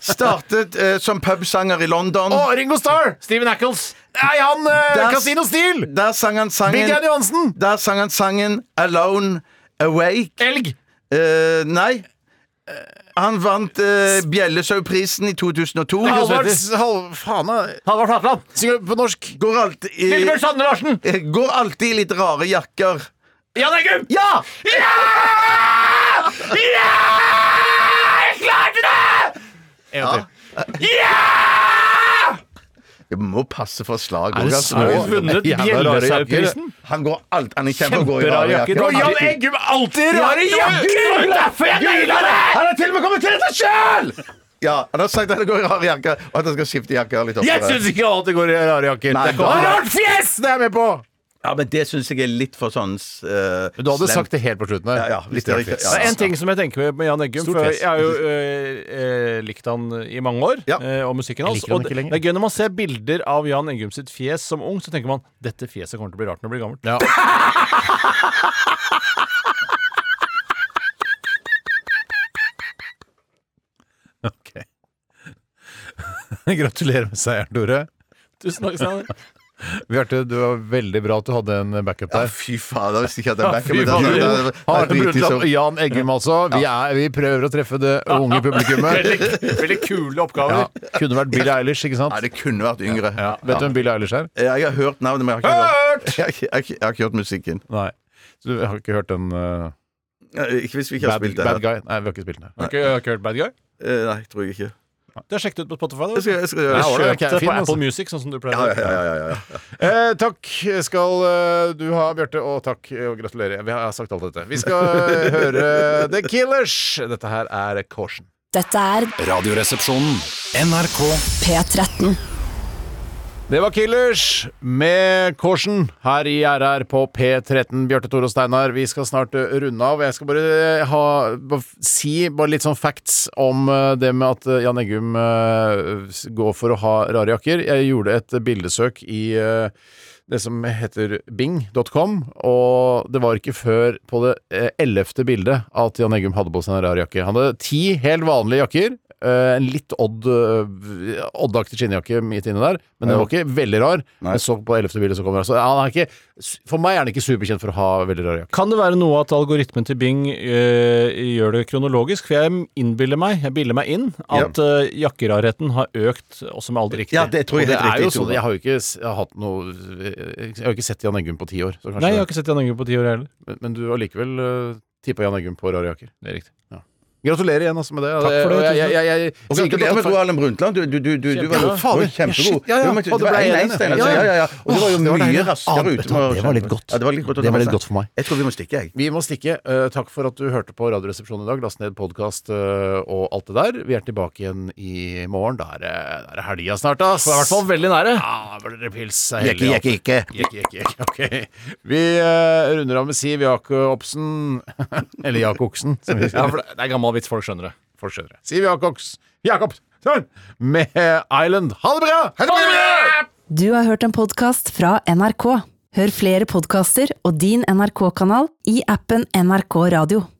S6: Startet eh, som pubsanger i London.
S4: Å, Ringo Starr!
S5: Steven Ackles.
S4: Nei, han
S6: Der-
S4: eh, Casino Steel!
S6: Der sang han sangen
S4: Big Jan Johansen!
S6: Der sang han sangen Alone Awake.
S5: Elg.
S6: Eh, nei. Han vant eh, Bjellesauprisen i 2002.
S4: Halvard Halv... Faen, da.
S5: Halvard Flatland.
S4: Synger på norsk.
S6: Går alltid i,
S5: Lillebjørn Sande Larsen.
S6: eh, går alltid i litt rare jakker.
S5: Jan Eggum.
S6: Ja!
S5: En til.
S6: Jeg må passe for slag.
S4: det
S6: altså.
S4: så-
S5: Har
S4: Å,
S5: vi vunnet
S4: jævla rare
S5: Bjellesauprisen?
S6: Han går alt Han er kjempe og går i
S5: Kjemperar
S6: rare
S5: jakke.
S6: jakker.
S5: Går Jan
S4: Eggum alltid
S5: derfor jeg naila det!
S6: Han har til og med kommet til det sjøl! Ja, han har sagt at han går i rare jakker, og at han skal skifte jakker litt
S4: Jeg
S6: oftere.
S4: syns ikke alt det går i rare jakker.
S6: Nei,
S4: Det er ikke-
S6: da-
S4: Rart fjes! Det er jeg med på!
S6: Ja, men det syns jeg er litt for sånn eh,
S4: Du hadde
S6: slemt.
S4: sagt det helt på slutten her.
S6: Ja, ja,
S4: Litt
S6: hvis det er
S4: rart
S6: riktig,
S4: fjes.
S6: ja.
S5: Det er en ting som jeg tenker med, med Jan Eggum.
S4: altså. Stort
S5: For
S4: fjes.
S5: jeg har jo øh, øh, likt han i mange år,
S6: Ja.
S5: øh, og musikken hans.
S4: liker han
S5: Og
S4: ikke
S5: det,
S4: lenger.
S5: det er gøy når man ser bilder av Jan Eggum sitt fjes som ung, så tenker man dette fjeset kommer til å bli rart når det blir gammelt.
S4: Ja. Ok. Gratulerer med seieren, Tore.
S5: Tusen takk, Steinar.
S4: Bjarte, det var veldig bra at du hadde en backup
S6: Ja,
S4: der.
S6: fy fader, hvis ikke jeg hadde backup
S5: fy
S6: men da-
S5: fader.
S6: da- da- da-
S4: Harald
S6: da- da-
S4: Brundtland og Jan Eggum, altså. Vi, er, vi prøver å treffe det unge publikummet.
S5: Veldig, veldig kule
S4: Ja,
S5: oppgaver.
S4: kunne vært Billie Eilish, ikke
S6: Nei,
S4: sant?
S6: det kunne vært yngre. Eh,
S4: Ja. Vet du hvem Billie Eilish er?
S6: Jeg har hørt navnet, men jeg har ikke hørt, jeg har, ikke- jeg har ikke hørt musikken.
S4: Nei. Så du har ikke hørt den eh,
S6: Eh, Ikke hvis vi ikke har
S4: bad,
S6: spilt det
S4: bad
S6: her.
S4: Guy? Nei, vi har ikke spilt den her.
S5: Har ikke, har ikke hørt Bad Guy?
S6: Eh, Nei, tror jeg ikke.
S5: Det har sjekket ut på Spotify.
S6: Jeg
S5: Da.
S6: skal, jeg skal gjøre
S4: Nei,
S6: det.
S4: ålreit.
S5: Kjøpt det
S4: Fin,
S5: på
S4: altså.
S5: Apple Music, sånn som du pleier.
S6: Ja, ja, ja, ja, ja, ja.
S4: Eh, takk skal eh, du ha, Bjarte, og takk eh, og gratulerer. Vi har, jeg har sagt alt dette. Vi skal eh, høre The Killers. Dette her er Caution.
S1: Dette er
S2: Radioresepsjonen. NRK
S1: P13.
S4: Det var Killers med Caution her i RR på P13. Bjarte Tore og Steinar, vi skal snart eh, runde av. Jeg skal bare eh, ha, bare f- si bare litt sånn facts om eh, det med at eh, Jan Eggum eh, s- går for å ha rare jakker. Jeg gjorde et eh, bildesøk i eh, det som heter bing.com, og det var ikke før på det eh, ellevte bildet at Jan Eggum hadde på seg en rar jakke. Han hadde ti helt vanlige jakker, eh, en litt odd, eh, odd-aktig skinnjakke midt inni der, men den var ikke veldig rar. Men så på ellevte bildet så kommer det. Så han er ikke, for meg er han ikke superkjent for å ha veldig rar jakke.
S5: Kan det være noe at algoritmen til Bing øh, gjør det kronologisk? For jeg innbiller meg, jeg biller meg inn, at øh, jakkerarheten har økt også med alder.
S6: Ja, det tror
S4: Og
S6: jeg
S4: det
S6: helt
S4: er jo
S6: riktig.
S4: sånn,
S6: Tore.
S4: jeg har jo ikke, s- hatt noe, jeg har jo ikke sett Jan Eggum på ti år, så kanskje
S5: Nei, jeg har ikke sett Jan Eggum på ti år heller.
S4: men, men du har likevel uh, tippa Jan Eggum på rare jakker.
S5: Det er riktig.
S4: Gratulerer igjen altså med det.
S5: Takk for det,
S4: Og Jeg,
S5: tusen
S4: jeg, jeg, jeg,
S6: Og gratulerer med Gro Harlem Brundtland. Du, du, du, du, du var jo
S4: Ja, fader.
S6: du var kjempegod.
S4: Ja, shit, ja, ja.
S6: Jo, men
S4: Og
S6: det var
S4: ble jeg
S6: en
S4: enig.
S6: Einstein, altså. Ja, ja, ja. Og det var jo
S4: Åh,
S6: mye
S4: deilig.
S6: raskere
S4: Ah,
S6: ute.
S4: vet du hva,
S6: med å
S4: Det var litt
S6: skjerme.
S4: godt.
S6: Ja, det var litt godt, å ta
S4: Det var
S6: med
S4: litt
S6: seg.
S4: godt for meg.
S6: Jeg tror vi må stikke, jeg.
S4: Vi må stikke. Eh, takk for at du hørte på Radioresepsjonen i dag. Last ned podkast og alt det der. Vi er tilbake igjen i morgen. Da er det, da er det helga snart, ass.
S5: Det er i hvert fall veldig nære.
S4: Ja, da blir det pils.
S6: Jekke, jekke, ikke.
S4: Jekke, jekke, jekke. Ok. Vi eh, runder av med Siv Jacobsen. Eller Jacobsen, som vi
S5: Ja,
S4: sier.
S5: for det det er gammel vits, folk skjønner det. Folk skjønner det.
S4: Siv Jacobs. Jacobsen med Island. Ha det bra! Ha det bra!
S9: Du har hørt en podkast fra NRK. Hør flere podkaster og din NRK-kanal i appen NRK Radio.